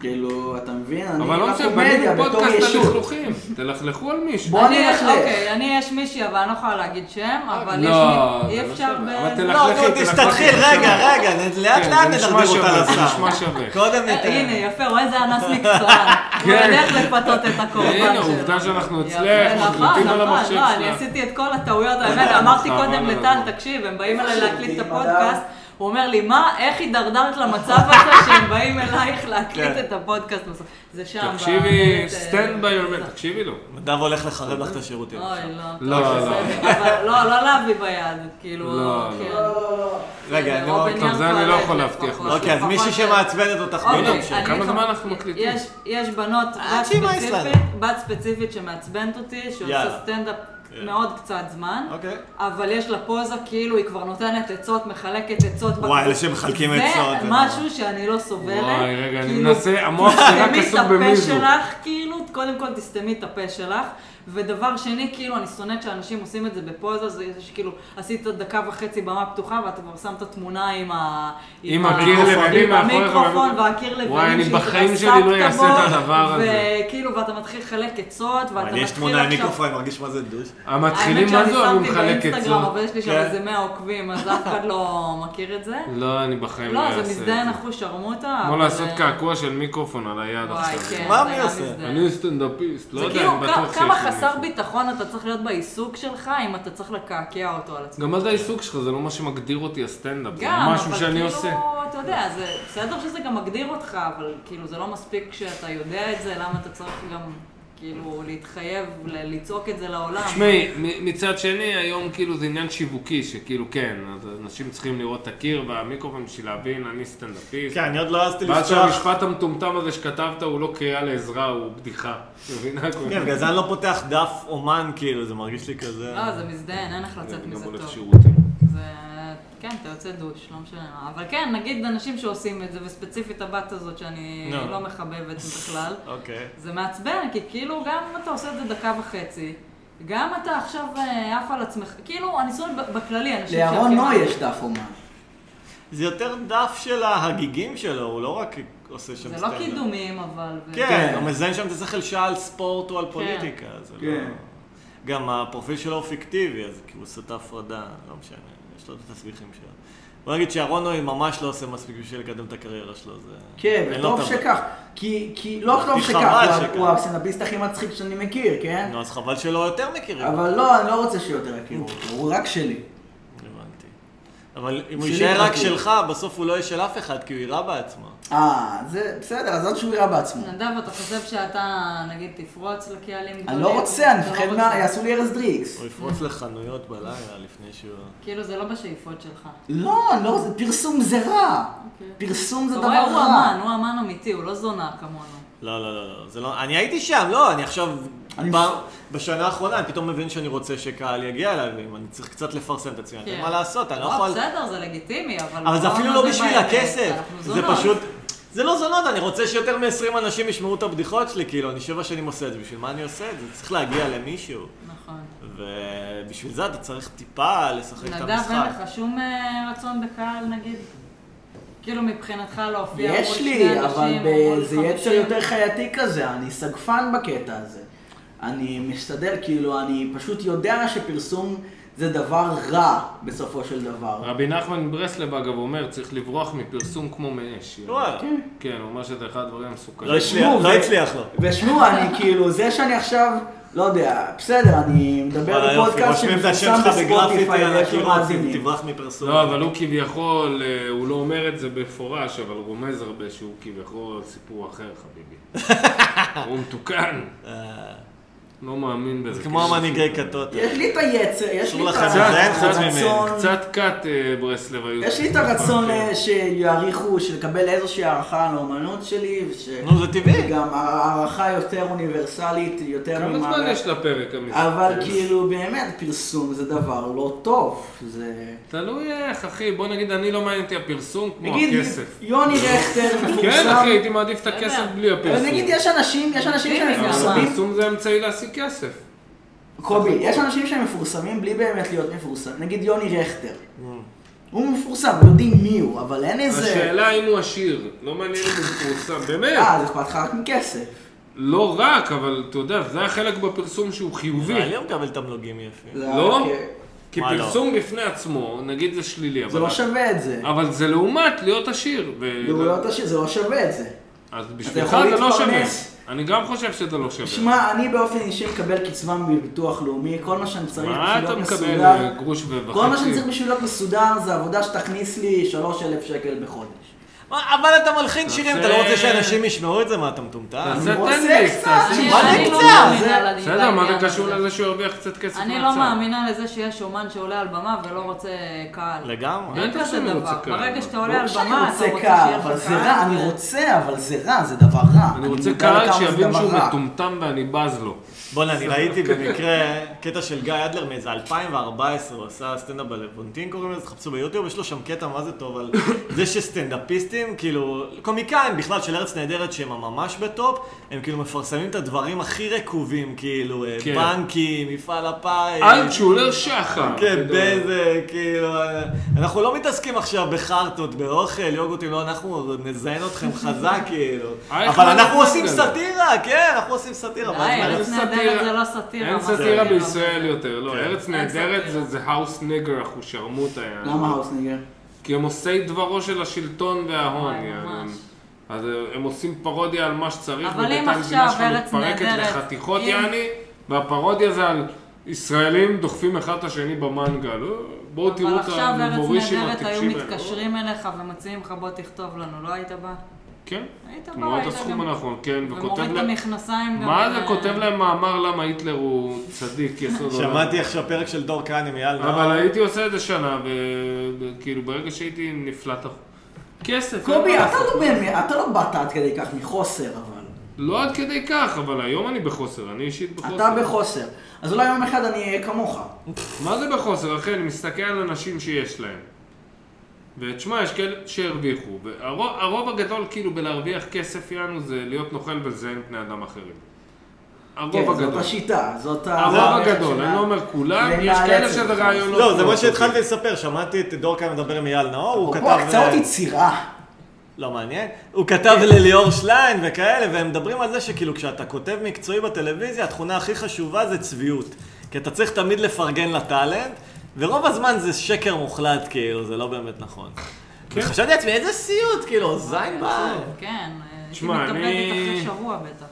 A: כאילו, אתה מבין? אני
B: אבל לא משנה,
A: לקומדיה
B: בנינו
A: בתור
B: פודקאסט
A: ישות.
B: הלכלוכים. תלכלכו על מישהו.
A: בוא
D: אני-
A: נלכלך.
D: אוקיי, אני יש מישהי, אבל אני לא יכולה להגיד שם, אבל יש
B: לא,
D: מי...
B: זה
D: אי
B: לא
D: אפשר
B: שם,
D: ב...
B: אבל
D: זה-
B: תלכלכי,
C: לא, נו,
B: תלכלכי,
C: תסתתחיל,
B: תלכלכי.
C: רגע, רגע, נד- לאט
B: כן,
C: לאט
B: זה נשמע
C: נדרדר אותה
B: שווה, זה
C: לשר.
B: נשמע שווה.
C: קודם ניתן.
D: אה, הנה, יפה, רואה איזה אנס מקצוען. הוא
B: כן.
D: יודע איך לפתות את הקורבן שלו.
B: הנה, עובדה שאנחנו
D: יפה,
B: אצלך,
D: נכון,
B: מקליטים על
D: נכון,
B: המחשב
D: לא, אני
B: שלה.
D: עשיתי את כל הטעויות, האמת, אמרתי
B: נכון,
D: קודם
B: נכון.
D: לטל, תקשיב, הם באים אליי להקליט את
A: שירותים,
D: הפודקאסט,
A: אדם.
D: הוא אומר לי, מה, איך הידרדרת למצב הזה שהם באים אלייך להקליט
C: כן.
D: את הפודקאסט בסוף? זה שם.
B: תקשיבי,
D: באמת, אה,
B: stand by your man, תקשיבי לו.
C: נדב הולך לחרב לך את השירותים.
D: אוי, לא.
B: לא,
D: טוב,
B: לא.
D: בסדר, אבל לא, לא להביא ביד, כאילו,
B: לא,
D: כן.
C: רגע, אני
D: רובין
C: רואה...
B: טוב, זה אני לא יכול להבטיח
D: לפחות.
B: משהו.
C: אוקיי, אז מישהי
D: לפחות-
C: שמעצבנת אותך
D: אוקיי,
C: ביום
D: אני
C: של...
B: לא כמה
D: חב-
B: זמן אנחנו מקליטים?
D: יש- יש בנות, בת
C: שהיא
D: ספציפית,
C: מהאיסלנד.
D: בת ספציפית שמעצבנת אותי, שעושה
C: יאללה.
D: סטנדאפ
C: כן.
D: מאוד קצת זמן,
C: אוקיי.
D: אבל יש לה פוזה כאילו היא כבר נותנת עצות, מחלקת עצות.
C: וואי, אלה
D: בקבוצה.
C: שמחלקים עצות.
D: זה משהו שאני לא סובלת.
B: וואי, רגע, אני
D: כאילו,
B: מנסה, המוח שלי רק
D: תסתמי
B: עסוק
D: את הפה
B: במיזו.
D: שלך, כאילו, קודם כל תסתמי את הפה שלך. ודבר שני, כאילו, אני שונאת שאנשים עושים את זה בפוזה, זה שכאילו, כאילו, עשית דקה וחצי במה פתוחה, ואתה כבר שמת תמונה עם ה...
B: עם הקיר
D: המיקרופון.
B: לבנים
D: עם
B: מאחוריך,
D: המיקרופון
B: אבל-
D: והקיר לבנים
B: וואי, אני בחיים שלי לא
D: שהתעסקת
B: אעשה את
D: בו,
B: הדבר הזה.
D: וכאילו, ואתה מתחיל לחלק עצות, ואתה
C: אני
D: מתחיל
C: יש
D: עכשיו...
C: תמונה עם מיקרופון, אני מרגיש מה זה דוש.
B: המתחילים, מה זה
D: האמת
B: אוהבים
D: שאני
B: לחלק
D: שמתי באינסטגרם,
B: עצות?
D: אבל יש לי שם
C: כן.
D: איזה 100 עוקבים, אז אף אחד לא מכיר את זה.
B: לא, אני בחיים לא
D: לא,
B: אעשה
D: זה
B: את זה.
D: מזדיין אחוז שרמוטה.
B: כמו
D: אבל- אה,
B: לעשות קעקוע של מיקרופון על היד
D: וואי,
B: עכשיו.
D: כן.
C: מה
D: זה
C: מי
D: היה
C: עושה?
D: מזדיין.
B: אני סטנדאפיסט, לא
D: זה
B: יודע,
D: כאילו
B: אני
D: כ-
B: בטוח שיש לי
D: כמה חסר
B: מישהו.
D: ביטחון אתה צריך להיות בעיסוק שלך, אם אתה צריך לקעקע אותו על עצמך.
B: גם מה זה העיסוק שלך, זה לא מה שמגדיר אותי הסטנדאפ, לא, זה
D: גם,
B: משהו
D: אבל
B: שאני
D: כאילו,
B: עושה.
D: אתה יודע, זה בסדר שזה גם מגדיר אותך, אבל כאילו זה לא מספיק שאתה יודע את זה, למה אתה צריך גם כאילו להתחייב ל- לצעוק את זה לעולם.
B: תשמעי, מ- מצד שני, היום כאילו זה עניין שיווקי, שכאילו כן, אז אנשים צריכים לראות את הקיר והמיקרופון בשביל להבין, אני סטנדאפיסט.
C: כן, אני עוד לא העזתי
B: ואז
C: לפתוח.
B: שהמשפט המטומטם הזה שכתבת הוא לא קריאה לעזרה, הוא בדיחה. את מבינה?
C: כן, בגלל זה אני לא פותח דף אומן, כאילו, זה מרגיש לי כזה...
D: לא, זה מזדיין, אין איך לצאת
B: אני גם
D: מזה
B: הולך
D: טוב.
B: שירותים.
D: זה... כן, אתה יוצא דוש, לא משנה מה. אבל כן, נגיד אנשים שעושים את זה, וספציפית הבת הזאת שאני
C: נו.
D: לא מחבבת בכלל,
C: אוקיי.
D: זה מעצבן, כי כאילו גם אם אתה עושה את זה דקה וחצי, גם אתה עכשיו אה, עף על עצמך, כאילו, אני שונאת ב- בכללי אנשים
A: לירון
D: שהכי-
A: נו יש דף אומן.
C: זה יותר דף של ההגיגים שלו, הוא לא רק עושה שם
D: זה
C: סטנדאפ.
D: לא קידומים, אבל...
C: כן,
A: כן.
C: הוא מזיין שם את השכל שעה על ספורט
D: כן.
C: או על פוליטיקה, זה לא...
A: כן.
C: גם הפרופיל שלו הוא פיקטיבי, אז כי הוא עושה את ההפרדה, לא משנה, יש לו את התסביכים שלו. בוא נגיד שאהרונוי ממש לא עושה מספיק בשביל לקדם את הקריירה שלו, זה...
A: כן,
C: אין לו
A: וטוב
C: טעם.
A: שכך. כי, כי לא טוב
C: כי
A: שכך,
C: חבל
A: הוא ה-
C: שכך.
A: הוא הסטנדאפיסט הכי מצחיק שאני מכיר, כן?
C: נו, אז חבל שלא יותר מכירים.
A: אבל לא, אני לא רוצה שיותר יכירו אותו, הוא רק שלי.
C: הבנתי. אבל אם הוא
A: שלי
C: יישאר רק
A: פרטי.
C: שלך, בסוף הוא לא יהיה של אף אחד, כי הוא יירה בעצמו.
A: אה, זה בסדר, אז עוד שהוא יראה בעצמו.
D: נדב, אתה חושב שאתה, נגיד, תפרוץ לקהלים גדולים?
A: אני לא רוצה, אני
D: אתה לא
A: מפחד
D: רוצה.
A: מה... יעשו לי ארז דריקס.
C: הוא יפרוץ לחנויות בלילה לפני שהוא...
D: כאילו, זה לא בשאיפות שלך.
A: לא, אני לא רוצה, פרסום זה רע.
D: אוקיי.
A: פרסום זה
D: אתה
A: דבר
D: רואה, הוא
A: רע.
D: אמן, הוא אמן אמיתי, הוא לא זונה כמונו.
C: לא, לא, לא, לא, זה לא... אני הייתי שם, לא, אני עכשיו...
A: אני
C: פעם- בשנה האחרונה, אני פתאום מבין שאני רוצה שקהל יגיע אליי, ואם אני צריך קצת לפרסם את עצמי, אני
D: כן.
C: יודע מה לעשות, אני לא יכול...
D: בסדר, זה לגיטימי, אבל...
C: אבל זה
D: בוא
C: אפילו
D: נודה
C: לא בשביל
D: באמת,
C: הכסף,
D: כן, אנחנו
C: זה
D: זונות.
C: פשוט... זה לא זונות, אני רוצה שיותר מ-20 אנשים ישמעו את הבדיחות שלי, כאילו, אני שבע שנים עושה את זה, בשביל מה אני עושה את זה? צריך להגיע למישהו,
D: נכון.
C: ובשביל זה אתה צריך טיפה לשחק את
D: נדב, אין
C: המשחק.
D: לך שום אה, רצון בקהל, נגיד? כאילו, מבחינתך להופיע מול
A: יש
D: שני
A: לי,
D: אנשים,
A: אבל
D: או
A: ב-
D: מול
A: זה
D: חמישים?
A: יצר יותר חייתי כזה, אני סגפן בקטע הזה. אני מסתדר, כאילו, אני פשוט יודע שפרסום זה דבר רע בסופו של דבר.
B: רבי נחמן מברסלב אגב אומר, צריך לברוח מפרסום כמו מאש.
C: וואלה.
B: כן, הוא אומר שזה אחד הדברים המסוכנים.
C: לא הצליח,
A: נו,
C: לא
A: ו-
C: הצליח לו.
A: ושמעו, אני כאילו, זה שאני עכשיו, לא יודע, בסדר, אני
C: וואלה,
A: מדבר
C: אה, יופי,
A: בפודקאסט
C: רושמים את השם
A: שמפורסם
C: שלך בגרפיטי על
A: בספוטיפיי, יש לו
C: הקירות,
A: מאזינים.
C: תברח מפרסום.
B: לא, אבל הוא כביכול, אה, הוא לא אומר את זה במפורש, אבל רומז הרבה שהוא כביכול סיפור אחר, חביבי. הוא מתוקן,
C: אה,
B: לא מאמין בזה.
C: זה כמו המנהיגי כתות.
A: יש לי את היצר, יש
C: אסור
A: לי את
C: לכם לזיין חוץ ממני.
A: הרצון,
B: קצת קאט אה, ברסלב היו. כן.
A: יש לי את הרצון אה, שיעריכו, שלקבל איזושהי הערכה על האומנות שלי, וש...
C: נו, זה טבעי.
A: גם הערכה יותר אוניברסלית, יותר
B: כמה
A: ממה...
B: זמן יש לפרק אה, המספר?
A: אבל כאילו, באמת, פרסום זה דבר לא טוב. זה...
B: תלוי איך, אחי, בוא נגיד, אני לא מעניין אותי הפרסום כמו
A: נגיד,
B: הכסף.
A: יוני רכטר מפורסם.
B: כן, אחי, הייתי מעדיף את הכסף
D: יודע.
B: בלי
A: אבל
B: הפרסום.
A: נגיד, יש אנשים, יש אנשים שהם
D: אבל
B: אבל
A: מפורסמים.
B: הפרסום זה אמצעי להשיג כסף.
A: קובי, יש אנשים שהם מפורסמים בלי באמת להיות מפורסם. נגיד יוני רכטר.
B: Mm.
A: הוא מפורסם, לא יודעים מי הוא, אבל אין איזה...
B: השאלה אם הוא עשיר, לא מעניין אם הוא מפורסם, באמת.
A: אה, אז אכפת לך רק מכסף.
B: לא רק, אבל אתה יודע, זה החלק בפרסום שהוא חיובי.
C: נראה לי הוא לא מקבל תמלוגים יפים.
A: זה
B: לא?
A: רק, אה,
B: כי
C: מה לא?
B: פרסום בפני עצמו, נגיד זה שלילי,
A: זה
B: אבל...
A: לא שווה את זה.
B: אבל זה לעומת להיות עשיר. ו...
A: בגאויות השיר, זה לא שווה את זה.
B: אז בשבילך
A: יכול
B: זה לא שווה.
A: להתפרנס.
B: אני גם חושב שזה לא שווה.
A: שמע, אני באופן אישי מקבל קצווה מביטוח לאומי, כל מה שאני צריך
B: מה
A: בשביל
B: אתה
A: להיות
B: מקבל
A: מסודר,
B: אה, גרוש וחצי?
A: לא כל מה שאני צריך בשביל להיות מסודר זה עבודה שתכניס לי 3,000 שקל בחודש.
C: מה, אבל אתה מלחין שירים, אתה לא רוצה
B: תעשה-
C: שאנשים ישמעו את זה? מה, אתה מטומטם?
B: תעשה
A: אני רוצה
B: טנדקס,
A: קצת,
B: תעשה...
D: אני-
C: מה
D: אני
C: זה
D: לא
C: קצת?
D: מאמינה
A: זה-
D: לעניין
B: בסדר, מה זה
D: הזה.
B: קשור לזה שהוא ירוויח קצת כסף מהצד?
D: אני לא מאמינה לזה שיש אומן שעולה על במה ולא רוצה אה, קהל.
C: לגמרי.
D: אין
B: בטח
D: כזה
B: שאני רוצה
D: דבר.
B: קהל.
D: ברגע שאתה
A: ברור
D: עולה על
A: לא שאני
D: במה, אתה
A: רוצה
D: רוצה
A: קהל,
D: שיהיה
A: אבל
D: לך
A: זה רע, אני רוצה, אבל זה רע, זה דבר רע.
B: אני רוצה
A: מודע
B: קהל
A: לכמה זה
B: שיבין
A: דבר
B: שהוא
A: רע.
B: מטומטם ואני בז לו.
C: בוא'נה, אני ראיתי במקרה קטע של גיא אדלר מאיזה 2014, הוא עשה סטנדאפ בלוונטין קוראים לזה, תחפשו ביוטיוב, יש לו שם קטע מה זה טוב על זה שסטנדאפיסטים, כאילו, קומיקאים בכלל של ארץ נהדרת שהם ממש בטופ, הם כאילו מפרסמים את הדברים הכי רקובים, כאילו, אה,
B: כן.
C: בנקים, מפעל הפיס.
B: אלטשולר שחר.
C: כן,
B: אתה יודע.
C: בזה, כאילו, אה, אנחנו לא מתעסקים עכשיו בחרטות, באוכל, יוגורטים, לא, אנחנו נזיין אתכם חזק, כאילו. אבל
B: אייכמן
C: אנחנו
B: עושה
C: עושים
B: לא את זה.
C: סאטירה, כן, אנחנו עושים סאטירה. ואז
D: די,
C: מה-
D: ארץ
B: אין
D: נהדרת
B: סאטירה.
D: זה לא סאטירה.
B: אין
D: מה זה?
B: סאטירה
D: כאילו,
B: בישראל יותר, לא, ארץ
D: אין
B: נהדרת
D: סאטירה.
B: זה- זה האוס נגר, אחושרמוט היה.
A: למה האוסניגר?
B: כי הם עושי דברו של השלטון וההון.
D: וואי,
B: יענו.
D: ממש.
B: אז אה, הם עושים פרודיה על מה שצריך,
D: אבל אם
B: ובינתיים
D: עכשיו
B: שלך
D: ארץ
B: מתפרקת
D: נהדרת,
B: לחתיכות
D: אם-
B: יעני, והפרודיה זה על ישראלים דוחפים אחד את השני במנגל. אה, בואו תראו
D: אבל
B: את
D: עכשיו ארץ
B: המבורישים
D: נהדרת
B: הטיפשים
D: היו
B: האלה.
D: מתקשרים אליך ומציעים לך בוא תכתוב לנו, לא היית בא?
B: כן,
D: היית בא,
B: תמורת
D: היית
B: הסכום
D: גם...
B: הנכון, כן, וכותב
D: ומוריד את
B: להם...
D: המכנסיים גם.
B: מה זה
D: אה,
B: כותב להם מאמר למה היטלר הוא צדיק, יסוד עולם.
C: שמעתי עכשיו פרק של דור כהן עם אייל נאור.
B: לא, אבל הייתי עושה את זה שנה, וכאילו ברגע שהייתי נפלט החוק. כסף.
A: קובי,
B: אין מה
A: אתה
B: לעשות.
A: לא באמת, אתה לא באת עד כדי כך מחוסר, אבל.
B: לא עד כדי כך, אבל היום אני בחוסר, אני אישית בחוסר.
A: אתה בחוסר. אז אולי יום אחד אני אהיה כמוך.
B: מה זה בחוסר, אחי? אני מסתכל על אנשים שיש להם. ותשמע, יש כאלה שהרוויחו. והרוב הרוב הגדול, כאילו, בלהרוויח כסף יענו, זה להיות נוכל ולזיין בני אדם אחרים.
A: כן, לא
B: הרוב
A: זאת
B: הגדול.
A: השיטה, זאת ה...
B: הרוב
A: זאת
B: הגדול,
A: השיטה.
B: אני לא אומר כולם,
A: זה
B: יש כאלה
A: מאלץ
B: שזה
A: אותך.
B: רעיונות.
C: לא, זה מה
B: טובים.
C: שהתחלתי לספר, שמעתי את דור כהן מדבר עם אייל נאור, הוא כתב...
A: פה הקצאות יצירה.
C: לא מעניין. הוא כתב לליאור שליין וכאלה, והם מדברים על זה שכאילו כשאתה כותב מקצועי בטלוויזיה, התכונה הכי חשובה זה צביעות. כי אתה צריך תמיד לפרגן לטאלנט, ורוב הזמן זה שקר מוחלט, כאילו, זה לא באמת נכון.
B: כן.
C: וחשבתי לעצמי, איזה סיוט, כאילו,
B: אה,
C: זין בעין.
D: כן,
B: תשמע,
D: הייתי
B: אני-
D: מתאבדת אחרי שבוע בטח.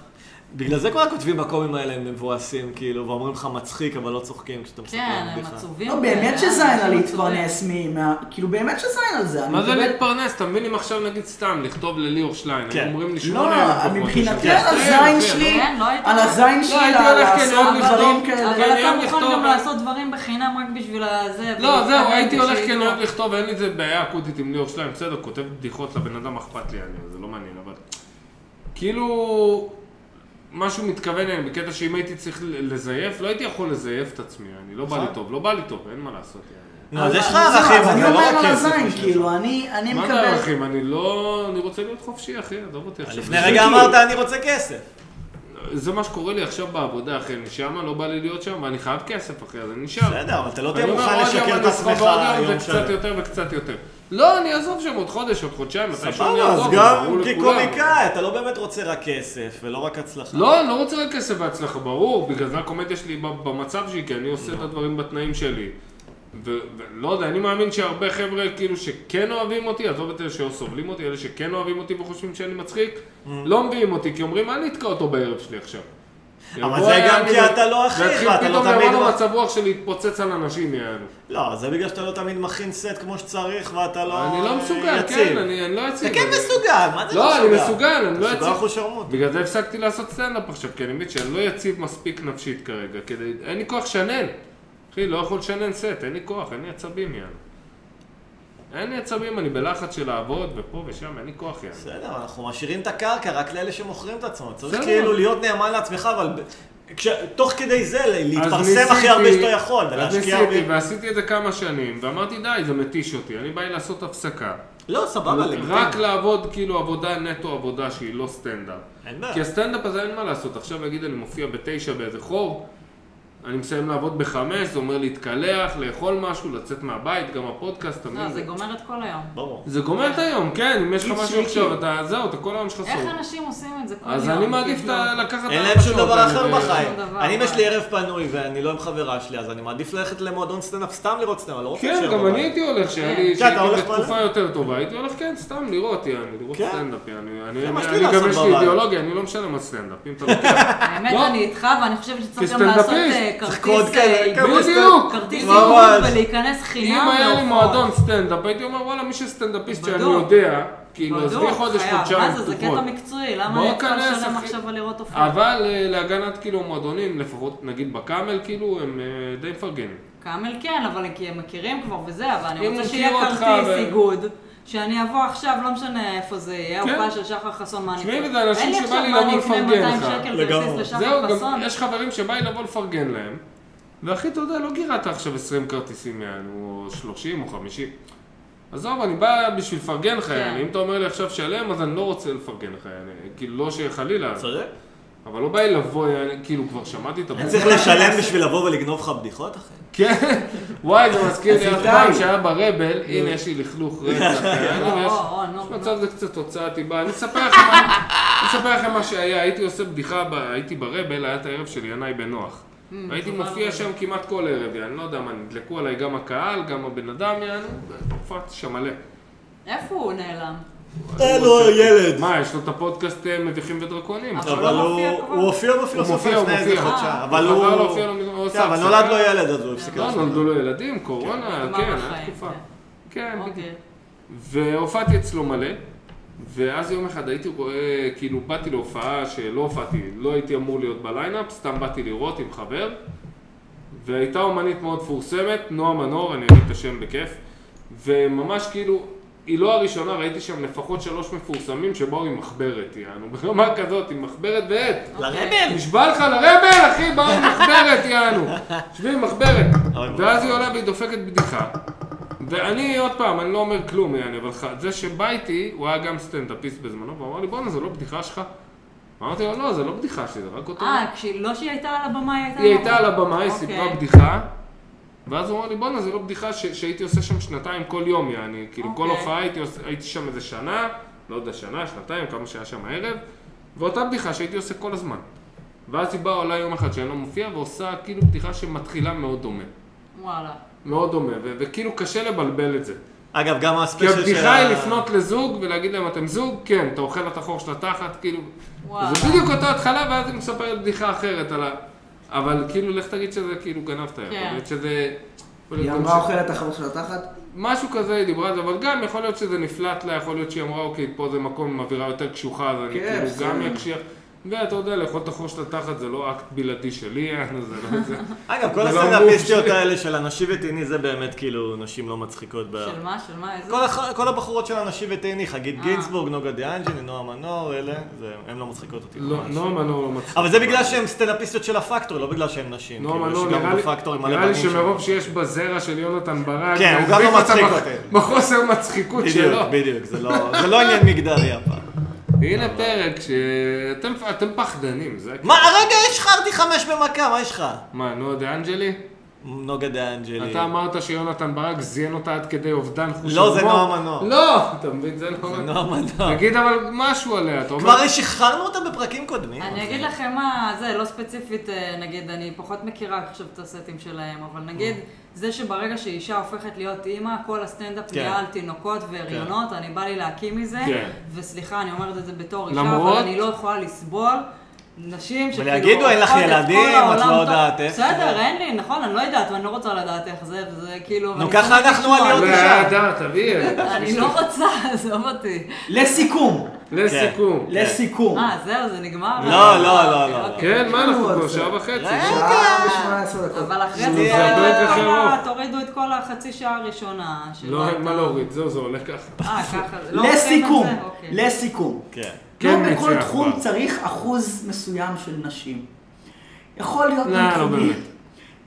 C: בגלל זה כל הכותבים בקומים האלה הם מבואסים, כאילו, ואומרים לך מצחיק, אבל לא צוחקים כשאתה מספר
D: כן,
C: להם
D: הם
C: בדיחה.
D: עצובים.
A: לא, באמת
D: כאלה,
A: שזין על
D: אנשים
A: להתפרנס מ... מה- כאילו, באמת שזין על זה. אני
B: מה זה
A: מקבל-
B: להתפרנס? אתה מבין אם עכשיו נגיד סתם, לכתוב לליאור שליין,
C: כן.
B: הם אומרים לי
A: לא,
B: שמונה אלף פחות
A: מבחינתי
B: בשנה.
A: על
B: כן,
A: הזין
B: כן,
A: שלי,
D: כן, לא הייתי-
A: על הזין
D: לא,
A: שלי
B: הייתי
A: לה-
B: הולך כנראה
A: לעשות
B: לכתוב-
A: דברים
D: עצובים.
A: כאלה.
D: אבל אתה
B: היום
D: מוכן
B: לכתוב-
D: גם לעשות דברים בחינם רק בשביל הזה.
B: לא, זהו,
D: ולהתקדם
B: הייתי הולך
D: בשביל-
B: כן אוהב לכתוב, אין לי איזה בעיה אקוטית עם ליאור שלהם, בסדר, כותב בדיחות לבן אדם אכפת לי, אני, זה לא מעניין, אבל... כאילו, משהו מתכוון אליהם, בקטע שאם הייתי צריך ל- לזייף, לא הייתי יכול לזייף את עצמי, אני לא
C: נכון.
B: בא לי טוב, לא בא לי טוב, אין מה לעשות. יעני.
C: נו, אז יש לך
A: זהו,
C: ערכים,
A: אז
C: אבל
A: אני
C: זה לא
A: אומר
C: רק
A: על
C: כסף.
A: הזין,
C: בשביל
A: כאילו, אני אני
B: מה זה
A: מקבל...
B: הערכים? אני לא... אני רוצה להיות חופשי, אחי, עזוב אותי עכשיו.
C: אה,
B: כאילו-
C: לפני רגע אמרת, אני רוצה כסף.
B: זה מה שקורה לי עכשיו בעבודה, אחי, אני שמה, לא בא לי להיות שם, ואני חייב כסף, אחי, אז אני נשאר.
C: בסדר, אבל אתה לא תהיה
B: אני אומר,
C: מוכן
B: עוד יום
C: לשקר את
B: אני אשרוד
C: עצמך
B: עוד יום
C: יום
B: וקצת
C: שלם.
B: יותר וקצת יותר. לא, אני אעזוב שם עוד חודש, עוד חודשיים, מתי שאני
C: סבבה, אה, אז
B: אעזוב,
C: גם
B: ברור לכולם.
C: כקומיקאי, אתה לא באמת רוצה רק כסף ולא רק הצלחה.
B: לא, אני לא רוצה רק כסף והצלחה, ברור, בגלל זה הקומדיה שלי ב- במצב שלי, כי אני עושה את הדברים בתנאים שלי. ו- ולא יודע, אני מאמין שהרבה חבר'ה כאילו שכן אוהבים אותי, עזוב את אלה שלא סובלים אותי, אלה שכן אוהבים אותי וחושבים שאני מצחיק, לא מביאים אותי, כי אומרים, מה נתקע אותו בערב שלי עכשיו?
C: אבל זה גם כי אתה לא אחיך,
B: ואתה לא
C: אתה
B: תמיד...
C: לא
B: פתאום
C: תמיד
B: ירדנו
C: מה-
B: מצב רוח של להתפוצץ על אנשים, יענו.
C: לא, זה בגלל שאתה לא תמיד מכין סט כמו שצריך ואתה לא
B: אני
C: אה,
B: לא מסוגל,
C: יציב.
B: כן, אני אני לא
C: אתה
B: אציג.
C: כן
B: אני-
C: מסוגל, מה זה
B: לא, אני מסוגל, אני לא
C: אתה מסוגל
B: יציב.
C: אחושרמוט.
B: בגלל זה הפסקתי לעשות סטנדאפ עכשיו, כי אני מבין שאני לא יציב מספיק נפשית כרגע, כדי... אין לי כוח לשנן. אחי, לא יכול לשנן סט, אין לי כוח, אין לי עצבים, יענו. אין לי עצבים, אני בלחץ של לעבוד, ופה ושם, אין לי כוח, יענו.
C: בסדר, אנחנו משאירים את הקרקע רק לאלה שמוכרים את עצמם. צריך
B: בסדר.
C: כאילו להיות נאמן לעצמך, אבל ב- כש- תוך כדי זה ל-
B: אז
C: להתפרסם הכי
B: ניסיתי-
C: הרבה שאתה יכול,
B: אז
C: ולהשקיע הרבה.
B: ניסיתי, ועשיתי את זה כמה שנים, ואמרתי, די, זה מתיש אותי, אני בא לי לעשות הפסקה.
C: לא, סבבה,
B: רק
C: לגיטימי.
B: לעבוד כאילו עבודה נטו עבודה שהיא לא סטנדאפ.
C: אין בעיה.
B: כי הסטנדאפ הזה אין מה לעשות, עכשיו נגיד אני מופיע בתשע באיזה חור, אני מסיים לעבוד בחמש, זה אומר להתקלח, לאכול משהו, לצאת מהבית, גם הפודקאסט, אתה
D: לא,
B: מבין?
D: זה גומר את כל היום.
C: ברור.
B: זה גומר את היום, כן, אם יש לך משהו עכשיו, אתה זהו, אתה כל היום שלך
D: איך
B: סוף.
D: אנשים עושים את זה כל יום?
B: לא אז אני מעדיף את
D: כאילו?
B: ה- לקחת...
C: אין
B: ארבע
C: להם שום
B: שעות,
C: דבר
B: אני-
C: אחר בחיים.
D: שום דבר,
C: אני, אם יש לי
D: אבל-
C: ערב פנוי ואני לא עם חברה שלי, אז אני מעדיף ללכת למועדון סטנדאפ סתם לראות סטנדאפ, לא רוצה
B: כן,
C: להישאר
B: גם
C: בבית.
B: אני הייתי הולך, שהיה לי,
D: כן,
C: אתה
B: שהייתי
C: הולך
B: בתקופה
C: פעם?
B: יותר טובה, הייתי הולך, כן, סתם לראות, יעני, לראות
C: כן.
B: סטנדאפ, יעני. אני,
C: זה מה
B: אני,
C: שלי
B: אני גם
C: לעשות
B: יש לי
C: בבית.
B: אידיאולוגיה, אני לא משלם על סטנדאפ, אם אתה לוקח.
D: האמת,
B: לא.
D: אני איתך, ואני חושבת שצריך גם לעשות
B: כסטנדאפיסט.
D: אה,
C: צריך
D: כרטיס
C: קוד
D: אה,
C: כזה,
D: כרטיס-
B: בדיוק.
D: כרטיס
C: ממש.
D: עיבוד ולהיכנס
B: אם
D: חינם.
B: היה לי
D: להופעות.
B: מועדון סטנדאפ, הייתי אומר, וואלה, מי שסטנדאפיסט שאני
D: בדוק.
B: יודע, כאילו,
D: בדוק,
B: עזבי חודש,
D: חייב.
B: חודשיים
D: מה זה, זה
B: פתוחות.
D: קטע מקצועי,
B: בוא
D: למה אני צריכה
B: כנס,
D: לשלם
B: אחי.
D: עכשיו על לראות הופעה?
B: אבל אה, להגנת כאילו מועדונים, לפחות נגיד בקאמל, כאילו, הם אה, די מפרגנים.
D: קאמל כן, אבל כי הם מכירים כבר וזה, אבל אני
B: אם
D: רוצה
B: הוא
D: שיהיה
B: מכיר אותך
D: כרטיס
B: ו-
D: איגוד, שאני אבוא עכשיו, לא משנה איפה זה יהיה,
B: כן.
D: הופעה של שחר חסון, מה אני
B: תשמעי,
D: צריך?
B: זה אנשים
D: אין לי
B: שבא
D: עכשיו
B: לי
D: מה, אני
B: לבוא
D: אקנה
B: לפרגן
D: 200
B: לך.
D: שקל
C: לגמרי.
D: כרטיס לשחר
B: זהו,
D: חסון?
B: גם יש חברים שבא לי לבוא לפרגן להם, ואחי, אתה יודע, לא גירדת עכשיו 20 כרטיסים יענו, או 30 או 50. עזוב, אני בא בשביל לפרגן לך,
D: כן.
B: יעני, אם אתה אומר לי עכשיו שלם, אז אני לא רוצה לפרגן לך, יעני, כאילו, לא שחלילה,
C: צודק.
B: אבל לא בא לי לבוא, יעני, כאילו, כבר שמעתי את
C: אני
B: הבדיחה.
C: צריך לשלם בשביל לבוא ולגנוב לך בדיחות, אחי.
B: כן, וואי, זה מזכיר לי
A: אז
B: אף
A: איתי.
B: פעם שהיה ברבל, הנה, יש לי לכלוך רצח, יענו,
D: או,
B: ויש-
D: כן. או, נו,
B: יש
D: נו.
B: מצב זה קצת הוצאתי בה, אני אספר לכם מה- אני אספר לכם מה שהיה, הייתי עושה בדיחה, ב- הייתי ברבל, היה את הערב של ינאי בנוח.
D: Mm,
B: הייתי מופיע שם כמעט כל ערב, יעני, לא יודע מה, נדלקו עליי גם הקהל, גם הבן אדם, יענו, והופעתי שם מלא.
D: איפה הוא נעלם?
C: אלו לא ילד.
B: מה, יש לו את הפודקאסט אה, מביכים ודרקונים.
D: אבל
C: אבל
D: הוא
C: הוא
D: מופיע כבר.
C: הוא הופיע
B: הוא
C: בפילוסופיה
B: מופיע, הוא
C: לפני איזה
B: מופיע.
C: חודשיים.
B: אה,
C: אבל
B: הוא
C: הוא...
B: חזר להופיע לו מזמן, הוא
C: כן,
B: עשה
C: אבל
B: הפסקה.
C: נולד לו ילד, אז הוא הפסיק
B: לא,
C: לעשות.
B: נולדו לו ילדים, קורונה,
D: נגמר
B: כן,
D: החיים,
B: היה תקופה.
D: כן.
B: כן, בדיוק.
D: אוקיי.
B: והופעתי אצלו מלא, ואז יום אחד הייתי רואה, כאילו באתי להופעה שלא הופעתי, לא הייתי אמור להיות בליינאפ, סתם באתי לראות עם חבר, והייתה אומנית מאוד מפורסמת, נועה מנור, אני אגיד את השם בכיף, וממש כאילו, היא לא הראשונה, ראיתי שם לפחות שלוש מפורסמים שבאו עם מחברת, יענו, ברמה כזאת, עם מחברת ועט.
D: אוקיי.
C: לרבל.
B: נשבע לך לרבל, אחי, באו עם מחברת, יענו. שבי עם מחברת. ואז היא עולה והיא דופקת בדיחה. ואני, עוד פעם, אני לא אומר כלום, יעני, אבל ח- זה שבא איתי, הוא היה גם סטנדאפיסט בזמנו, והוא אמר לי, בואנה, זו לא בדיחה שלך? אמרתי לו, לא, זה לא בדיחה שלי, זה רק אותו.
D: אה, כשהיא- לא שהיא הייתה על הבמה, היא הייתה...
B: היא הייתה על הבמה, היא
D: אוקיי.
B: סיפרה בדיחה, ואז הוא אמר לי, בואנה, זו לא בדיחה ש- שהייתי עושה שם שנתיים כל יום, יעני, כאילו כל
D: אוקיי.
B: הופעה הייתי עוש- הייתי שם איזה שנה, לא יודע, שנה, שנתיים, כמה שהיה שם הערב, ואותה בדיחה שהייתי עושה כל הזמן. ואז היא באה עולה יום אחד שאני לא מופיע, ועושה כאילו בדיחה שמתחילה מאוד דומה.
D: וואלה.
B: מאוד דומה, ו- וכאילו קשה לבלבל את זה.
C: אגב, גם
B: כי
C: הספיישל של...
B: הבדיחה
C: ה-
B: היא לפנות לזוג ולהגיד להם, אתם זוג? כן, אתה אוכל את החור של התחת, כאילו...
D: וואלה.
B: זה בדיוק אותה התחלה, ואז היא מספרת בדיחה אחרת על ה... אבל כאילו, לך תגיד שזה כאילו גנבת, יכול
D: כן.
B: להיות שזה... יכול להיות
A: היא
B: גם
A: אמרה
B: ש-
A: אוכלת החבר של התחת?
B: משהו כזה היא דיברה על זה, אבל גם יכול להיות שזה נפלט לה, יכול להיות שהיא אמרה, אוקיי, פה זה מקום עם אווירה יותר קשוחה, אז אני
A: כן,
B: כאילו
A: בסדר.
B: גם אקשיח. ואתה יודע, לאכול את החור של התחת זה לא אקט בלעדי שלי, זה לא זה.
C: אגב, כל
B: זה לא
C: הסטנדאפיסטיות
B: אמור ש-
C: האלה של הנשי וטעיני זה באמת כאילו נשים לא מצחיקות. ב-
D: של מה? של מה? איזה...
C: כל הח- כל הבחורות של הנשי וטעיני, חגית
D: אה.
C: גינצבורג, נוגה דיאנג'לי, נועה מנור, אלה, זה- הן לא מצחיקות אותי.
B: לא,
C: ממש.
B: נועה מנור לא מצחיק.
C: אבל זה בגלל שהן סטנדאפיסטיות של הפקטור, לא בגלל שהן נשים.
B: נועה
C: כאילו, יש
B: מנור,
C: גם
B: נראה לי-
C: בפקטור עם מלא
B: נראה לי
C: בנים שם.
B: שמרוב שיש בזרע של יונתן ברק,
C: כן, הוא גם לא
B: החזיק אותה
C: מצחיק
B: בח-
C: אותי.
B: בחוסר מצחיקות שלו.
C: בדיוק, בדיוק, זה לא- זה לא עניין מגדרי הפעם.
B: הנה פרק שאתם אתם פחדנים, זה...
C: מה, רגע, השחרתי חמש במכה, מה יש לך?
B: מה, נועה דה אנג'לי?
C: נוגה דה אנג'לי.
B: אתה אמרת שיונתן ברק זיין אותה עד כדי אובדן חוש
C: לא, זה
B: הומור.
C: נועם מנור.
B: לא, אתה מבין? זה נועם
C: זה
B: מנור.
C: נועם מנור.
B: תגיד אבל משהו עליה, אתה אומר...
C: כבר שחררנו אותה בפרקים קודמים.
D: אני אגיד לכם מה, זה לא ספציפית, אה, נגיד, אני פחות מכירה עכשיו את הסטים שלהם, אבל
C: Mm.
D: נגיד, זה שברגע שאישה הופכת להיות אימא, כל הסטנדאפ
C: כן.
D: נהיה על תינוקות והריונות, אני בא לי להקים מזה,
B: כן.
D: וסליחה, אני אומרת את זה בתור אישה,
B: למרות-
D: אבל אני לא יכולה לסבול. נשים שכאילו...
C: ויגידו, "אין לך
D: הופכות את כל
C: ילדים, את לא
D: העולם טוב."
C: יודעת איך.
D: בסדר, אין לי, נכון, אני לא יודעת, ואני לא רוצה לדעת איך זה, וזה כאילו...
C: נו,
D: ואני
C: ככה
D: שמחה
C: אנחנו על
D: לשמוע.
C: להיות
B: לא,
C: אישה.
B: אתה, תביא.
D: אני לא רוצה, עזוב אותי.
A: לסיכום,
B: כן. לסיכום.
A: לסיכום.
D: אה, זהו, זה נגמר?
C: לא, לא, לא, לא, לא.
D: אוקיי.
B: כן, מה אנחנו כבר
A: רוצה. אה?
B: שעה וחצי?
C: רגע.
A: שעה ושמונה עשרה דקות.
D: אבל אחרי
B: זה
D: זה
B: הרבה יותר
D: תורידו-
B: ארוך.
D: תורידו את כל החצי שעה הראשונה. שלא
B: לא, אין
D: הייתה-
B: מה להוריד, זהו, זה הולך ככה.
D: אה, ככה. זה- לא
A: לסיכום,
D: עושים את זה? אוקיי.
A: לסיכום.
C: כן.
A: לא
B: כן,
A: בכל
B: ניצח
A: תחום
B: כבר.
A: צריך אחוז מסוים של נשים. יכול להיות
B: לא, לא
A: מלחמית.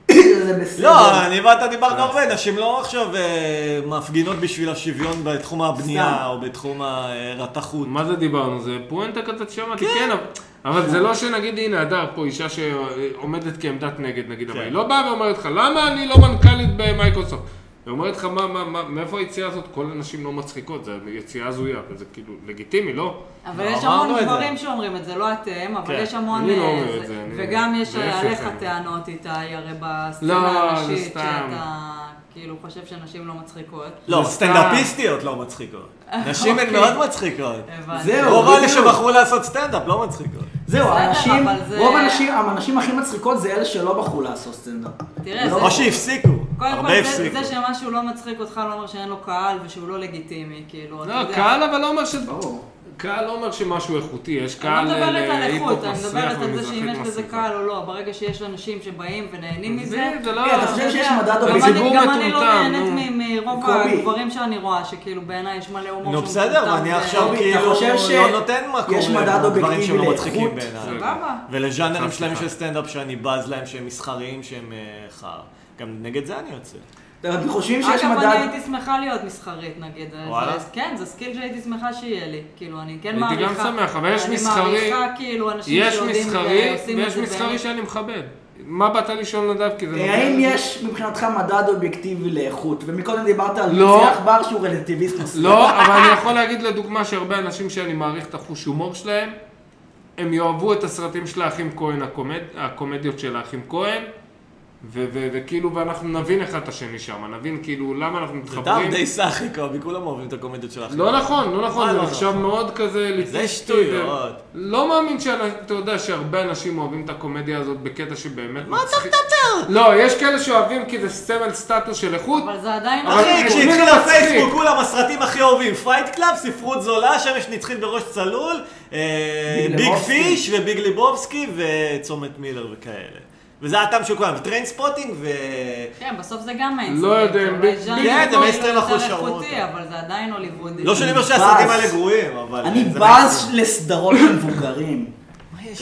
B: באמת.
A: זה בסדר.
C: לא, אני ואתה דיברנו
B: אה.
C: הרבה, נשים לא עכשיו אה, מפגינות בשביל השוויון בתחום הבנייה
A: סתם.
C: או בתחום אה, הרתחות.
B: מה זה דיברנו? זה פואנטה כזאת שמעתי, כן, אבל- אבל זה לא שנגיד, הנה, הדר פה אישה שעומדת כעמדת נגד, נגיד, אבל
C: כן.
B: היא לא באה ואומרת לך, למה אני לא מנכ"לית במייקרוסופט? היא אומרת לך, "מה- מה- מה- מאיפה היציאה הזאת? כל הנשים לא מצחיקות, זו יציאה הזויה, וזה כאילו לגיטימי, לא?
D: אבל
C: לא,
D: יש
C: אמרנו
D: המון
C: את זה.
D: גברים שאומרים את זה, לא אתם, אבל
C: כן.
D: יש המון...
B: אני לא
D: אה,
B: אומר את זה, אני-
D: וגם יש
B: להפך,
D: עליך
B: אני-
D: טענות איתי, הרי
B: לא,
D: בסצנה
B: זה
D: הנשית,
B: סתם.
D: שאתה כאילו חושב שנשים לא מצחיקות.
C: לא,
B: זה
C: סטנדאפיסטיות לא מצחיקות. נשים הן
D: אוקיי.
C: מאוד מצחיקות.
D: הבנתי.
A: לא, זהו.
C: רוב האלה
A: בדיוק.
C: שבחרו לעשות סטנדאפ לא מצחיקות.
A: זהו,
D: בסדר,
A: האנשים,
D: אבל זה-
A: רוב האנשים, הנשים הכי מצחיקות זה אלה שלא בחרו לעשות סטנדאפ.
D: תראה,
A: לא
D: אה, זה-
C: או שהפסיקו,
D: קודם
C: הרבה
D: כל, זה-
C: הפסיקו.
D: זה שמשהו לא מצחיק אותך לא אומר שאין לו קהל ושהוא לא לגיטימי, כאילו, אתה
B: לא,
D: יודע.
B: קהל אבל לא אומר ש...
A: ברור.
B: קהל לא אומר שמשהו איכותי, יש
D: אני
B: קהל אה,
D: לא מדברת על
B: להיפ-הופ
D: איכות, אני
B: מסריח
D: מדברת על זה
B: ומזרחית
D: שאם יש לזה
B: מסריחה.
D: קהל או לא, ברגע שיש אנשים שבאים ונהנים מזה,
B: זה
A: אה, אתה
B: לא...
A: חושב
D: יודע,
A: שיש מדד
D: גם אני-
B: הציבור
D: גם אני לא
B: מטומטם, נו.
D: נהנית מ- מרוב
A: קובי.
D: הגברים שאני רואה, שכאילו בעיניי יש מלא הומור
C: נו
D: שהוא
C: בסדר,
D: מטומטם
C: ואני
D: ו-
C: עכשיו
A: אתה
C: כאילו
A: חושב ש-
C: לא נותן מקום
A: יש מדד
C: לדברים
A: אובייקטיבי
C: שהם לא
A: לאיכות?
C: מצחיקים בעיניי.
D: סבבה.
C: ולז'אנרים שלהם
B: סליחה.
C: של סטנדאפ שאני בז להם שהם מסחריים, שהם אה, חר. גם נגד זה אני יוצא.
A: אתם חושבים שיש
D: אגב, אני
A: מדד...
D: הייתי שמחה להיות מסחרית נגיד. זה-
C: וואלה?
D: כן, זה סקיל שהייתי שמחה שיהיה לי. כאילו, אני כן
B: הייתי
D: מעריכה.
B: גם שמח, אבל יש מסחרי-
D: אני מעריכה כאילו אנשים
B: יש
D: שיודעים
B: מסחרי,
D: ועושים את
B: ויש
D: זה
B: מסחרי
D: באמת.
B: שאני מכבד. מה באת לשאול נדב? כי זה... נוגע
A: אה, האם
B: לזה.
A: יש מבחינתך מדד אובייקטיבי לאיכות? ומקודם דיברת על
B: לא.
A: ניצח בר שהוא רלטיביסט מספיק.
B: לא, אבל אני יכול להגיד לדוגמה שהרבה אנשים שאני מעריך את החוש הומור שלהם, הם יאהבו את הסרטים של האחים כהן, הקומד... הקומדיות של האחים כהן, ו- ו- וכאילו, ואנחנו נבין אחד את השני שם, נבין כאילו למה אנחנו
C: זה טעם
B: מתחברים.
C: די סאחי, קובי, כולם אוהבים את הקומדיות שלך.
B: לא נכון, לא נכון,
C: מה
B: זה
C: לא
B: נחשב
C: נכון?
B: מאוד כזה ליטוטי,
C: שטויות.
B: ו- לא מאמין שאתה יודע שהרבה אנשים אוהבים את הקומדיה הזאת בקטע שבאמת
C: מה אתה
B: מצחיק.
C: מדבר?
B: לא, יש כאלה שאוהבים כי זה סמל סטטוס של איכות,
D: אבל זה עדיין... לא-
B: אבל-
D: מצחיק.
C: אחי,
B: זה
C: כשהתחיל
B: מצחיק.
C: הפייסבוק, כולם הסרטים הכי אוהבים. פייט קלאב, ספרות זולה, שמש נצחית בראש צלול, אה,
A: ביג
C: ביג
A: ליבובסקי.
C: פיש וביג ליבובסקי וצומת מילר וכאלה. וזה הטעם של כולם, וטריין ספוטינג ו...
D: כן, בסוף זה גם מיינסטרים.
B: לא יודע,
D: אולי
B: ב-
D: ז'אנר
B: ב- כן,
C: זה
D: לא
C: מיינסטרים
D: יותר
C: אחוז שרואה
D: איכותי,
C: אותו.
D: אבל זה עדיין הוליוודי.
C: לא שאני אומר שהסרטים
A: בז.
C: האלה גרועים, אבל...
A: אני
C: אה,
B: לא
C: זה
A: בז
C: מיינסטרים.
A: לסדרות של מבוגרים.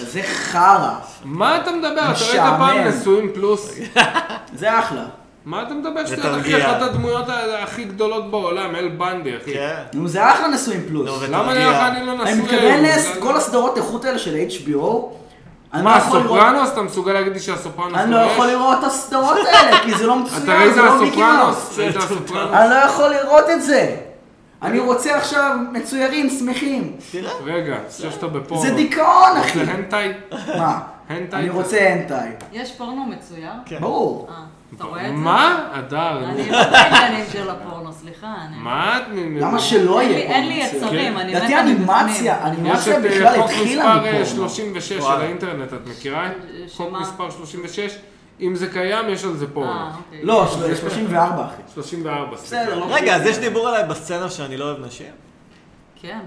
A: כזה חרא.
B: מה אתה מדבר? אתה ראית פעם
A: משעמם.
B: נשואים פלוס?
A: זה אחלה.
B: מה אתה מדבר
C: זה
B: שטויות, אחי?
C: תרגיע.
B: אחת הדמויות ה- הכי גדולות בעולם, אל בנדי, אחי.
C: כן.
A: נו, זה אחלה נשואים פלוס.
C: נו, ו-
B: למה
C: תרגיע.
B: נראה לך אני לא נשוי?
A: אני מתכוון
B: אליו?
A: לס... כל הסדרות איכות האלה של HBO. אני לא
B: מה,
A: יכול לראות-
B: סופרנוס? אתה מסוגל להגיד לי שהסופרנוס...
A: אני לא
B: רועש?
A: יכול לראות את הסדרות האלה, כי זה לא
B: אתה ראית
A: מצוין, זה לא מיקי מאוס.
B: הסופרנוס? ראית הסופרנוס?
A: אני לא יכול לראות את זה. אני רוצה עכשיו מצוירים, שמחים.
C: תראה.
B: רגע, אני חושב שאתה בפורנו.
A: אה, זה דיכאון, אחי.
B: זה הנטאי?
A: מה?
B: הנטאי?
A: אני רוצה הנטאי.
D: יש פורנו מצויר?
C: כן.
A: ברור.
D: אה, אתה רואה את זה?
B: מה? הדר.
D: אני לא בעניינים של הפורנו, סליחה. אני- אה,
B: מה את... מ-
A: למה שלא
D: אין לי-
A: יהיה פה
D: אין לי
A: מצויר?
D: יצרים, אני
A: לדעתי
D: מתה
A: אנימציה,
D: מבפנים.
B: יש
A: אנימציה
B: את
A: בכלל
B: אה, חוק
A: התחילה
B: מספר אה,
A: מפורנו.
B: 36 של
C: וואלה.
B: האינטרנט, את מכירה? חוק
D: אה, שמה?
B: מספר 36, אם זה קיים, יש על זה פורנו.
D: אה, אוקיי.
A: לא, של- 34 אחי.
B: 34, סליחה.
A: בסדר, לא
C: רגע, אז יש דיבור עליי בסצנה שאני לא אוהב נשים?
D: כן.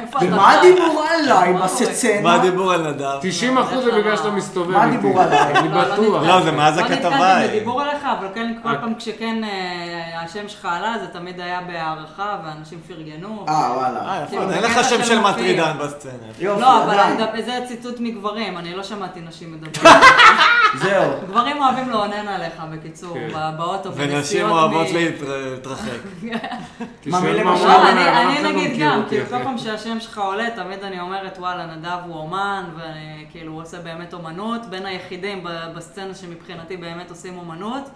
D: איפה אתה
A: ומה
D: חי?
A: הדיבור עליי
D: מה קורה?
A: בסצנה?
C: מה הדיבור על נדב?
B: 90 אחוז זה בגלל שאתה מסתובב
A: מה
B: איתי.
A: הדיבור עליי?
B: אני
D: לא, לא
B: בטוח.
D: נתקלתי.
C: לא, זה מאז הכתבה אה.
D: לא נתקלתי
C: ההיא.
D: בדיבור עליך, אבל כן, כל
B: אה.
D: פעם כשכן אה, השם שלך עלה, זה תמיד היה בהערכה, ואנשים פרגנו.
A: אה, וואלה.
C: אה, יפה,
D: כאילו,
C: אין
D: בקטע
C: לך שם
D: של
C: של
D: מופיע.
C: מטרידן בסצנה.
A: יופי,
D: לא, אבל
A: עדיין.
D: אני מדבר- זה ציטוט מגברים, אני לא שמעתי נשים מדברות.
A: זהו.
D: גברים אוהבים לאונן עליך, בקיצור,
B: כן.
D: בא- באוטו,
F: ונשים
D: בנסיעות
F: אוהבות
D: מ-
F: להתר- להתרחק.
A: מה, מי
B: תשאל מה
A: למשל?
B: הוא
D: לא,
B: אומר,
D: אני-
B: אבל אף
D: אני
B: אחד לא
D: נגיד
B: מכיר
D: גם,
B: אותי,
D: כאילו
B: אחי.
D: כל פעם שהשם שלך עולה, תמיד אני אומרת, וואלה, נדב הוא אומן, וכאילו הוא עושה באמת אומנות, בין היחידים ב- בסצנה שמבחינתי באמת עושים אומנות,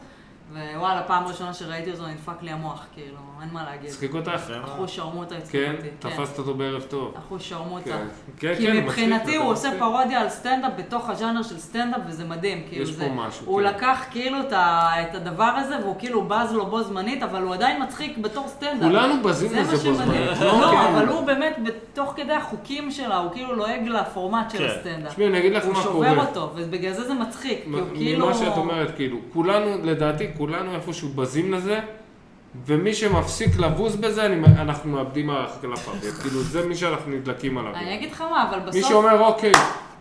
D: ווואלה, פעם ראשונה שראיתי אותו נדפק לי המוח, כאילו, אין מה להגיד.
B: הצחיק אותך?
D: אחוז שרמוטה הצחיק
B: כן,
D: אותי.
B: תפסת אותו בערב טוב.
D: אחוז שרמוטה.
B: כן. כן,
D: כי
B: כן,
D: מבחינתי
B: מצחיק,
D: הוא
B: אתה
D: עושה
B: מצחיק.
D: פרודיה על סטנדאפ בתוך הז'אנר של סטנדאפ, וזה מדהים. כאילו
B: יש
D: זה,
B: פה משהו,
D: הוא
B: כן.
D: לקח כאילו את ה- את הדבר הזה, והוא כאילו בז לו בו זמנית, אבל הוא עדיין מצחיק בתור סטנדאפ.
B: כולנו בזים
D: זה
B: לזה
D: מה
B: בו
D: שמדהים.
B: זמנית.
D: לא, אבל הוא באמת, בתוך כדי החוקים שלה, הוא כאילו לועג לפורמט של
C: כן.
D: הסטנדאפ.
B: תשמעי, אני אגיד לך
D: הוא
B: מה
D: שובר
B: קורה.
D: אותו, ובגלל זה זה מצחיק. כי הוא כאילו...
B: ממה שאת אומרת, כאילו, כולנו, לדעתי, כולנו איפשהו בזים לזה, ומי שמפסיק לבוז בזה, אני- אנחנו מאבדים הערכה כלפיו. כאילו, זה מי שאנחנו נדלקים עליו.
D: אני אגיד לך מה, אבל אה, בסוף...
B: מי שאומר, אוקיי,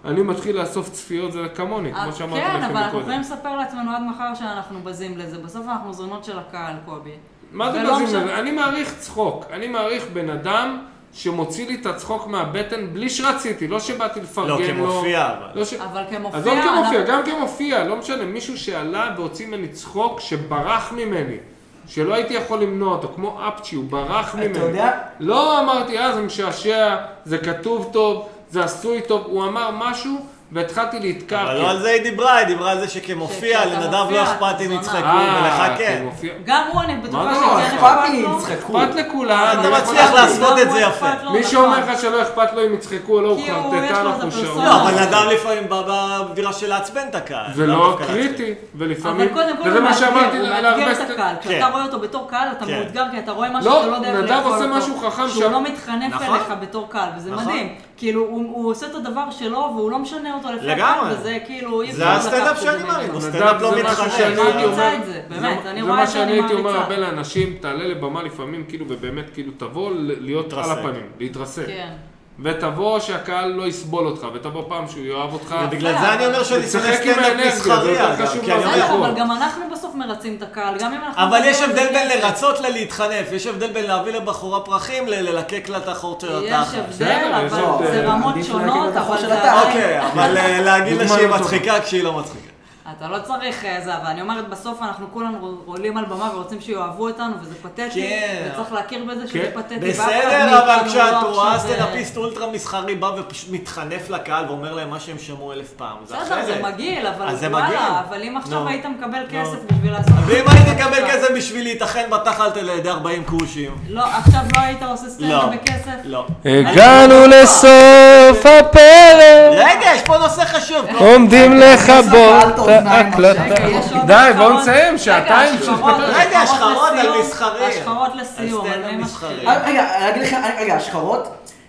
B: אני מתחיל לאסוף צפיות, זה כמוני, כמו שאמרתי
D: כן, אבל
B: לכם
D: אנחנו
B: מקודם.
D: יכולים לספר לעצמנו עד מחר שאנחנו בזים לזה. בסוף אנחנו זונות של הקהל, קובי.
B: מה זה
D: ולא
B: בזים
D: משנה-
B: לזה? אני מעריך צחוק. אני מעריך בן אדם שמוציא לי את הצחוק מהבטן בלי שרציתי, לא שבאתי לפרגן לו.
F: לא, כמופיע, אבל.
B: לא ש-
D: אבל כמופיע...
B: עזוב כמופיע,
D: אנחנו-
B: גם כמופיע, לא משנה, מישהו שעלה והוציא ממני צחוק שברח ממני, שלא הייתי יכול למנוע אותו, כמו אפצ'י, הוא ברח ממני.
A: יודע?
B: לא אמרתי, אה, זה משעשע, זה כתוב טוב, זה עשוי טוב, הוא אמר משהו, והתחלתי להתקרקע.
C: אבל
F: אבל לא על זה היא דיברה, היא דיברה על זה שכמופיע,
D: שכשאתה
F: לנדב לא
D: מופיע,
F: אכפת
D: זונה.
F: אם יצחקו,
B: אה,
F: ולך כן.
B: כמופיע.
D: גם הוא, אני בטוחה
B: מה
A: לא,
D: שכן
A: אכפת לי,
D: לו.
A: יצחקו.
B: אכפת לכולם.
F: אתה
B: לא
F: מצליח
B: אכפת לי.
F: לעשות
D: גם
F: את
D: הוא
F: זה
D: אכפת
F: יפה.
D: לו,
B: מי
D: נכון.
B: שאומר לך שלא אכפת לו אם יצחקו או לא, הוא
D: כי הוא, יש לו
B: חרטטן,
D: איזה
B: אנחנו שעון.
D: פרסונה.
F: לא, אבל נדב לפעמים בא באווירה של לעצבן את הקהל.
B: זה
F: לאו
B: לא
F: דווקא להצחיק.
B: קריטי,
D: אבל
B: ולפעמים,
D: קודם כל
B: וזה
D: הוא
B: מה
D: מאתגר,
B: שאמרתי
D: הוא מאתגר
B: להרבה
D: את
B: סט-
D: הקהל.
F: כן.
D: כשאתה רואה אותו בתור קהל, אתה
F: כן.
D: מאותגר, כי אתה רואה משהו
B: לא,
D: שאתה לא יודע איך
B: נדב
D: לאכול אותו.
B: עושה משהו חכם
D: שהוא
B: שם.
D: לא מתחנף
F: נכון.
D: אליך בתור קהל, וזה
F: נכון.
D: מדהים. כאילו, הוא הוא עושה את הדבר שלו, והוא לא משנה אותו לפי
F: לגמרי.
D: הקהל, וזה כאילו, אי אפשר
F: זה הסטנדאפ
D: לקחת את זה
F: שאני
D: ממנו.
F: מאמין, הוא
B: נדב,
F: סטנדאפ לא
B: זה משהו
F: מתחרש.
B: שאני
D: אני
B: הייתי
D: מעריצה
B: אומר-
D: את זה, באמת,
B: זה-
D: אני
B: זה
D: רואה
B: מה
D: שאני
B: שאני הייתי אומר
D: מעריצה.
B: הרבה לאנשים, תעלה לבמה לפעמים, כאילו, ובאמת, כאילו, תבוא ל- להיות על
F: להתרסק.
B: הפנים, להתרסק.
D: כן.
B: ותבוא שהקהל לא יסבול אותך, ותבוא פעם שהוא יאהב אותך.
F: ובגלל זה אני אומר שאני
B: לשחק
F: שונא
B: עם
F: סטנדאפ
B: האנרגיה, זה
F: מסחרי,
B: יותר
F: אגב,
B: חשוב
F: כי אני
B: מהסטנדאפ.
F: אומר,
D: בסדר,
B: פה.
D: אבל גם אנחנו בסוף מרצים את הקהל, גם אם אנחנו... לא-
F: אבל יש הבדל בין לרצות ללהתחנף, יש הבדל בין להביא לבחורה פרחים לללקק לה את החור של
D: יש
F: התחת.
B: בסדר,
D: הבדל,
B: יש
D: אבל
B: הבדל.
D: זה רמות
A: עדיף להגיד
D: שונות,
A: את החור
D: אבל
A: של
D: זה
A: התא.
D: עדיין-
F: אוקיי, אבל אה, להגיד לה
B: דוגמה
F: שהיא
B: לא טובה.
F: מצחיקה כשהיא לא מצחיקה.
D: אתה לא צריך אה, זה, אבל אני אומרת, בסוף אנחנו כולנו עולים על במה ורוצים שיאהבו אותנו, וזה פתטי,
F: כן.
D: וצריך להכיר בזה שזה
B: כן.
D: פתטי. ואף אחד
F: בסדר, אבל
D: מאיתנו לא
F: כשאת רואה
D: עכשיו, אה,
F: סטנדאפיסט אולטרה מסחרי בא ופשוט מתחנף לקהל ואומר להם מה שהם שמעו אלף פעם, זה
D: בסדר,
F: אחרת.
D: זה מגעיל, אבל
F: אז זה מגעיל.
D: וואלה, אבל אם עכשיו
F: נו.
D: היית מקבל
F: נו.
D: כסף בשביל לעשות...
F: ואם
D: את זה,
F: הייתי מקבל
D: עכשיו-
F: כסף בשביל להיטחן בתחת על ידי 40 כרושים?
D: לא, עכשיו לא היית עושה
F: לא.
D: סטנדאפ בכסף?
F: לא.
B: אה,
E: הגענו לסוף הפרק,
F: רגע, יש פה נושא חשוב.
E: עומדים
A: קהל
E: לכבות
A: את
E: את
A: האוזניים
E: ההקלטה.
D: רגע, יש עוד
B: די, בואו
D: השחרות.
B: נסיים, שעתיים,
D: רגע, השחרות,
B: שפתיים.
F: רגע,
D: השחרות
F: השחרות על מסחרי. על
D: לסיום, השחרות לסיום,
F: סטנדאפ
D: אני
F: מסחרי.
D: מסחרי.
A: אה, רגע, אני אגיד לך, רגע, השחרות,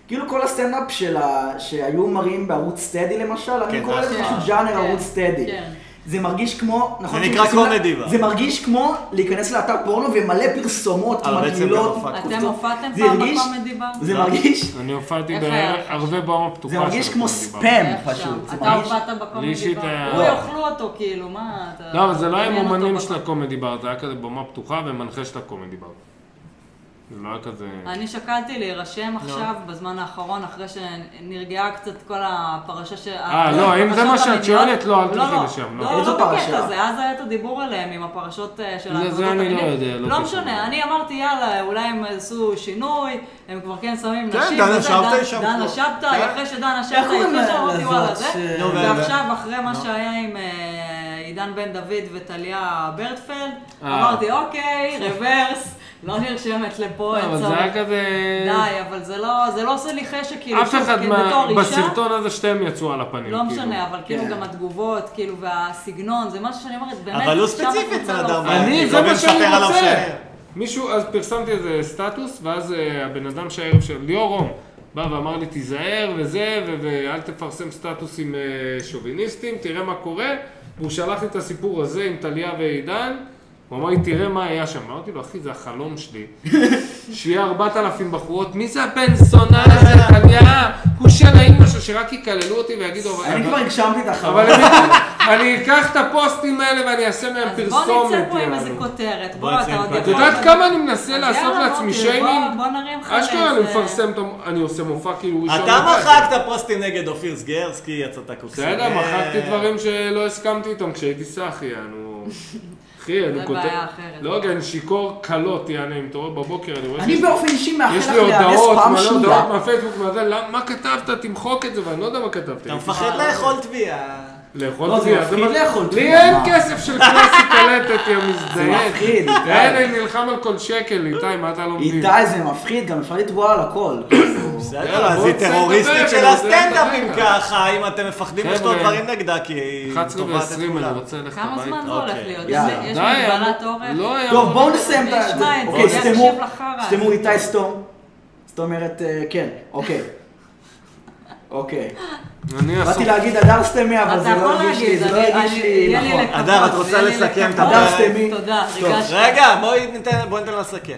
A: כאילו כל הסטנדאפ של ה... שהיו מראים בערוץ סטדי למשל,
F: כן,
A: אני קורא לזה
F: נכון.
A: פשוט ז'אנר
D: כן,
A: ערוץ סטדי.
D: כן.
A: זה מרגיש כמו, נכון,
F: נקרא
A: שנכנסים ל-
F: קומדי בר.
A: זה מרגיש כמו להיכנס לאתר פורנו ומלא פרסומות,
F: אבל בעצם
A: מגעילות,
F: גם הופעת.
D: אתם
A: קופצות.
D: הופעתם
A: זה
D: פעם
A: הרגיש-
D: בקומדי בר?
A: זה
F: לא.
A: מרגיש,
B: אני הופעתי
D: איך היה לך?
B: בהרבה במה פתוחה.
A: זה מרגיש
B: של
A: כמו
B: הקומדי בר.
A: ספאם
D: איך שם?
A: פשוט, זה
D: אתה
A: מרגיש,
D: הופעת בקומדי
B: אישית
D: בר.
B: היה-
D: הוא
B: לא.
D: יאכלו אותו, כאילו, מה אתה...
B: לא, אבל זה לא היה
D: דמיין אותו
B: מומנים
D: בקומדי.
B: של הקומדי בר, זה היה כזה במה פתוחה ומנחה של הקומדי בר. זה לא היה כזה...
D: אני שקלתי
B: לא.
D: להירשם עכשיו, בזמן האחרון, אחרי שנרגעה קצת כל הפרשה של...
B: אה, לא, אם זה מה
D: הפרשות
B: שאת
D: המיניות.
B: שואלת, לא, אל תלכי
D: לא,
B: לשם, לא.
D: לא, לא,
A: איזו
D: לא
A: פרשה?
D: בקטע הזה, אז היה את הדיבור עליהם עם הפרשות אה, של
B: זה- זה
D: ההטרדות
B: אני לא
D: המיניות.
B: יודע, לא
D: לא
B: קשור.
D: משנה, אני אמרתי, יאללה, אולי הם עשו שינוי, הם כבר כן שמים
F: כן,
D: נשים.
F: דנה
D: וזה,
F: שבתאי
D: דן-
F: שם
D: דנה
F: כבר.
D: שבתאי,
F: כן.
D: אחרי שדנה שבתאי,
A: איך קוראים
D: אחרי שאמרתי, וואלה,
A: לזאת
D: זה.
A: ש...
F: נו, ו-
D: ועכשיו, אחרי
F: לא.
D: מה שהיה עם אה, עידן בן דוד וטליה ברטפלד,
B: אה.
D: אמרתי, אוקיי, רוורס, לא נרשמת לפה,
B: לא, אבל
D: אין
B: זה היה
D: צורך.
B: כזה...
D: די, אבל זה לא, זה לא עושה לי חשק, כאילו,
B: אף
D: שוב,
B: אחד
D: כי
B: מה...
D: בתור אישה,
B: בסרטון הזה שתיהם יצאו על הפנים.
D: לא
B: כאילו.
D: משנה, אבל כאילו
A: כן.
D: גם התגובות, כאילו, והסגנון, זה משהו שאני אומרת, באמת,
F: אבל הוא
D: שם
F: ספציפית
D: הקבוצה
F: בן
D: לא-
F: אדם.
B: אני,
F: בעייתי,
B: זה
F: ואני
B: מה שאני
F: מספר עליו
B: רוצה.
F: שאני-
B: מישהו, אז פרסמתי איזה סטטוס, ואז אה, הבן אדם שהערב של ליאור רום בא ואמר לי, תיזהר וזה, ו- ואל תפרסם סטטוסים אה, שוביניסטיים, תראה מה קורה. והוא שלח לי את הסיפור הזה עם טליה ועידן. הוא אמר לי, תראה מה היה שם. אמרתי לו, אחי, זה החלום שלי. שיהיה 4,000 בחורות, מי זה הבן זונה הזה, טליה? הוא של האימא שלו, שרק יקללו אותי ויגידו, אבל... לא-
A: אני כבר הגשמתי את
B: אבל
A: החלום.
B: הם- אני אקח את הפוסטים האלה ואני אעשה מהם
D: אז בוא
B: פרסומת.
D: נצא פה עם
B: יענו.
D: איזה כותרת.
C: בוא
D: בוא,
C: נצא
D: אתה
C: עם
D: עוד
C: כותרת.
B: את
D: יכול-
B: יודעת כמה אני מנסה
D: אז
B: לעשות
D: יאללה,
B: לעצמי
D: מוטי, בוא-
B: שיימינג?
D: בוא נרים לך
B: אשכרה, אני
D: איזה-
B: מפרסם את המופע, אני עושה מופע כאילו ראשון.
C: אתה
B: לבד.
C: מחקת כן. פוסטים נגד אופיר סגרסקי, יצאת כוסי.
B: בסדר, מחקתי דברים שלא הסכמתי איתם כשהייתי סאחי, יענו. אחי, אני
D: זה
B: כותב...
D: בעיה אחרת.
B: לא, רגע, אני שיכור קלות, יעני, אני מתעורר בבוקר, אני רואה...
A: אני
B: שיש-
A: באופן אישי מאחל
B: יש
A: לך
B: לי
A: להיאנס
B: הודעות,
A: פעם
B: מלא הודעות
A: שנייה.
B: מהפייסבוק, מה זה, למה- מה כתבת? תמחוק את זה, ואני לא יודע מה כתבתי.
C: אתה מפחד לאכול תביעה.
B: לאכול
A: לא, זה
B: תביעה,
A: מפחיד לאכול
B: לי
A: תביעה,
B: אין
A: מה?
B: כסף של כנסת קלטת, יא
A: זה
B: מזדיין.
A: מפחיד,
B: אין,
A: איתי.
B: אני נלחם על כל שקל, איתי, מה אתה לא מבין?
A: איתי זה מפחיד, גם אפשר לתבוע על הכל.
C: בסדר,
B: יאללה,
C: אז
B: בוא
C: היא
B: נצא
C: טרוריסטית
B: לדבר,
C: של
B: אבל זה
C: הסטנדאפ
B: אתה
C: אם
B: רגע.
C: ככה, אם אתם מפחדים
B: חבר'ה,
C: לכתוב דברים נגדה, כי היא
B: 11
C: תובעת את
B: ו-20, אני
C: כולם.
B: רוצה ללכת
D: כמה
B: הביתה.
D: זמן זה הולך
C: אוקיי.
D: להיות?
A: יאללה.
D: יש- יש
B: די, אני-
D: מגבלת אורך?
B: לא היה...
A: טוב, בואו נסיים את
D: אני
A: ה...
D: אשמע את זה,
A: אוקיי,
D: אני
A: סתמו,
D: אקשיב לחרא.
A: סתמו איתי סתום. זאת אומרת, אה, כן, אוקיי. אוקיי.
B: אני
A: באתי
B: אעשו...
A: להגיד הדר סתמי, אבל
D: אתה
A: זה
D: יכול
A: לא הרגיש לי,
D: להגיד,
A: זה לא
D: אני-
A: הרגיש
D: אני-
A: לי
D: יהיה לי
A: נכון.
D: לקוות,
C: אדר, את רוצה
D: יהיה לי
C: לסכם את
D: לקוות.
A: הדר סתמי?
D: תודה,
A: טוב.
D: ריגשת.
C: רגע, בואי ניתן- בואי ניתן לה לסכם.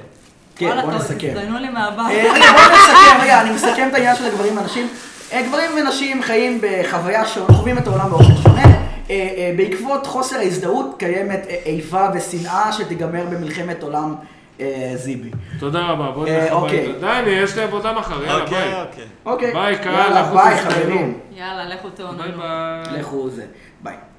A: כן,
D: וואלה,
A: בואו
D: טוב,
A: נסכם.
D: תזדיינו לי
A: אה,
D: מהבית.
A: רגע, בואו נסכם, רגע, אני מסכם את העניין של הגברים והנשים. אה, גברים ונשים חיים בחוויה שונה, חווים את העולם באופן שונה. אה, אה, בעקבות חוסר ההזדהות קיימת אה, איבה ושנאה שתיגמר במלחמת עולם אה, זיבי.
B: תודה רבה, בואו
A: אה,
B: נלך
A: אוקיי.
B: הביתה. די, אני, יש לי עבודה מחר, יאללה, ביי.
C: אוקיי, אוקיי.
A: אוקיי.
B: ביי, קהל,
A: יאללה,
B: לכו
A: ביי,
B: תזדיינו.
A: חברים.
D: יאללה, לכו
B: ביי
D: תאוננו.
B: ביי.
A: לכו זה. ביי.